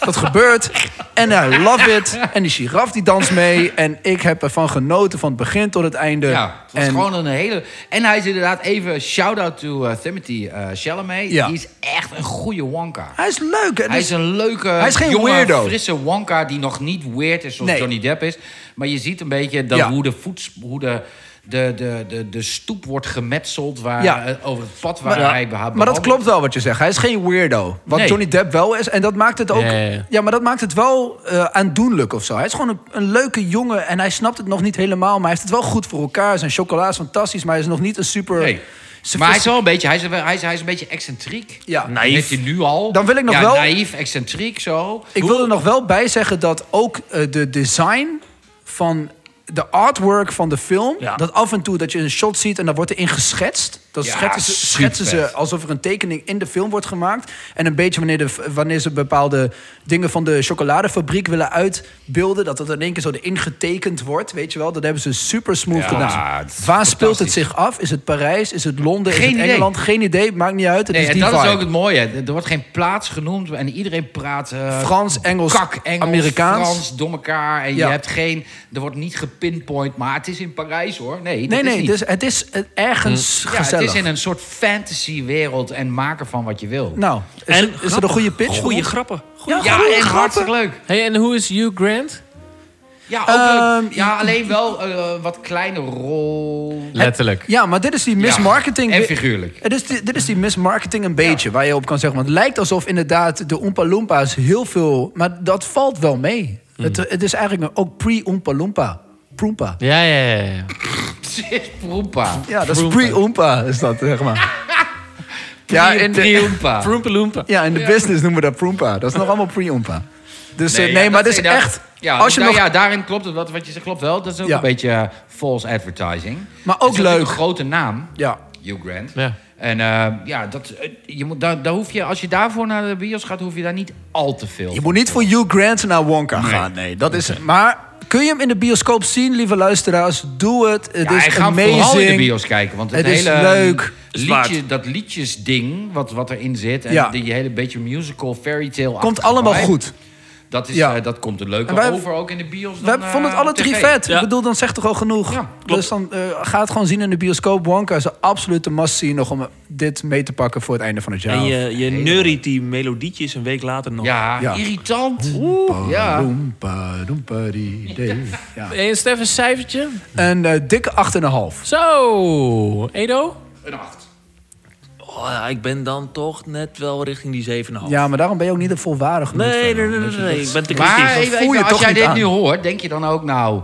Speaker 4: dat gebeurt. En I love it. En die giraf die danst mee. En ik heb ervan genoten van het begin tot het einde.
Speaker 6: Ja, het was
Speaker 4: en
Speaker 6: gewoon een hele... En hij is inderdaad even shout-out to eh, Timothy eh Chalamet.
Speaker 4: Ja.
Speaker 6: Die is echt een goede Wonka.
Speaker 4: Hij is leuk. Het
Speaker 6: Hij is een leuke,
Speaker 4: Hij is geen
Speaker 6: jonge,
Speaker 4: weirdo.
Speaker 6: frisse Wonka die nog niet weird is zoals
Speaker 4: Nee.
Speaker 6: Johnny Depp is. Maar je ziet een beetje dat
Speaker 4: Ja.
Speaker 6: hoe, de, voets, hoe de, de, de, de, de stoep wordt gemetseld waar,
Speaker 4: Ja.
Speaker 6: eh, over het pad waar
Speaker 4: maar,
Speaker 6: hij
Speaker 4: ja,
Speaker 6: behandeld
Speaker 4: maar dat klopt wel wat je zegt. Hij is geen weirdo. Wat
Speaker 6: Nee.
Speaker 4: Johnny Depp wel is. En dat maakt het ook.
Speaker 3: Ja, ja, ja.
Speaker 4: Ja, maar dat maakt het wel eh, aandoenlijk of zo. Hij is gewoon een, een leuke jongen. En hij snapt het nog niet helemaal. Maar hij heeft het wel goed voor elkaar. Zijn chocola is fantastisch. Maar hij is nog niet een super.
Speaker 6: Nee.
Speaker 4: sophistic-
Speaker 6: Maar hij is wel een beetje, hij is, hij is, hij is een beetje excentriek.
Speaker 4: Ja.
Speaker 6: Dat heeft hij nu al.
Speaker 4: Dan wil ik nog
Speaker 6: Ja,
Speaker 4: wel-
Speaker 6: Naïef, excentriek, zo.
Speaker 4: Ik wil er nog wel bij zeggen dat ook eh, de design van de artwork van de film...
Speaker 5: Ja.
Speaker 4: dat af en toe dat je een shot ziet en dat wordt erin geschetst. Dat
Speaker 6: Ja,
Speaker 4: schetsen, ze, schetsen ze
Speaker 6: supervet.
Speaker 4: alsof er een tekening in de film wordt gemaakt. En een beetje wanneer, de, wanneer ze bepaalde dingen van de chocoladefabriek willen uitbeelden... dat dat in één keer zo erin getekend wordt, weet je wel. Dat hebben ze super smooth
Speaker 6: Ja,
Speaker 4: gedaan.
Speaker 6: het is
Speaker 4: Waar speelt het
Speaker 6: fantastisch.
Speaker 4: zich af? Is het Parijs? Is het Londen?
Speaker 6: Geen
Speaker 4: is het
Speaker 6: idee.
Speaker 4: Engeland? Geen idee, maakt niet uit. Het
Speaker 6: Nee,
Speaker 4: is
Speaker 6: en
Speaker 4: Dus die
Speaker 6: dat is
Speaker 4: vibe.
Speaker 6: ook het mooie. Er er wordt geen plaats genoemd en iedereen praat... eh,
Speaker 4: Frans, Engels,
Speaker 6: kak Engels,
Speaker 4: Amerikaans.
Speaker 6: Frans, door elkaar. En
Speaker 4: Ja.
Speaker 6: je hebt geen... Er wordt niet gepinpoint, maar het is in Parijs, hoor. Nee, dat
Speaker 4: Nee,
Speaker 6: is
Speaker 4: nee,
Speaker 6: niet.
Speaker 4: dus het is eh, ergens
Speaker 6: ja,
Speaker 4: gezellig.
Speaker 6: het is in een soort fantasy-wereld en maken van wat je wil.
Speaker 4: Nou, is,
Speaker 5: En
Speaker 4: er, is er een goede pitch?
Speaker 5: Goeie
Speaker 4: voor?
Speaker 5: grappen.
Speaker 4: Ja,
Speaker 6: ja,
Speaker 4: goeie
Speaker 6: en
Speaker 4: grappen.
Speaker 6: hartstikke leuk.
Speaker 3: Hey, en hoe is Hugh Grant?
Speaker 6: Ja, ook,
Speaker 4: Ehm,
Speaker 6: leuk. ja alleen wel eh, wat kleine rol.
Speaker 3: Letterlijk.
Speaker 4: Ja, maar dit is die mismarketing.
Speaker 6: Ja, en figuurlijk. [laughs]
Speaker 4: Het is die- dit is die mismarketing een beetje, waar je op kan zeggen. Want het lijkt alsof inderdaad de Oompa Loompa's heel veel... Maar dat valt wel mee.
Speaker 6: Hmm.
Speaker 4: Het, het is eigenlijk een- ook pre-Oompa Loompa. Proempa.
Speaker 3: Ja, ja, ja. ja.
Speaker 6: Proempa.
Speaker 4: Ja, dat is pre-Oompa, is dat, zeg
Speaker 6: [laughs]
Speaker 4: maar. ja, in de,
Speaker 6: Proempa.
Speaker 3: Vroompa loompa.
Speaker 4: [laughs] ja, in de business noemen we dat Proempa. Dat is nog allemaal pre-Oompa. Dus eh, nee,
Speaker 6: ja,
Speaker 4: maar
Speaker 6: dat
Speaker 4: dit is
Speaker 6: inderdaad-
Speaker 4: echt...
Speaker 6: Ja,
Speaker 4: als je
Speaker 6: nou
Speaker 4: nog,
Speaker 6: ja, daarin klopt het. Wat, wat je zegt klopt wel. Dat is ook
Speaker 4: Ja.
Speaker 6: een beetje eh, false advertising.
Speaker 4: Maar ook
Speaker 6: Het is natuurlijk
Speaker 4: leuk.
Speaker 6: Een grote naam,
Speaker 4: ja,
Speaker 6: Hugh Grant.
Speaker 3: Ja.
Speaker 6: En eh, ja, dat, eh, je moet, daar, daar hoef je, als je daarvoor naar de bios gaat, hoef je daar niet al te veel.
Speaker 4: Je moet niet voor Hugh Grant naar Wonka gaan. Nee, dat is. Maar kun je hem in de bioscoop zien, lieve luisteraars? Doe het. Het
Speaker 6: Ja,
Speaker 4: is
Speaker 6: ik ga hem
Speaker 4: amazing.
Speaker 6: vooral in de bios kijken. Want het,
Speaker 4: Het is
Speaker 6: hele ehm,
Speaker 4: leuk.
Speaker 6: Liedje, dat liedjesding wat, wat erin zit. En
Speaker 4: Ja.
Speaker 6: die hele beetje musical, fairy tale.
Speaker 4: Komt allemaal goed.
Speaker 6: Dat, is,
Speaker 4: Ja.
Speaker 6: eh, dat komt er
Speaker 4: En
Speaker 6: leuker
Speaker 4: wij-
Speaker 6: over, ook in de bios.
Speaker 4: We
Speaker 6: dan, eh,
Speaker 4: vonden het alle
Speaker 6: op
Speaker 4: drie
Speaker 6: tv.
Speaker 4: vet.
Speaker 5: Ja.
Speaker 4: Ik bedoel, dan zegt toch al genoeg.
Speaker 6: Ja,
Speaker 4: dus dan eh, ga het gewoon zien in de bioscoop. Wonka is een absolute must-see nog om dit mee te pakken voor het einde van het jaar.
Speaker 5: En je, je neuriet die melodietjes een week later nog.
Speaker 6: Ja,
Speaker 4: Ja.
Speaker 6: irritant. ja.
Speaker 4: Boom, pa, doem, pa, die, dee. Ja.
Speaker 3: Hey, en Stef, een cijfertje?
Speaker 4: Een eh, dikke 8,5.
Speaker 3: Zo, Edo?
Speaker 6: Een acht.
Speaker 5: oh, ja, ik ben dan toch net wel richting die 7,5.
Speaker 4: Ja, maar daarom ben je ook niet een volwaardig genoeg.
Speaker 5: nee, nee,
Speaker 4: fan,
Speaker 5: nee, nee,
Speaker 4: weet je.
Speaker 5: nee, Ik ben te
Speaker 4: Maar-
Speaker 5: kritisch.
Speaker 4: dat
Speaker 6: even,
Speaker 4: voel je
Speaker 6: even, als
Speaker 4: toch
Speaker 6: jij
Speaker 4: niet
Speaker 6: dit
Speaker 4: aan.
Speaker 6: nu hoort, denk je dan ook nou...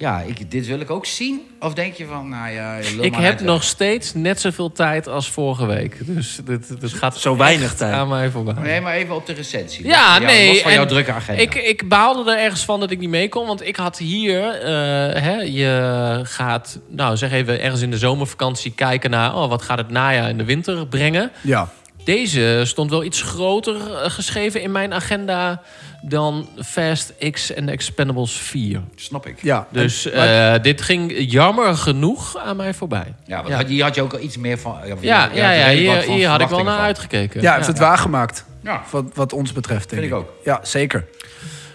Speaker 6: Ja, ik, dit wil ik ook zien? Of denk je van, nou ja... je lul
Speaker 3: Ik
Speaker 6: maar
Speaker 3: heb
Speaker 6: lekker.
Speaker 3: nog steeds net zoveel tijd als vorige week. Dus dit, dit gaat
Speaker 5: Zo weinig
Speaker 3: echt
Speaker 5: tijd.
Speaker 3: aan mij voorbij.
Speaker 6: Nee, maar even op de recensie.
Speaker 3: Ja,
Speaker 6: Los-
Speaker 3: nee.
Speaker 6: Los van
Speaker 3: en
Speaker 6: jouw drukke agenda.
Speaker 3: Ik, ik baalde er ergens van dat ik niet mee kon. Want ik had hier... eh, hè, je gaat, nou zeg even, ergens in de zomervakantie kijken naar... Oh, wat gaat het najaar en de winter brengen?
Speaker 4: Ja.
Speaker 3: Deze stond wel iets groter eh, geschreven in mijn agenda... dan Fast X en Expendables 4.
Speaker 6: Snap ik.
Speaker 4: Ja.
Speaker 3: Dus
Speaker 4: En- maar-
Speaker 3: eh, dit ging jammer genoeg aan mij voorbij.
Speaker 6: Ja, want had- hier had je ook al iets meer van... Ja,
Speaker 3: Ja, ja, ja, hier, hier had ik wel naar
Speaker 6: uit.
Speaker 3: uitgekeken.
Speaker 4: ja, heeft het waargemaakt.
Speaker 6: Ja.
Speaker 4: Wat, wat ons betreft, denk
Speaker 6: Vind ik
Speaker 4: ik. Ja, zeker.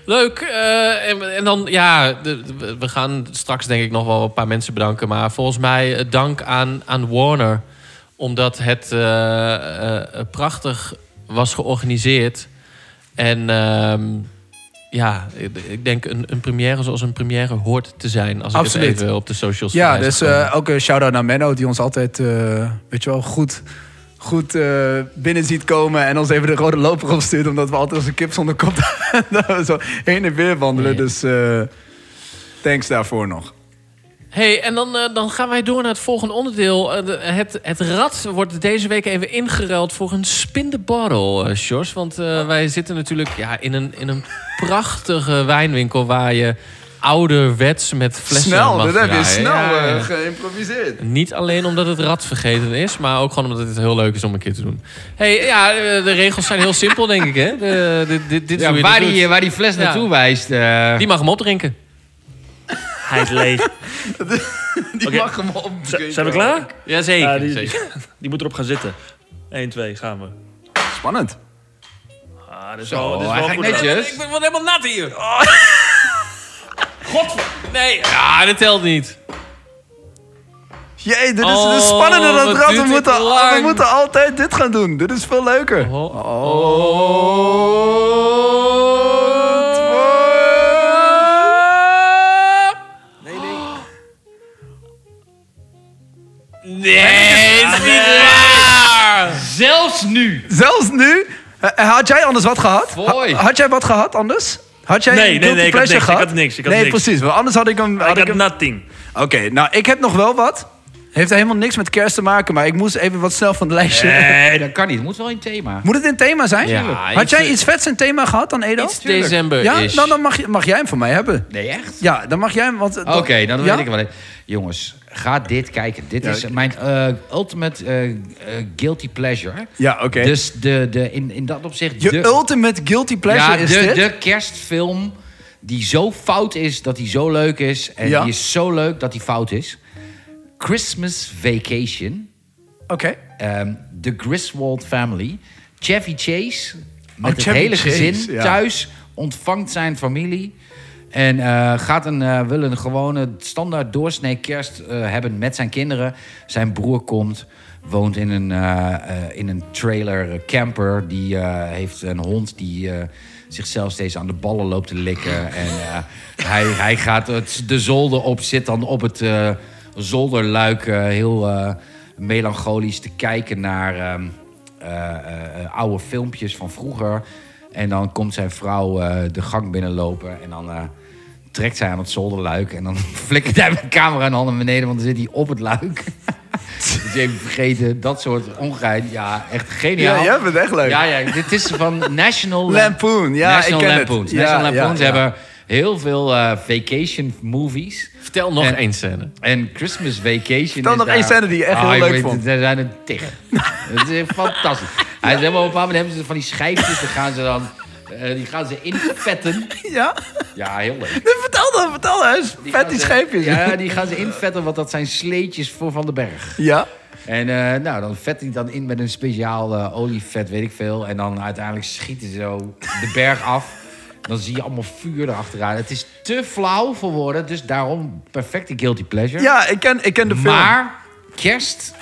Speaker 3: Leuk. eh, en, en dan, ja, de- de- we gaan straks denk ik nog wel een paar mensen bedanken. Maar volgens mij eh, dank aan, aan Warner. Omdat het eh, eh, prachtig was georganiseerd. En ehm, ja, ik, ik denk een, een première zoals een première hoort te zijn. Als ik
Speaker 4: Absoluut.
Speaker 3: het even op de socials
Speaker 4: Ja,
Speaker 3: wijs
Speaker 4: dus
Speaker 3: gooi.
Speaker 4: eh, ook een shout-out naar Menno, die ons altijd, eh, weet je wel, goed, goed eh, binnen ziet komen. En ons even de rode loper opstuurt, omdat we altijd als een kip zonder kop [laughs] dat we zo heen en weer wandelen. Dus eh, thanks daarvoor nog.
Speaker 3: hey, en dan, eh, dan gaan wij door naar het volgende onderdeel. Eh, de- het, het rad wordt deze week even ingeruild voor een spin the bottle, eh, Sjors. Want
Speaker 4: Oh.
Speaker 3: eh, wij zitten natuurlijk ja, in, een, in een prachtige wijnwinkel waar je ouderwets met flessen
Speaker 4: snel,
Speaker 3: mag
Speaker 4: dat heb je
Speaker 3: draaien.
Speaker 4: snel
Speaker 3: Ja, ja, ja.
Speaker 4: eh, geïmproviseerd.
Speaker 3: Niet alleen omdat het rad vergeten is, maar ook gewoon omdat het heel leuk is om een keer te doen. hey, ja, eh, de regels zijn heel simpel, denk ik, hè? De, dit- dit- dit is hoe
Speaker 6: Ja,
Speaker 3: je
Speaker 6: waar,
Speaker 3: dit
Speaker 6: die,
Speaker 3: doet.
Speaker 6: waar die fles
Speaker 3: Ja.
Speaker 6: naartoe wijst. eh,
Speaker 3: Die mag hem opdrinken.
Speaker 5: Hij is
Speaker 6: [laughs]
Speaker 5: leeg.
Speaker 4: Die
Speaker 5: Oké.
Speaker 4: mag hem op.
Speaker 5: Z- zijn we klaar?
Speaker 3: Jazeker.
Speaker 5: Ja, die-
Speaker 3: zeker.
Speaker 5: [laughs] Die moet erop gaan zitten. 1, 2, gaan we.
Speaker 4: Spannend.
Speaker 5: Ah, dit is
Speaker 6: Zo,
Speaker 5: wel, dit is
Speaker 6: Oh, hij
Speaker 5: wel
Speaker 6: gaat
Speaker 5: goed.
Speaker 6: netjes.
Speaker 3: Ik ben word helemaal nat hier.
Speaker 6: Oh.
Speaker 3: Godver... Nee, ja, dat telt niet.
Speaker 4: Jee, dit is
Speaker 3: Oh,
Speaker 4: dit is spannender dan
Speaker 3: wat
Speaker 4: het rad.
Speaker 3: duurt
Speaker 4: We
Speaker 3: dit
Speaker 4: moeten, we
Speaker 3: lang.
Speaker 4: moeten altijd dit gaan doen. Dit is veel leuker.
Speaker 3: Oh.
Speaker 4: Het wordt-
Speaker 3: Nee, dat is niet waar.
Speaker 6: Zelfs nu.
Speaker 4: Zelfs nu? Eh, Had jij anders wat gehad?
Speaker 6: Mooi.
Speaker 4: Ha- had jij wat gehad anders? Had jij
Speaker 5: Nee,
Speaker 4: een
Speaker 5: nee,
Speaker 4: guilty
Speaker 5: nee, ik had
Speaker 4: pleasure
Speaker 5: niks, ik
Speaker 4: gehad?
Speaker 5: had niks, ik had
Speaker 4: nee,
Speaker 5: niks.
Speaker 4: precies. Want anders had ik hem... Had
Speaker 5: Ik had
Speaker 4: ik hem-
Speaker 5: nothing.
Speaker 4: Oké, nou, ik heb nog wel wat. Heeft helemaal niks met kerst te maken, maar ik moest even wat snel van het lijstje.
Speaker 6: Nee, dat kan niet. Het moet wel in thema.
Speaker 4: Moet het in thema zijn?
Speaker 6: Ja,
Speaker 4: had
Speaker 6: iets-
Speaker 4: jij iets vets in thema gehad dan, Edo?
Speaker 3: Iets december
Speaker 4: Ja,
Speaker 3: is.
Speaker 4: nou, dan mag, je- mag jij hem van mij hebben.
Speaker 6: Nee, echt?
Speaker 4: Ja, dan mag jij hem, want...
Speaker 6: Oké,
Speaker 4: ja?
Speaker 6: dan weet ik wel. even. Jongens, ga dit kijken. Dit
Speaker 4: Ja,
Speaker 6: is
Speaker 4: ik-
Speaker 6: mijn eh, ultimate eh, eh, guilty pleasure.
Speaker 4: Ja, oké.
Speaker 6: Dus de, de, in, in dat opzicht...
Speaker 4: Je
Speaker 6: de,
Speaker 4: ultimate guilty pleasure
Speaker 6: ja, dus-
Speaker 4: is
Speaker 6: de,
Speaker 4: dit?
Speaker 6: de kerstfilm die zo fout is dat hij zo leuk is. En
Speaker 4: Ja.
Speaker 6: die is zo leuk dat hij fout is. Christmas Vacation.
Speaker 4: Oké.
Speaker 6: ehm, The Griswold Family. Chevy Chase met het
Speaker 4: Oh, Chevy
Speaker 6: hele
Speaker 4: Chase,
Speaker 6: gezin
Speaker 4: ja.
Speaker 6: thuis ontvangt zijn familie. En eh, gaat een, eh, wil een gewone standaard doorsnee kerst eh, hebben met zijn kinderen. Zijn broer komt, woont in een, eh, eh, in een trailer eh, camper. Die eh, heeft een hond die eh, zichzelf steeds aan de ballen loopt te likken. En eh, hij, hij gaat het, de zolder op, zit dan op het eh, zolderluik eh, heel eh, melancholisch te kijken naar ehm, eh, eh, eh, oude filmpjes van vroeger. En dan komt zijn vrouw eh, de gang binnenlopen en dan eh, trekt zij aan het zolderluik. En dan [laughs] flikkert hij met de camera en handen naar beneden, want dan zit hij op het luik. [laughs] dus even vergeten, dat soort ongeheim. Ja, echt geniaal.
Speaker 4: Ja, jij bent echt leuk.
Speaker 6: Ja, ja, dit is
Speaker 4: [laughs]
Speaker 6: van National
Speaker 4: Lampoon, ja,
Speaker 6: National
Speaker 4: ik ken het.
Speaker 6: Lampoons.
Speaker 4: Ja, ja,
Speaker 6: National Lampoons
Speaker 4: ja.
Speaker 6: hebben heel veel eh, vacation movies.
Speaker 3: Vertel nog
Speaker 6: En-
Speaker 3: één scène.
Speaker 6: En Christmas Vacation
Speaker 4: Dan nog
Speaker 6: is daar-
Speaker 4: één scène die je echt heel
Speaker 6: Ah,
Speaker 4: leuk
Speaker 6: jongen,
Speaker 4: vond.
Speaker 6: Er zijn een tig.
Speaker 4: [laughs]
Speaker 6: Het is echt fantastisch. Hij is helemaal op een bepaald moment hebben ze van die schijfjes, dan gaan ze dan... eh, die gaan ze invetten.
Speaker 4: Ja? [laughs]
Speaker 6: Ja, heel leuk.
Speaker 4: Nee, vertel dan, vertel dan. Hij is Vet
Speaker 6: gaan
Speaker 4: die
Speaker 6: ze-
Speaker 4: scheepjes.
Speaker 6: Ja, die gaan ze invetten, want dat zijn sleetjes voor Van den Berg.
Speaker 4: ja.
Speaker 6: En eh, nou, dan vet hij dan in met een speciaal eh, olievet, weet ik veel. En dan uiteindelijk schieten ze zo de berg af. Dan zie je allemaal vuur erachteraan. Het is te flauw voor woorden, dus daarom perfecte guilty pleasure.
Speaker 4: Ja, ik ken, ik ken de film.
Speaker 6: Maar kerst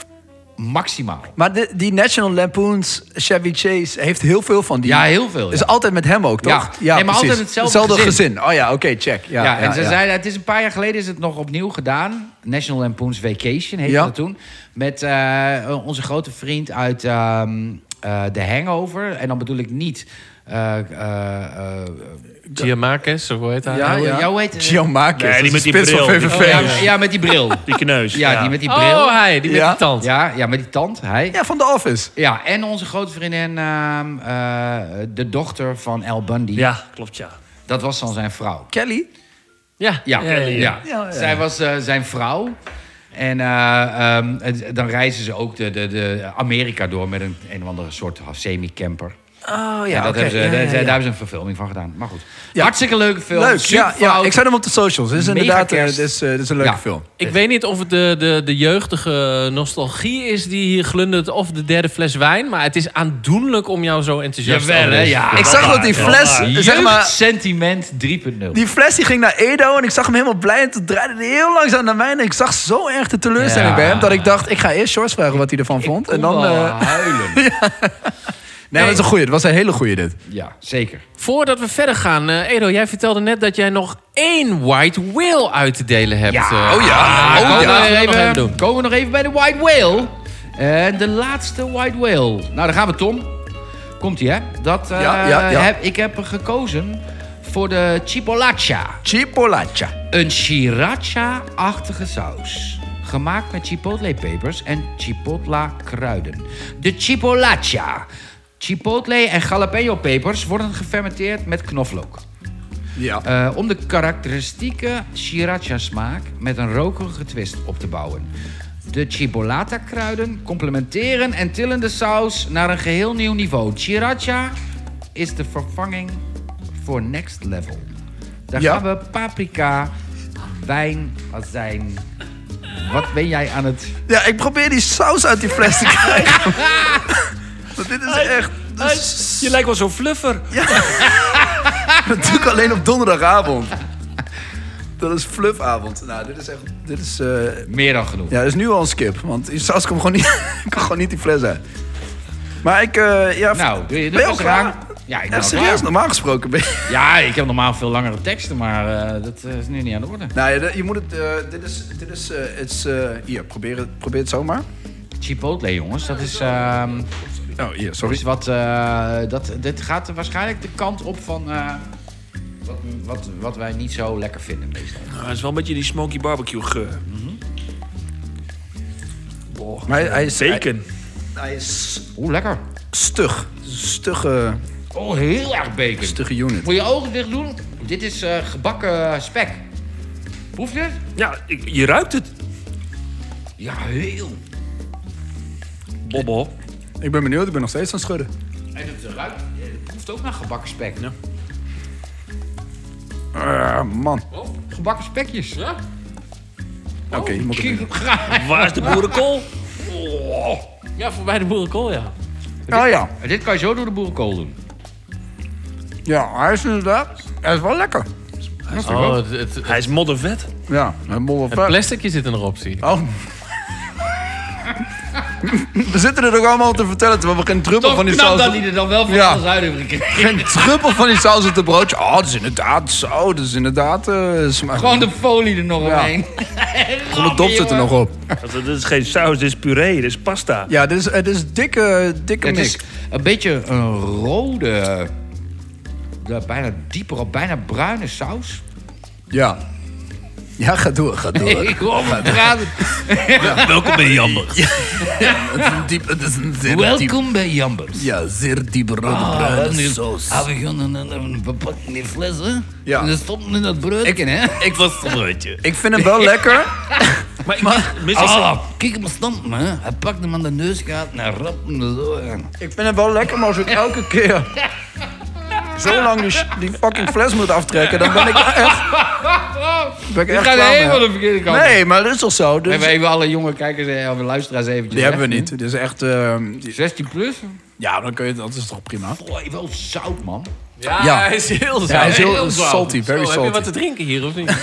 Speaker 6: maximaal.
Speaker 4: Maar de- die National Lampoon's Chevy Chase heeft heel veel van die.
Speaker 6: Ja, heel veel, ja.
Speaker 4: Is altijd met hem ook, toch?
Speaker 6: Ja. Nee, maar altijd hetzelfde gezin.
Speaker 4: Oh ja, oké, check. Ja,
Speaker 6: Ja, en ze zeiden, het is een paar jaar geleden is het nog opnieuw gedaan. National Lampoon's Vacation heette
Speaker 4: Ja.
Speaker 6: dat toen. Met eh, onze grote vriend uit ehm eh The Hangover. En dan bedoel ik niet... eh, eh, eh,
Speaker 3: Giamarcus, of hoe heet hij?
Speaker 4: Ja,
Speaker 6: hoe-
Speaker 4: ja.
Speaker 6: ja, hoe heet-
Speaker 4: Giamakis,
Speaker 5: Nee, die
Speaker 4: dat is
Speaker 5: met die
Speaker 4: spits van
Speaker 5: bril.
Speaker 4: VVV.
Speaker 6: Oh, ja, ja, met die
Speaker 4: [laughs]
Speaker 6: bril.
Speaker 5: Die kneus.
Speaker 6: [laughs] Ja, die met die bril.
Speaker 3: Oh, hij, die met
Speaker 4: Ja.
Speaker 3: die tand.
Speaker 6: Ja, ja, met die tand. Hij.
Speaker 4: Ja, van The Office.
Speaker 6: Ja, en onze grote vriendin, ehm, eh, de dochter van Al Bundy.
Speaker 5: Ja, klopt ja.
Speaker 4: Oh,
Speaker 6: Dat was dan zijn vrouw.
Speaker 4: Kelly?
Speaker 3: Ja.
Speaker 6: Ja, ja,
Speaker 4: Ja, ja.
Speaker 6: zij was eh, zijn vrouw. En eh, ehm, het- dan reizen ze ook de, de, de Amerika door met een, een of andere soort semi-camper.
Speaker 4: Oh ja,
Speaker 6: En dat
Speaker 4: oké.
Speaker 6: hebben ze,
Speaker 4: Ja,
Speaker 6: daar-
Speaker 4: ja, ja.
Speaker 6: Daar hebben ze een verfilming van gedaan. Maar goed,
Speaker 4: Ja.
Speaker 6: hartstikke leuke film.
Speaker 4: Leuk, ja, ja.
Speaker 6: superfout.
Speaker 4: Ik zet hem op de socials. Dit is
Speaker 6: Mega
Speaker 4: inderdaad eh,
Speaker 6: kerst.
Speaker 4: dit is, eh, dit is een leuke
Speaker 6: Ja.
Speaker 4: film.
Speaker 3: Ik weet niet of het de, de, de jeugdige nostalgie is die hier glundert... of de derde fles wijn, maar het is aandoenlijk om jou zo enthousiast
Speaker 6: Jawel,
Speaker 3: over
Speaker 6: hè,
Speaker 3: te-
Speaker 6: ja.
Speaker 4: Ik zag dat die fles, zeg maar,
Speaker 6: dus. Jeugdsentiment 3.0.
Speaker 4: die fles die ging naar Edo en ik zag hem helemaal blij en toen draaide hij heel langzaam naar mij en ik zag zo erg de teleurstelling
Speaker 6: Ja.
Speaker 4: bij hem dat ik dacht, ik ga eerst George vragen wat hij ervan vond en dan... eh,
Speaker 6: Oeh, huilen.
Speaker 4: [laughs] nee, dat is een goeie, dat was een hele goeie dit.
Speaker 6: Ja, zeker.
Speaker 3: Voordat we verder gaan, eh, Edo, jij vertelde net dat jij nog één white whale uit te delen hebt. eh.
Speaker 4: Oh ja,
Speaker 6: Ah,
Speaker 4: oh
Speaker 6: komen,
Speaker 4: ja.
Speaker 6: we
Speaker 3: Nog even
Speaker 6: even,
Speaker 3: doen.
Speaker 6: komen we nog even bij de White Whale. En de laatste White Whale. Nou, daar gaan we, Tom. Komt-ie, hè? Dat, eh,
Speaker 4: Ja, ja, ja.
Speaker 6: Heb, ik heb gekozen voor de chipolacha.
Speaker 4: Chipolacha.
Speaker 6: Een sriracha-achtige saus. Gemaakt met chipotle-pepers en chipotla-kruiden. De chipolacha. Chipotle en jalapeno-pepers worden gefermenteerd met knoflook.
Speaker 4: Ja.
Speaker 6: Eh, om de karakteristieke sriracha-smaak met een rokerige twist op te bouwen. De cibolata-kruiden complementeren en tillen de saus naar een geheel nieuw niveau. Sriracha is de vervanging voor next level. Daar
Speaker 4: Ja.
Speaker 6: gaan we paprika, wijn, azijn... Wat ben jij aan het...
Speaker 4: Ja, ik probeer die saus uit die fles te krijgen. [laughs] Want dit is echt... Dat is-
Speaker 5: Je lijkt wel zo'n fluffer.
Speaker 4: Dat doe ik alleen op donderdagavond. Dat is fluffavond. Nou, dit is echt... Dit is, eh,
Speaker 6: Meer dan genoeg.
Speaker 4: ja, dit is nu al een skip. Want die saus komt gewoon niet, [laughs] kan gewoon niet die fles uit. Maar ik... eh, ja,
Speaker 6: Nou, doe je
Speaker 4: ben je al
Speaker 6: dat
Speaker 4: klaar?
Speaker 6: Ja, ik ben
Speaker 4: Ja,
Speaker 6: al
Speaker 4: serieus,
Speaker 6: klaar.
Speaker 4: normaal gesproken ben je...
Speaker 6: Ja, ik heb normaal veel langere teksten, maar eh, dat eh, is nu niet aan de orde.
Speaker 4: Nou ja, dat- je moet het... eh, dit is... Dit is eh, het is, eh, hier, probeer het, probeer het zomaar.
Speaker 6: Chipotle, jongens, dat is... ehm,
Speaker 4: Oh, hier,
Speaker 6: Dat
Speaker 4: sorry.
Speaker 6: is wat, eh, dat, dit gaat waarschijnlijk de kant op van eh, wat, wat, wat wij niet zo lekker vinden meestal.
Speaker 5: Ah, het is wel een beetje die smoky barbecue geur.
Speaker 4: Maar hij, hij is...
Speaker 5: Zeker.
Speaker 4: Hij, hij is
Speaker 6: Oeh, lekker.
Speaker 4: stug. Stugge,
Speaker 6: Oh, heel erg bacon.
Speaker 4: stugge unit.
Speaker 6: Moet je ogen dicht doen? Dit is eh, gebakken spek. Proef je het?
Speaker 5: Ja, ik- je ruikt het.
Speaker 6: Ja, heel.
Speaker 5: Bobbel.
Speaker 4: Ik ben benieuwd, ik ben nog steeds aan het schudden.
Speaker 6: En het ruikt, eh, het proeft ook naar gebakken spek.
Speaker 4: Ah, man.
Speaker 6: Gebakken spekjes. Ja? Oh,
Speaker 4: Oké, je moet het doen.
Speaker 5: Waar is de boerenkool?
Speaker 3: Ja, voorbij de boerenkool, ja.
Speaker 4: Oh ja.
Speaker 6: Dit kan je zo door de boerenkool doen.
Speaker 4: Ja, hij is inderdaad. Hij is wel lekker.
Speaker 3: Oh, het, het,
Speaker 5: Hij is moddervet.
Speaker 4: Ja, een bolle
Speaker 3: het plasticje zit er nog op, zie ik.
Speaker 4: Oh. We zitten er ook allemaal te vertellen terwijl we geen druppel van die
Speaker 6: knap
Speaker 4: saus...
Speaker 6: Nou, dat hij er dan wel van
Speaker 4: Ja.
Speaker 6: alles uit heeft gekregen.
Speaker 4: Geen [laughs] druppel van die saus op de broodje. Oh, dat is inderdaad zo. Dat is inderdaad... eh smaak-
Speaker 6: Gewoon de folie er nog
Speaker 4: Ja.
Speaker 6: omheen.
Speaker 4: Gewoon de dop zit er nog op.
Speaker 5: Dat, dat is dus geen saus, dit is puree, dit is pasta.
Speaker 4: Ja, dit is, eh, dit is dikke, dikke
Speaker 6: Het
Speaker 4: mik.
Speaker 6: is een beetje een rode, ja, bijna diepere, bijna bruine saus.
Speaker 4: Ja. Ja, ga door, ga
Speaker 6: [laughs]
Speaker 4: door.
Speaker 6: Ik hoor me praten.
Speaker 5: Welkom bij Jammer.
Speaker 4: Het is een diep, het is een zeer diep...
Speaker 6: Welkom bij Jambers.
Speaker 4: Ja, zeer diepe rode
Speaker 6: Ah,
Speaker 4: bruine
Speaker 6: nu
Speaker 4: saus.
Speaker 6: hebben we gewoon een, een verpakking fles, hè? Dus-
Speaker 4: Ja.
Speaker 6: En dat stopt in dat brood in, hè?
Speaker 4: Ik was het broodje. Ik vind hem wel
Speaker 6: [laughs]
Speaker 4: lekker.
Speaker 6: Ah, kijk hem stampen, hè? Hij pakt hem aan de neusgaat en hij rapt hem er zo aan.
Speaker 4: Ik vind hem wel lekker, maar als ik elke keer zo lang die, sh- die fucking fles moet aftrekken, dan ben ik echt. Ben ik echt klaar mee.
Speaker 6: de verkeerde kant. Nee.
Speaker 4: Nee, maar dat is toch zo? Dus,
Speaker 6: Hebben we even alle jonge kijkers en luisteraars eventjes.
Speaker 4: die
Speaker 6: hè?
Speaker 4: hebben we niet. Dit is echt. ehm, die-
Speaker 6: 16 plus?
Speaker 4: ja, dan kun je dat is toch prima.
Speaker 6: Boy, wel zout, man.
Speaker 3: Ja,
Speaker 4: hij
Speaker 3: is heel zout.
Speaker 4: Ja, hij is heel, salty, very
Speaker 3: Heb je wat
Speaker 4: salty.
Speaker 3: te drinken hier, of niet?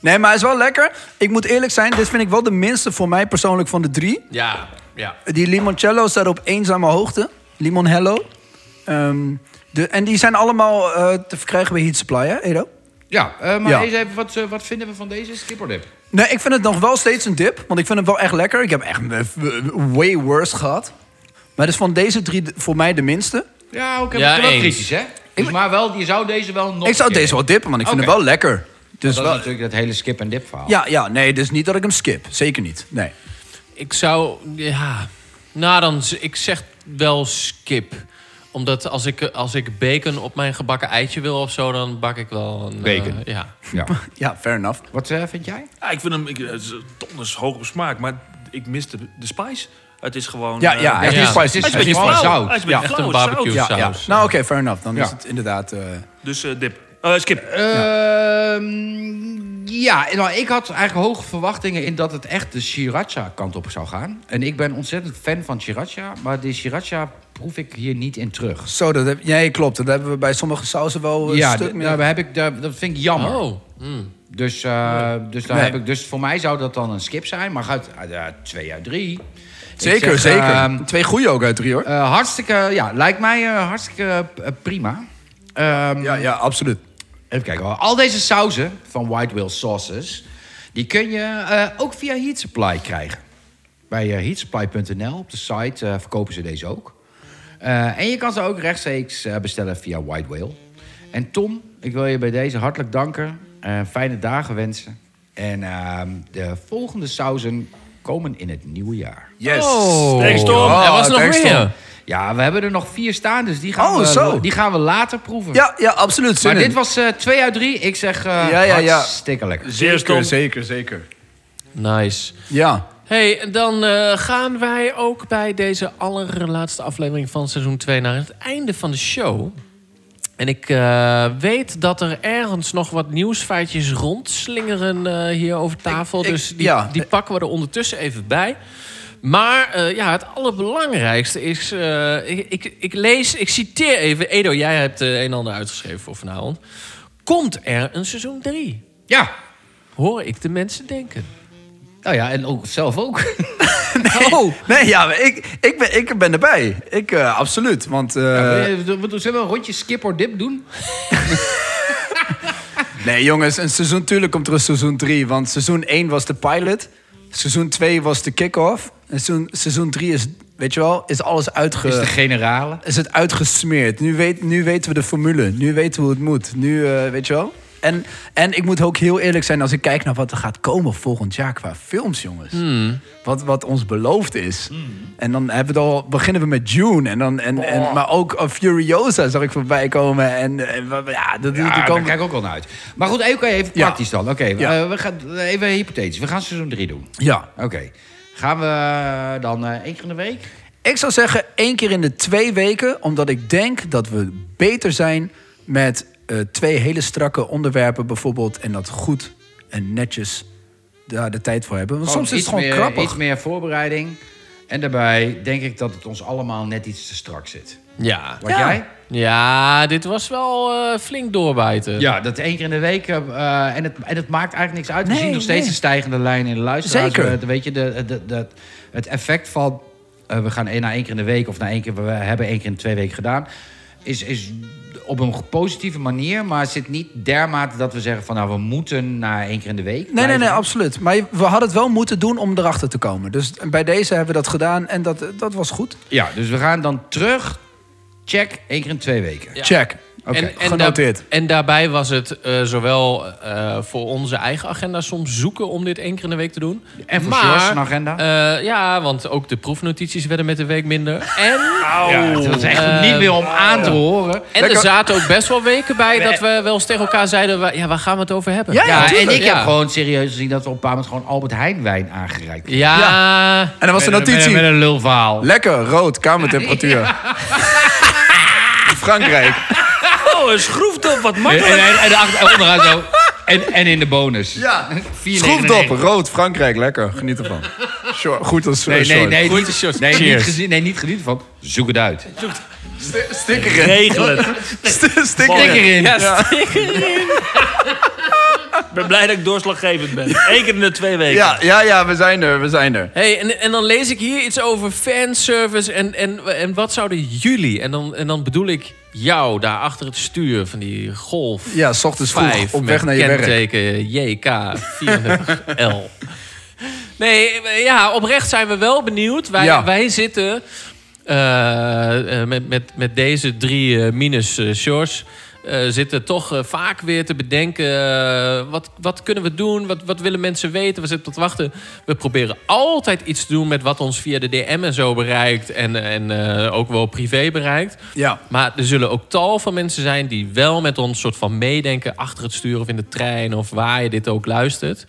Speaker 4: Nee, maar hij is wel lekker. Ik moet eerlijk zijn, dit vind ik wel de minste voor mij persoonlijk van de drie.
Speaker 3: [laughs] Ja. Ja.
Speaker 4: Die limoncello staat op eenzame hoogte. Limonhello. Ehm, de, en die zijn allemaal eh, te verkrijgen bij Heat Supply, hè, Edo?
Speaker 6: Ja, eh, maar
Speaker 4: Ja.
Speaker 6: eens even, wat, eh, wat vinden we van deze schipperdip?
Speaker 4: Nee, ik vind het nog wel steeds een dip. Want ik vind hem wel echt lekker. Ik heb echt eh, way worse gehad. Maar het is van deze drie de- voor mij de minste.
Speaker 6: Ja, ook
Speaker 3: Ja,
Speaker 6: ja, wel
Speaker 3: eens.
Speaker 6: kritisch, hè? Dus maar wel, je zou deze wel nog
Speaker 4: ik zou
Speaker 6: een keer-
Speaker 4: deze wel dippen, want ik vind
Speaker 6: Oké.
Speaker 4: hem wel lekker. Dus
Speaker 6: Dat is
Speaker 4: wel-
Speaker 6: natuurlijk dat hele skip en dip verhaal.
Speaker 4: ja, ja, nee, dus niet dat ik hem skip. Zeker niet. Nee.
Speaker 3: Ik zou, ja... Nou, dan, z- ik zeg wel skip. Omdat als ik, als ik bacon op mijn gebakken eitje wil of zo... dan bak ik wel een... eh,
Speaker 6: Bacon.
Speaker 3: ja.
Speaker 6: Ja.
Speaker 4: Ja, fair enough.
Speaker 6: Wat eh, vind jij?
Speaker 5: Ja, ik vind hem, ik, het is donders hoog op smaak, maar ik mis de, de spice. Het is gewoon...
Speaker 4: Ja,
Speaker 5: eh,
Speaker 4: ja,
Speaker 5: hij
Speaker 4: het is
Speaker 3: ja.
Speaker 4: spicy.
Speaker 5: is een
Speaker 6: het
Speaker 5: beetje
Speaker 6: is
Speaker 5: flauw.
Speaker 6: gewoon zout.
Speaker 5: Hij is een beetje
Speaker 3: Ja, echt
Speaker 5: flauw,
Speaker 3: een
Speaker 5: het is
Speaker 3: barbecue.
Speaker 4: Ja,
Speaker 5: zout.
Speaker 4: ja.
Speaker 3: saus.
Speaker 4: Nou, oké, fair enough. Dan is
Speaker 6: Ja.
Speaker 4: het inderdaad... eh,
Speaker 5: Dus eh, dip. Eh, skip.
Speaker 6: Ehm, ja, nou, ik had eigenlijk hoge verwachtingen in dat het echt de sriracha kant op zou gaan. En ik ben ontzettend fan van sriracha, maar de sriracha proef ik hier niet in terug.
Speaker 4: Zo, dat heb, nee, klopt. Dat hebben we bij sommige sausen wel een
Speaker 6: Ja,
Speaker 4: stuk
Speaker 6: d-
Speaker 4: meer.
Speaker 6: daar heb ik, daar, dat vind ik jammer.
Speaker 3: Oh, mm.
Speaker 6: Dus, eh, dus, daar
Speaker 4: Nee.
Speaker 6: heb ik, dus voor mij zou dat dan een skip zijn, maar gaat eh, twee uit drie. Ik
Speaker 4: zeker,
Speaker 6: zeg,
Speaker 4: zeker.
Speaker 6: ehm,
Speaker 4: Twee goede ook uit drie, hoor.
Speaker 6: eh, hartstikke, ja, lijkt mij eh, hartstikke eh, prima. Ehm,
Speaker 4: ja, ja, absoluut.
Speaker 6: Even kijken. hoor. Al deze sauzen van White Whale Sauces... die kun je eh, ook via Heat Supply krijgen. Bij eh, heatsupply.nl op de site eh, verkopen ze deze ook. Eh, en je kan ze ook rechtstreeks eh, bestellen via White Whale. En Tom, ik wil je bij deze hartelijk danken. Eh, fijne dagen wensen. En ehm, de volgende sauzen komen in het nieuwe jaar.
Speaker 4: Yes.
Speaker 3: Oh.
Speaker 5: Thanks, Tom.
Speaker 3: er was nog
Speaker 4: thanks,
Speaker 3: meer.
Speaker 4: Tom.
Speaker 6: Ja, we hebben er nog vier staan, dus die gaan,
Speaker 4: Oh,
Speaker 6: we,
Speaker 4: zo.
Speaker 6: Die gaan we later proeven.
Speaker 4: Ja, ja, absoluut. Zin
Speaker 6: Maar
Speaker 4: in.
Speaker 6: dit was eh, twee uit drie. Ik zeg eh
Speaker 4: Ja, ja, ja.
Speaker 6: hartstikke lekker.
Speaker 5: Zeer Tom.
Speaker 4: Zeker, zeker, zeker.
Speaker 3: nice.
Speaker 4: Ja.
Speaker 3: hey, dan eh, gaan wij ook bij deze allerlaatste aflevering van seizoen 2 naar het einde van de show. En ik eh, weet dat er ergens nog wat nieuwsfeitjes rondslingeren eh, hier over tafel.
Speaker 4: Ik- ik-
Speaker 3: dus die,
Speaker 4: ja.
Speaker 3: die pakken we er ondertussen even bij. Maar eh, ja, het allerbelangrijkste is... eh, ik, ik, ik lees, ik citeer even. Edo, jij hebt eh, een en ander uitgeschreven voor vanavond. Komt er een seizoen 3?
Speaker 6: Ja.
Speaker 3: Hoor ik de mensen denken.
Speaker 6: Nou ja, en ook zelf ook.
Speaker 4: Oh. [laughs] Nee, ja, maar ik, ik, ben, ik ben erbij. Ik, eh, absoluut. Want, eh,
Speaker 6: we, we, we- zullen we een rondje skip or dip doen?
Speaker 4: nee, jongens, een seizoen, tuurlijk komt er een seizoen 3. Want seizoen 1 was de pilot. Seizoen 2 was de kick-off. En seizoen, seizoen 3 is, weet je wel, is alles uitge...
Speaker 6: Is de generale.
Speaker 4: is het uitgesmeerd. Nu, weet, nu weten we de formule. Nu weten we hoe het moet. Nu, eh, weet je wel? En, en ik moet ook heel eerlijk zijn als ik kijk naar wat er gaat komen volgend jaar qua films, jongens.
Speaker 6: Hmm.
Speaker 4: Wat, wat ons beloofd is. En dan hebben we het al, beginnen we met June. En dan, en, en, maar ook eh, Furiosa zag ik voorbij komen. En, eh, en wa- wa- ja, dat,
Speaker 6: Ja,
Speaker 4: die
Speaker 6: daar
Speaker 4: komen-
Speaker 6: kijk ik ook al naar uit. Maar goed, even, even
Speaker 4: Ja.
Speaker 6: praktisch dan. Oké,
Speaker 4: Ja.
Speaker 6: eh, we gaan even hypothetisch. We gaan seizoen 3 doen.
Speaker 4: ja.
Speaker 6: Oké. Gaan we dan eh, één keer in de week?
Speaker 4: Ik zou zeggen één keer in de twee weken, omdat ik denk dat we beter zijn met eh, twee hele strakke onderwerpen bijvoorbeeld. En dat goed en netjes daar de tijd voor hebben. Want
Speaker 6: Gewoon
Speaker 4: soms is het
Speaker 6: iets
Speaker 4: gewoon
Speaker 6: meer,
Speaker 4: krappig.
Speaker 6: Iets meer voorbereiding. En daarbij denk ik dat het ons allemaal net iets te strak zit.
Speaker 3: Ja.
Speaker 6: Wat
Speaker 4: Ja.
Speaker 6: jij?
Speaker 3: Ja, dit was wel eh, flink doorbijten.
Speaker 6: Ja, dat één keer in de week. eh, eh, en, het, en het maakt eigenlijk niks uit. We
Speaker 4: Nee,
Speaker 6: zien nog steeds
Speaker 4: nee.
Speaker 6: een stijgende lijn in de luisteraars.
Speaker 4: Zeker.
Speaker 6: We- weet je, de, de, de- het effect van... eh, we gaan één na één keer in de week... of na één keer, we hebben één keer in de twee weken gedaan... is, is op een positieve manier... maar het zit niet dermate dat we zeggen van... nou, we moeten naar één keer in de week.
Speaker 4: Nee, nee,
Speaker 6: blijven.
Speaker 4: nee, absoluut. Maar we hadden het wel moeten doen om erachter te komen. Dus bij deze hebben we dat gedaan en dat, eh, dat was goed.
Speaker 6: Ja, dus we gaan dan terug... check één keer in twee weken.
Speaker 4: Check. Oké,
Speaker 6: eh,
Speaker 4: genoteerd.
Speaker 3: daar- en daarbij was het eh, zowel eh, voor onze eigen agenda soms zoeken om dit één keer in de week te doen.
Speaker 6: En voor
Speaker 3: Maar,
Speaker 6: George een agenda?
Speaker 3: eh, ja, want ook de proefnotities werden met de week minder. En,
Speaker 4: Oh.
Speaker 6: Ja, dat is echt
Speaker 4: Eh,
Speaker 6: niet meer om aan te horen.
Speaker 3: en er zaten ook best wel weken bij dat we wel eens tegen elkaar zeiden... wa- ja, waar gaan we het over hebben?
Speaker 4: Ja,
Speaker 6: Ja, en
Speaker 4: tuurlijk.
Speaker 6: ik heb gewoon serieus gezien dat we op een bepaald moment gewoon Albert Heijn wijn aangereikt
Speaker 3: Ja,
Speaker 4: en dan was de
Speaker 6: Met een-
Speaker 4: notitie.
Speaker 6: Met een lulverhaal.
Speaker 4: Lekker, rood, kamertemperatuur.
Speaker 6: [laughs]
Speaker 4: Frankrijk.
Speaker 5: Oh, een schroefdop, wat
Speaker 6: En,
Speaker 5: makkelijk.
Speaker 6: en, en de achter- en onderaan zo. En, en in de bonus.
Speaker 4: Ja.
Speaker 6: 4,99.
Speaker 4: Schroefdop, rood,
Speaker 6: [laughs]
Speaker 4: Frankrijk, lekker. Geniet ervan. Short, goed als
Speaker 6: Nee,
Speaker 4: eh,
Speaker 6: nee,
Speaker 4: short.
Speaker 6: nee.
Speaker 3: Goeie
Speaker 6: niet-
Speaker 3: shot.
Speaker 6: Nee, niet
Speaker 3: Cheers.
Speaker 6: gezien, nee, niet genieten van. Zoek het uit.
Speaker 4: Stikker in.
Speaker 5: [laughs] Regel het.
Speaker 4: St- Stikker in.
Speaker 6: Klik erin.
Speaker 3: Ja, stik erin.
Speaker 5: Ik ben blij dat ik doorslaggevend ben. Eén keer in de twee weken.
Speaker 4: Ja, ja, ja, we zijn er, we zijn er.
Speaker 3: Hey, en, en dan lees ik hier iets over fanservice en, en, en wat zouden jullie... En dan, en dan bedoel ik jou daar achter het stuur van die Golf
Speaker 4: Ja, s ochtends vroeg
Speaker 3: 5
Speaker 4: op
Speaker 3: met
Speaker 4: weg naar je werk.
Speaker 3: kenteken JK34L. Nee, ja, oprecht zijn we wel benieuwd. Wij,
Speaker 4: Ja.
Speaker 3: wij zitten eh, eh, met, met, met deze drie eh, minus eh, shorts... eh, zitten toch eh, vaak weer te bedenken... eh, wat, wat kunnen we doen? Wat, wat willen mensen weten? We zitten tot wachten. We proberen altijd iets te doen met wat ons via de DM en zo bereikt. En, en eh, ook wel privé bereikt.
Speaker 4: Ja.
Speaker 3: Maar er zullen ook tal van mensen zijn die wel met ons soort van meedenken achter het stuur of in de trein of waar je dit ook luistert.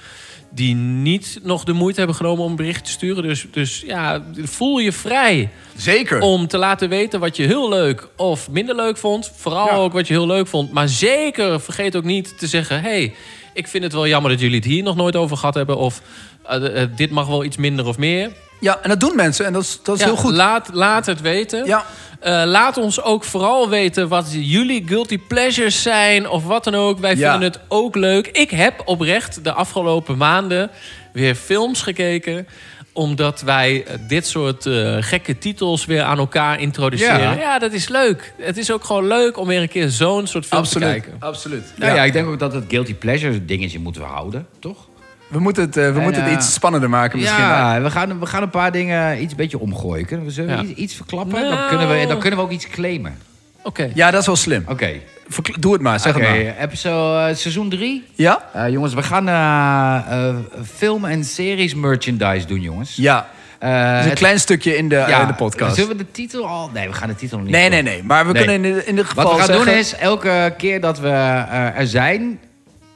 Speaker 3: Die niet nog de moeite hebben genomen om een bericht te sturen. Dus, dus ja, voel je vrij
Speaker 4: Zeker.
Speaker 3: om te laten weten wat je heel leuk of minder leuk vond. Vooral
Speaker 4: Ja.
Speaker 3: ook wat je heel leuk vond. Maar zeker vergeet ook niet te zeggen: hey, ik vind het wel jammer dat jullie het hier nog nooit over gehad hebben. Of eh, eh, dit mag wel iets minder of meer.
Speaker 4: Ja, en dat doen mensen en dat is, dat is
Speaker 3: Ja,
Speaker 4: heel goed.
Speaker 3: Laat, laat het weten.
Speaker 4: Ja.
Speaker 3: Eh, laat ons ook vooral weten wat jullie guilty pleasures zijn of wat dan ook. Wij
Speaker 4: Ja.
Speaker 3: vinden het ook leuk. Ik heb oprecht de afgelopen maanden weer films gekeken omdat wij eh, dit soort eh, gekke titels weer aan elkaar introduceren.
Speaker 6: Ja.
Speaker 3: Ja. dat is leuk. Het is ook gewoon leuk om weer een keer zo'n soort film te
Speaker 4: Absoluut.
Speaker 3: kijken.
Speaker 4: Absoluut.
Speaker 6: Nou
Speaker 4: ja.
Speaker 6: ja. ik denk ook dat het guilty pleasure dingetje moeten we houden, toch?
Speaker 4: We moeten het, eh, we
Speaker 6: En,
Speaker 4: moeten het
Speaker 6: eh,
Speaker 4: iets spannender maken misschien.
Speaker 6: ja, we gaan, we gaan een paar dingen iets een beetje omgooien. Kunnen we zo
Speaker 3: Ja.
Speaker 6: iets, iets verklappen? Dan,
Speaker 3: Nou.
Speaker 6: kunnen we, dan kunnen we ook iets claimen.
Speaker 3: Oké.
Speaker 4: Ja, dat is wel slim.
Speaker 6: Oké,
Speaker 4: Verkla- Doe het maar, zeg
Speaker 6: oké.
Speaker 4: het maar.
Speaker 6: episode, eh, seizoen 3.
Speaker 4: Ja?
Speaker 6: jongens, we gaan eh, eh, film- en series merchandise doen, jongens.
Speaker 4: Ja.
Speaker 6: Eh,
Speaker 4: Dus een
Speaker 6: het-
Speaker 4: klein stukje in de, eh,
Speaker 6: ja,
Speaker 4: in de podcast.
Speaker 6: Zullen we de titel al... Nee, we gaan de titel nog niet
Speaker 4: Nee,
Speaker 6: doen.
Speaker 4: nee, nee. Maar we
Speaker 6: Nee.
Speaker 4: kunnen in, in ieder geval
Speaker 6: Wat we gaan
Speaker 4: zeggen...
Speaker 6: doen is, elke keer dat we eh, er zijn,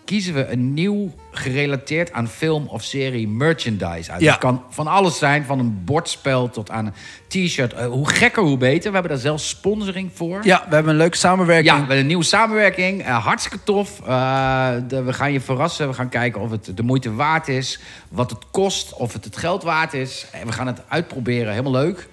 Speaker 6: kiezen we een nieuw gerelateerd aan film of serie merchandise uit.
Speaker 4: Ja.
Speaker 6: Dat kan van alles zijn, van een bordspel tot aan een t-shirt. Eh, hoe gekker, hoe beter. We hebben daar zelfs sponsoring voor.
Speaker 4: Ja, we hebben een leuke
Speaker 6: Ja,
Speaker 4: samenwerking.
Speaker 6: we hebben een nieuwe samenwerking. Eh, hartstikke tof. Eh, de- we gaan je verrassen. We gaan kijken of het de moeite waard is. Wat het kost. Of het het geld waard is. En we gaan het uitproberen. Helemaal leuk.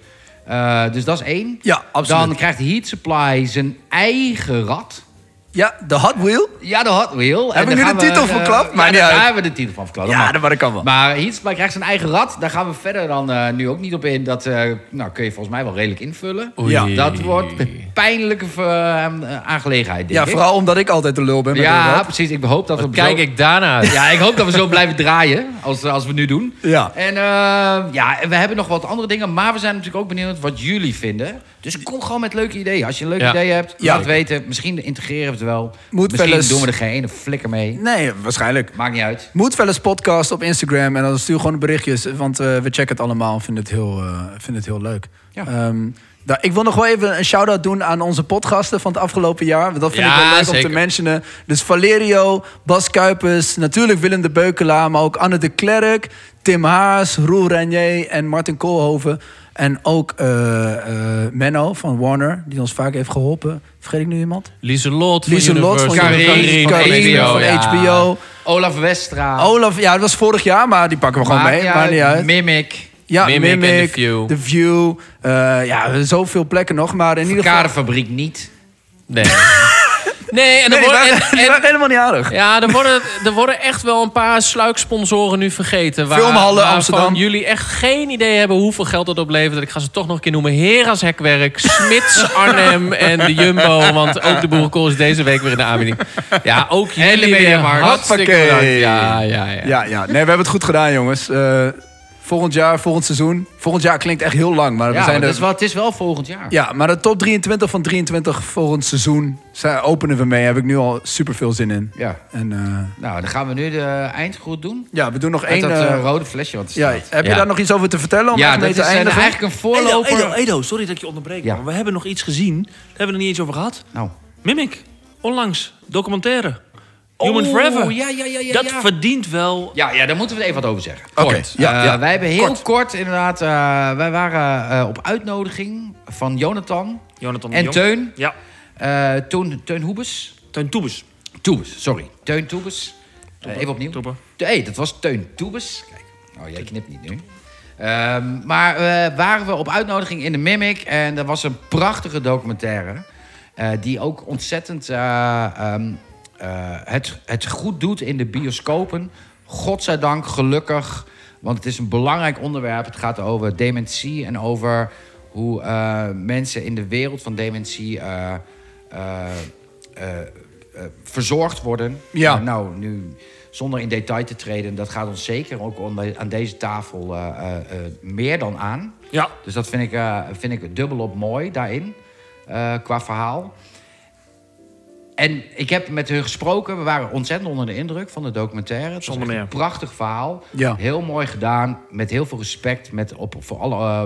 Speaker 6: Eh, dus dat is één.
Speaker 4: Ja, absoluut.
Speaker 6: Dan krijgt Heat Supply zijn eigen rad.
Speaker 4: Ja, de Hot Wheel.
Speaker 6: Ja, de Hot Wheel.
Speaker 4: Heb
Speaker 6: En
Speaker 4: ik
Speaker 6: dan
Speaker 4: nu
Speaker 6: gaan
Speaker 4: de
Speaker 6: we,
Speaker 4: titel
Speaker 6: eh,
Speaker 4: verklapt?
Speaker 6: Ja,
Speaker 4: Maakt niet
Speaker 6: daar
Speaker 4: uit.
Speaker 6: hebben we de titel van verklapt.
Speaker 4: Ja, dat- maar dat kan wel.
Speaker 6: Maar Heat Supply krijgt zijn eigen rad. Daar gaan we verder dan eh, nu ook niet op in. Dat eh, nou, kun je volgens mij wel redelijk invullen.
Speaker 4: Ja.
Speaker 6: Dat wordt een pijnlijke eh, aangelegenheid, denk
Speaker 4: Ja,
Speaker 6: ik.
Speaker 4: vooral omdat ik altijd de lul ben. met de
Speaker 6: Ja,
Speaker 4: Rad.
Speaker 6: precies. Ik hoop dat we
Speaker 3: Kijk
Speaker 6: zo...
Speaker 3: ik daarna.
Speaker 6: Ja, ik hoop dat we zo blijven draaien als, als we het nu doen.
Speaker 4: Ja.
Speaker 6: En eh, ja, en we hebben nog wat andere dingen, maar we zijn natuurlijk ook benieuwd wat jullie vinden. Dus kom gewoon met leuke ideeën. Als je een leuk
Speaker 3: Ja.
Speaker 6: idee hebt,
Speaker 4: Ja.
Speaker 6: laat het weten. Misschien integreren we het wel.
Speaker 4: Moet
Speaker 6: Misschien
Speaker 4: wel eens-
Speaker 6: doen we er geen ene flikker mee.
Speaker 4: Nee, waarschijnlijk.
Speaker 6: Maakt niet uit.
Speaker 4: Moet wel eens podcast op Instagram en dan stuur gewoon berichtjes. Want eh, we checken het allemaal en vinden het heel, eh, vinden het heel leuk.
Speaker 6: Ja.
Speaker 4: Ehm, daar- ik wil nog wel even een shout-out doen aan onze podcasten van het afgelopen jaar. Want dat vind
Speaker 3: Ja,
Speaker 4: ik wel leuk om
Speaker 3: zeker.
Speaker 4: te mentionen. Dus Valerio, Bas Kuipers, natuurlijk Willem de Beukelaar... maar ook Anne de Klerk, Tim Haas, Roel Renier en Martin Koolhoven. En ook eh, eh, Menno van Warner, die ons vaak heeft geholpen. Vergeet ik nu iemand?
Speaker 3: Lieselot van
Speaker 4: Lieselot van
Speaker 3: Universal.
Speaker 6: Carré,
Speaker 4: Carré,
Speaker 3: Carré,
Speaker 6: van
Speaker 4: Carré
Speaker 3: HBO,
Speaker 4: van
Speaker 3: ja.
Speaker 4: HBO.
Speaker 6: Olaf Westra.
Speaker 4: Olaf, ja, dat was vorig jaar, maar die pakken we Oh, gewoon
Speaker 6: Maakt
Speaker 4: mee. Maakt niet uit.
Speaker 6: Mimic.
Speaker 4: Ja,
Speaker 3: Mimic en
Speaker 4: Mimic,
Speaker 3: The View.
Speaker 4: The View. Eh, ja, zoveel plekken nog, maar in ieder geval...
Speaker 6: Karenfabriek niet.
Speaker 3: Nee. Nee, en dan
Speaker 4: Nee, die
Speaker 3: wordt-
Speaker 4: waren,
Speaker 3: en-
Speaker 4: die
Speaker 3: en-
Speaker 4: waren helemaal niet aardig.
Speaker 3: Ja, er worden, er worden echt wel een paar sluiksponsoren nu vergeten. Waar,
Speaker 4: Filmhallen
Speaker 3: waarvan
Speaker 4: Amsterdam.
Speaker 3: jullie echt geen idee hebben hoeveel geld dat oplevert. Ik ga ze toch nog een keer noemen. Hera's Hekwerk,
Speaker 4: [laughs]
Speaker 3: Smits Arnhem en de Jumbo. Want ook de Boerenkool is deze week weer in de aanbieding. Ja, ook jullie
Speaker 6: de
Speaker 3: weer
Speaker 6: Mediamarkt.
Speaker 3: hartstikke
Speaker 4: Hoppakee.
Speaker 3: bedankt. Ja, ja, ja.
Speaker 4: Ja, ja. Nee, we hebben het goed gedaan, jongens. Eh, volgend jaar, volgend seizoen. Volgend jaar klinkt echt heel lang, maar
Speaker 6: Ja,
Speaker 4: we zijn
Speaker 6: maar
Speaker 4: er...
Speaker 6: dat is wel, het is wel volgend jaar.
Speaker 4: Ja, maar de top 23 van 23 volgend seizoen zijn, openen we mee. Daar heb ik nu al super veel zin in.
Speaker 6: Ja.
Speaker 4: En eh,
Speaker 6: Nou, dan gaan we nu de eindgroet doen.
Speaker 4: ja, we doen nog
Speaker 6: Uit
Speaker 4: één...
Speaker 6: dat
Speaker 4: eh,
Speaker 6: eh, rode flesje wat er
Speaker 4: ja,
Speaker 6: staat.
Speaker 4: heb je
Speaker 3: Ja.
Speaker 4: daar nog iets over te vertellen om
Speaker 6: Ja,
Speaker 4: echt mee
Speaker 6: dat
Speaker 4: te
Speaker 6: is eh,
Speaker 4: eindigen?
Speaker 6: eigenlijk een
Speaker 5: Edo,
Speaker 6: voorloper.
Speaker 5: Edo, Edo, sorry dat ik je onderbreek.
Speaker 6: Ja.
Speaker 5: Maar we hebben nog iets gezien. Daar hebben we er niet eens over gehad.
Speaker 6: Nou.
Speaker 5: Mimic, onlangs, documentaire. Human
Speaker 6: Oh,
Speaker 5: Forever.
Speaker 6: Ja, ja, ja, ja.
Speaker 5: dat
Speaker 6: ja.
Speaker 5: verdient wel...
Speaker 6: Ja, ja, daar moeten we even wat over zeggen.
Speaker 4: Oké,
Speaker 6: Kort.
Speaker 4: ja,
Speaker 6: Eh,
Speaker 4: ja.
Speaker 6: wij hebben heel
Speaker 4: Kort.
Speaker 6: kort, inderdaad... eh, wij waren eh, op uitnodiging van Jonathan
Speaker 5: Jonathan de
Speaker 6: en
Speaker 5: Jong.
Speaker 6: Teun.
Speaker 5: Ja,
Speaker 6: eh Teun, Teun Hoebes.
Speaker 5: Teun Toebes.
Speaker 6: Toebes, sorry. Teun Toebes. Eh, even opnieuw.
Speaker 5: Toebe.
Speaker 6: Te- hey, dat was Teun Toebes. Kijk, oh, jij knipt niet nu. Ehm, maar eh, waren we op uitnodiging in de Mimic en er was een prachtige documentaire. eh, die ook ontzettend eh, ehm, eh, het, het goed doet in de bioscopen. Godzijdank, gelukkig. Want het is een belangrijk onderwerp. Het gaat over dementie en over hoe eh, mensen in de wereld van dementie eh, eh, eh, eh, verzorgd worden.
Speaker 4: Ja.
Speaker 6: Eh, nou, nu zonder in detail te treden, dat gaat ons zeker ook onder- aan deze tafel eh, eh, eh, meer dan aan.
Speaker 5: Ja.
Speaker 6: Dus dat vind ik, eh, vind ik dubbelop mooi daarin, eh, qua verhaal. En ik heb met hun gesproken. We waren ontzettend onder de indruk van de documentaire. Het was
Speaker 5: Zonder
Speaker 6: echt een
Speaker 5: meer.
Speaker 6: prachtig verhaal.
Speaker 4: Ja.
Speaker 6: Heel mooi gedaan. Met heel veel respect met op, voor, alle, eh,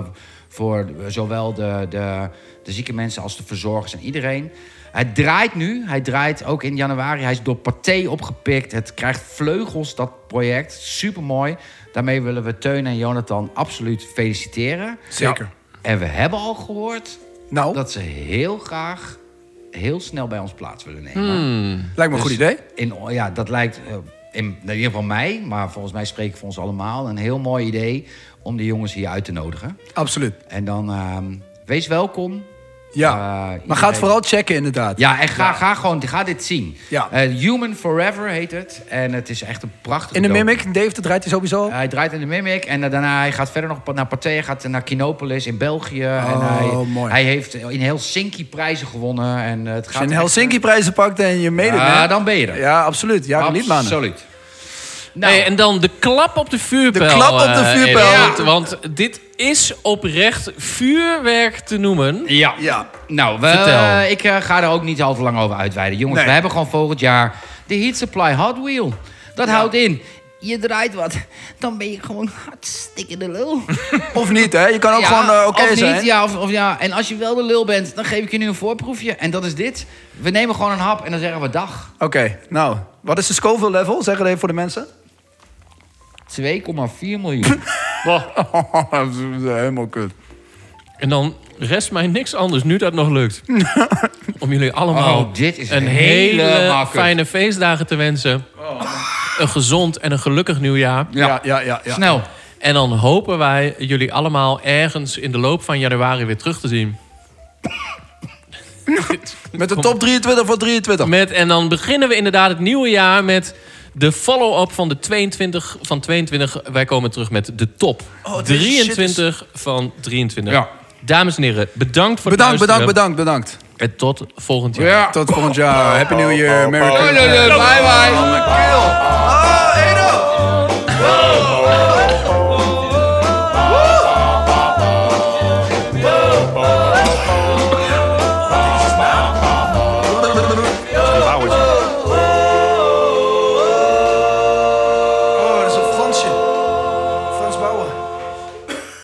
Speaker 6: voor zowel de, de, de zieke mensen als de verzorgers en iedereen. Hij draait nu. Hij draait ook in januari. Hij is door Pathé opgepikt. Het krijgt vleugels, dat project. Supermooi. Daarmee willen we Teun en Jonathan absoluut feliciteren.
Speaker 4: Zeker.
Speaker 6: En we hebben al gehoord
Speaker 4: Nou,
Speaker 6: dat ze heel graag heel snel bij ons plaats willen nemen.
Speaker 4: lijkt me een goed
Speaker 6: Dus
Speaker 4: idee.
Speaker 6: In, ja, dat lijkt eh, in, in ieder geval mij, maar volgens mij spreek ik voor ons allemaal... een heel mooi idee om de jongens hier uit te nodigen.
Speaker 4: Absoluut.
Speaker 6: En dan ehm, wees welkom.
Speaker 4: Ja.
Speaker 6: Eh,
Speaker 4: maar
Speaker 6: iedereen-
Speaker 4: ga het vooral checken, inderdaad.
Speaker 6: Ja, en ga, ga gewoon ga dit zien.
Speaker 4: Ja.
Speaker 6: Eh, Human Forever heet het. En het is echt een prachtige
Speaker 4: In de
Speaker 6: docu-
Speaker 4: Mimic, Dave, dat draait hij sowieso.
Speaker 6: Hij draait in de Mimic en eh, daarna hij gaat verder nog pa- naar Pathé. Hij gaat naar Kinopolis in België. en hij,
Speaker 4: Oh, mooi.
Speaker 6: hij heeft in Helsinki prijzen gewonnen. En eh, het
Speaker 4: Als
Speaker 6: gaat
Speaker 4: je een
Speaker 6: echt-
Speaker 4: Helsinki prijzen pakt en je meedoet.
Speaker 6: Ja,
Speaker 4: hè?
Speaker 6: dan ben je er.
Speaker 4: Ja, absoluut. Ja, niet mannen.
Speaker 6: Absoluut. Nou,
Speaker 3: Hey, en dan de klap op de vuurpijl.
Speaker 4: De klap op de
Speaker 3: eh,
Speaker 4: vuurpijl.
Speaker 3: Edo.
Speaker 4: Ja.
Speaker 3: Want- Want dit is oprecht vuurwerk te noemen.
Speaker 6: ja.
Speaker 4: Ja.
Speaker 6: Nou, we,
Speaker 3: Vertel.
Speaker 6: ik eh, ga er ook niet al te lang over uitweiden. Jongens,
Speaker 4: Nee.
Speaker 6: we hebben gewoon volgend jaar de Heat Supply Hot Wheel. Dat houdt in. Je draait wat, dan ben je gewoon hartstikke de lul.
Speaker 4: Of niet, hè? Je kan ook
Speaker 6: Ja,
Speaker 4: gewoon eh, oké
Speaker 6: of niet,
Speaker 4: zijn.
Speaker 6: Ja, of, of ja. En als je wel de lul bent, dan geef ik je nu een voorproefje. En dat is dit. We nemen gewoon een hap en dan zeggen we dag.
Speaker 4: Oké, nou. Wat is de Scoville level? Zeg het even voor de mensen.
Speaker 6: 2,4 miljoen.
Speaker 4: Oh, [laughs] dat is eh, helemaal kut.
Speaker 3: En dan rest mij niks anders, nu dat nog
Speaker 6: [laughs]
Speaker 3: lukt. Om jullie allemaal
Speaker 6: Oh, dit is
Speaker 3: een
Speaker 6: helemaal
Speaker 3: hele
Speaker 6: kut.
Speaker 3: fijne feestdagen te wensen.
Speaker 6: Oh.
Speaker 3: Een gezond en een gelukkig nieuwjaar.
Speaker 4: Ja, ja, ja. ja.
Speaker 6: Snel.
Speaker 3: En dan hopen wij jullie allemaal ergens in de loop van januari weer terug te zien.
Speaker 4: Met de top 23 voor 23.
Speaker 3: Met, en dan beginnen we inderdaad het nieuwe jaar met de follow-up van de 22 van 22. Wij komen terug met de top
Speaker 4: Oh, deze shit is-
Speaker 3: 23 van 23.
Speaker 6: Ja.
Speaker 3: Dames en heren, bedankt voor
Speaker 4: Bedankt,
Speaker 3: het
Speaker 4: bedankt,
Speaker 3: luisteren.
Speaker 4: bedankt, bedankt.
Speaker 3: En tot volgend jaar.
Speaker 6: Oh,
Speaker 4: Tot volgend jaar. Happy New Year. Merry Christmas.
Speaker 6: Bye bye.
Speaker 4: Oh,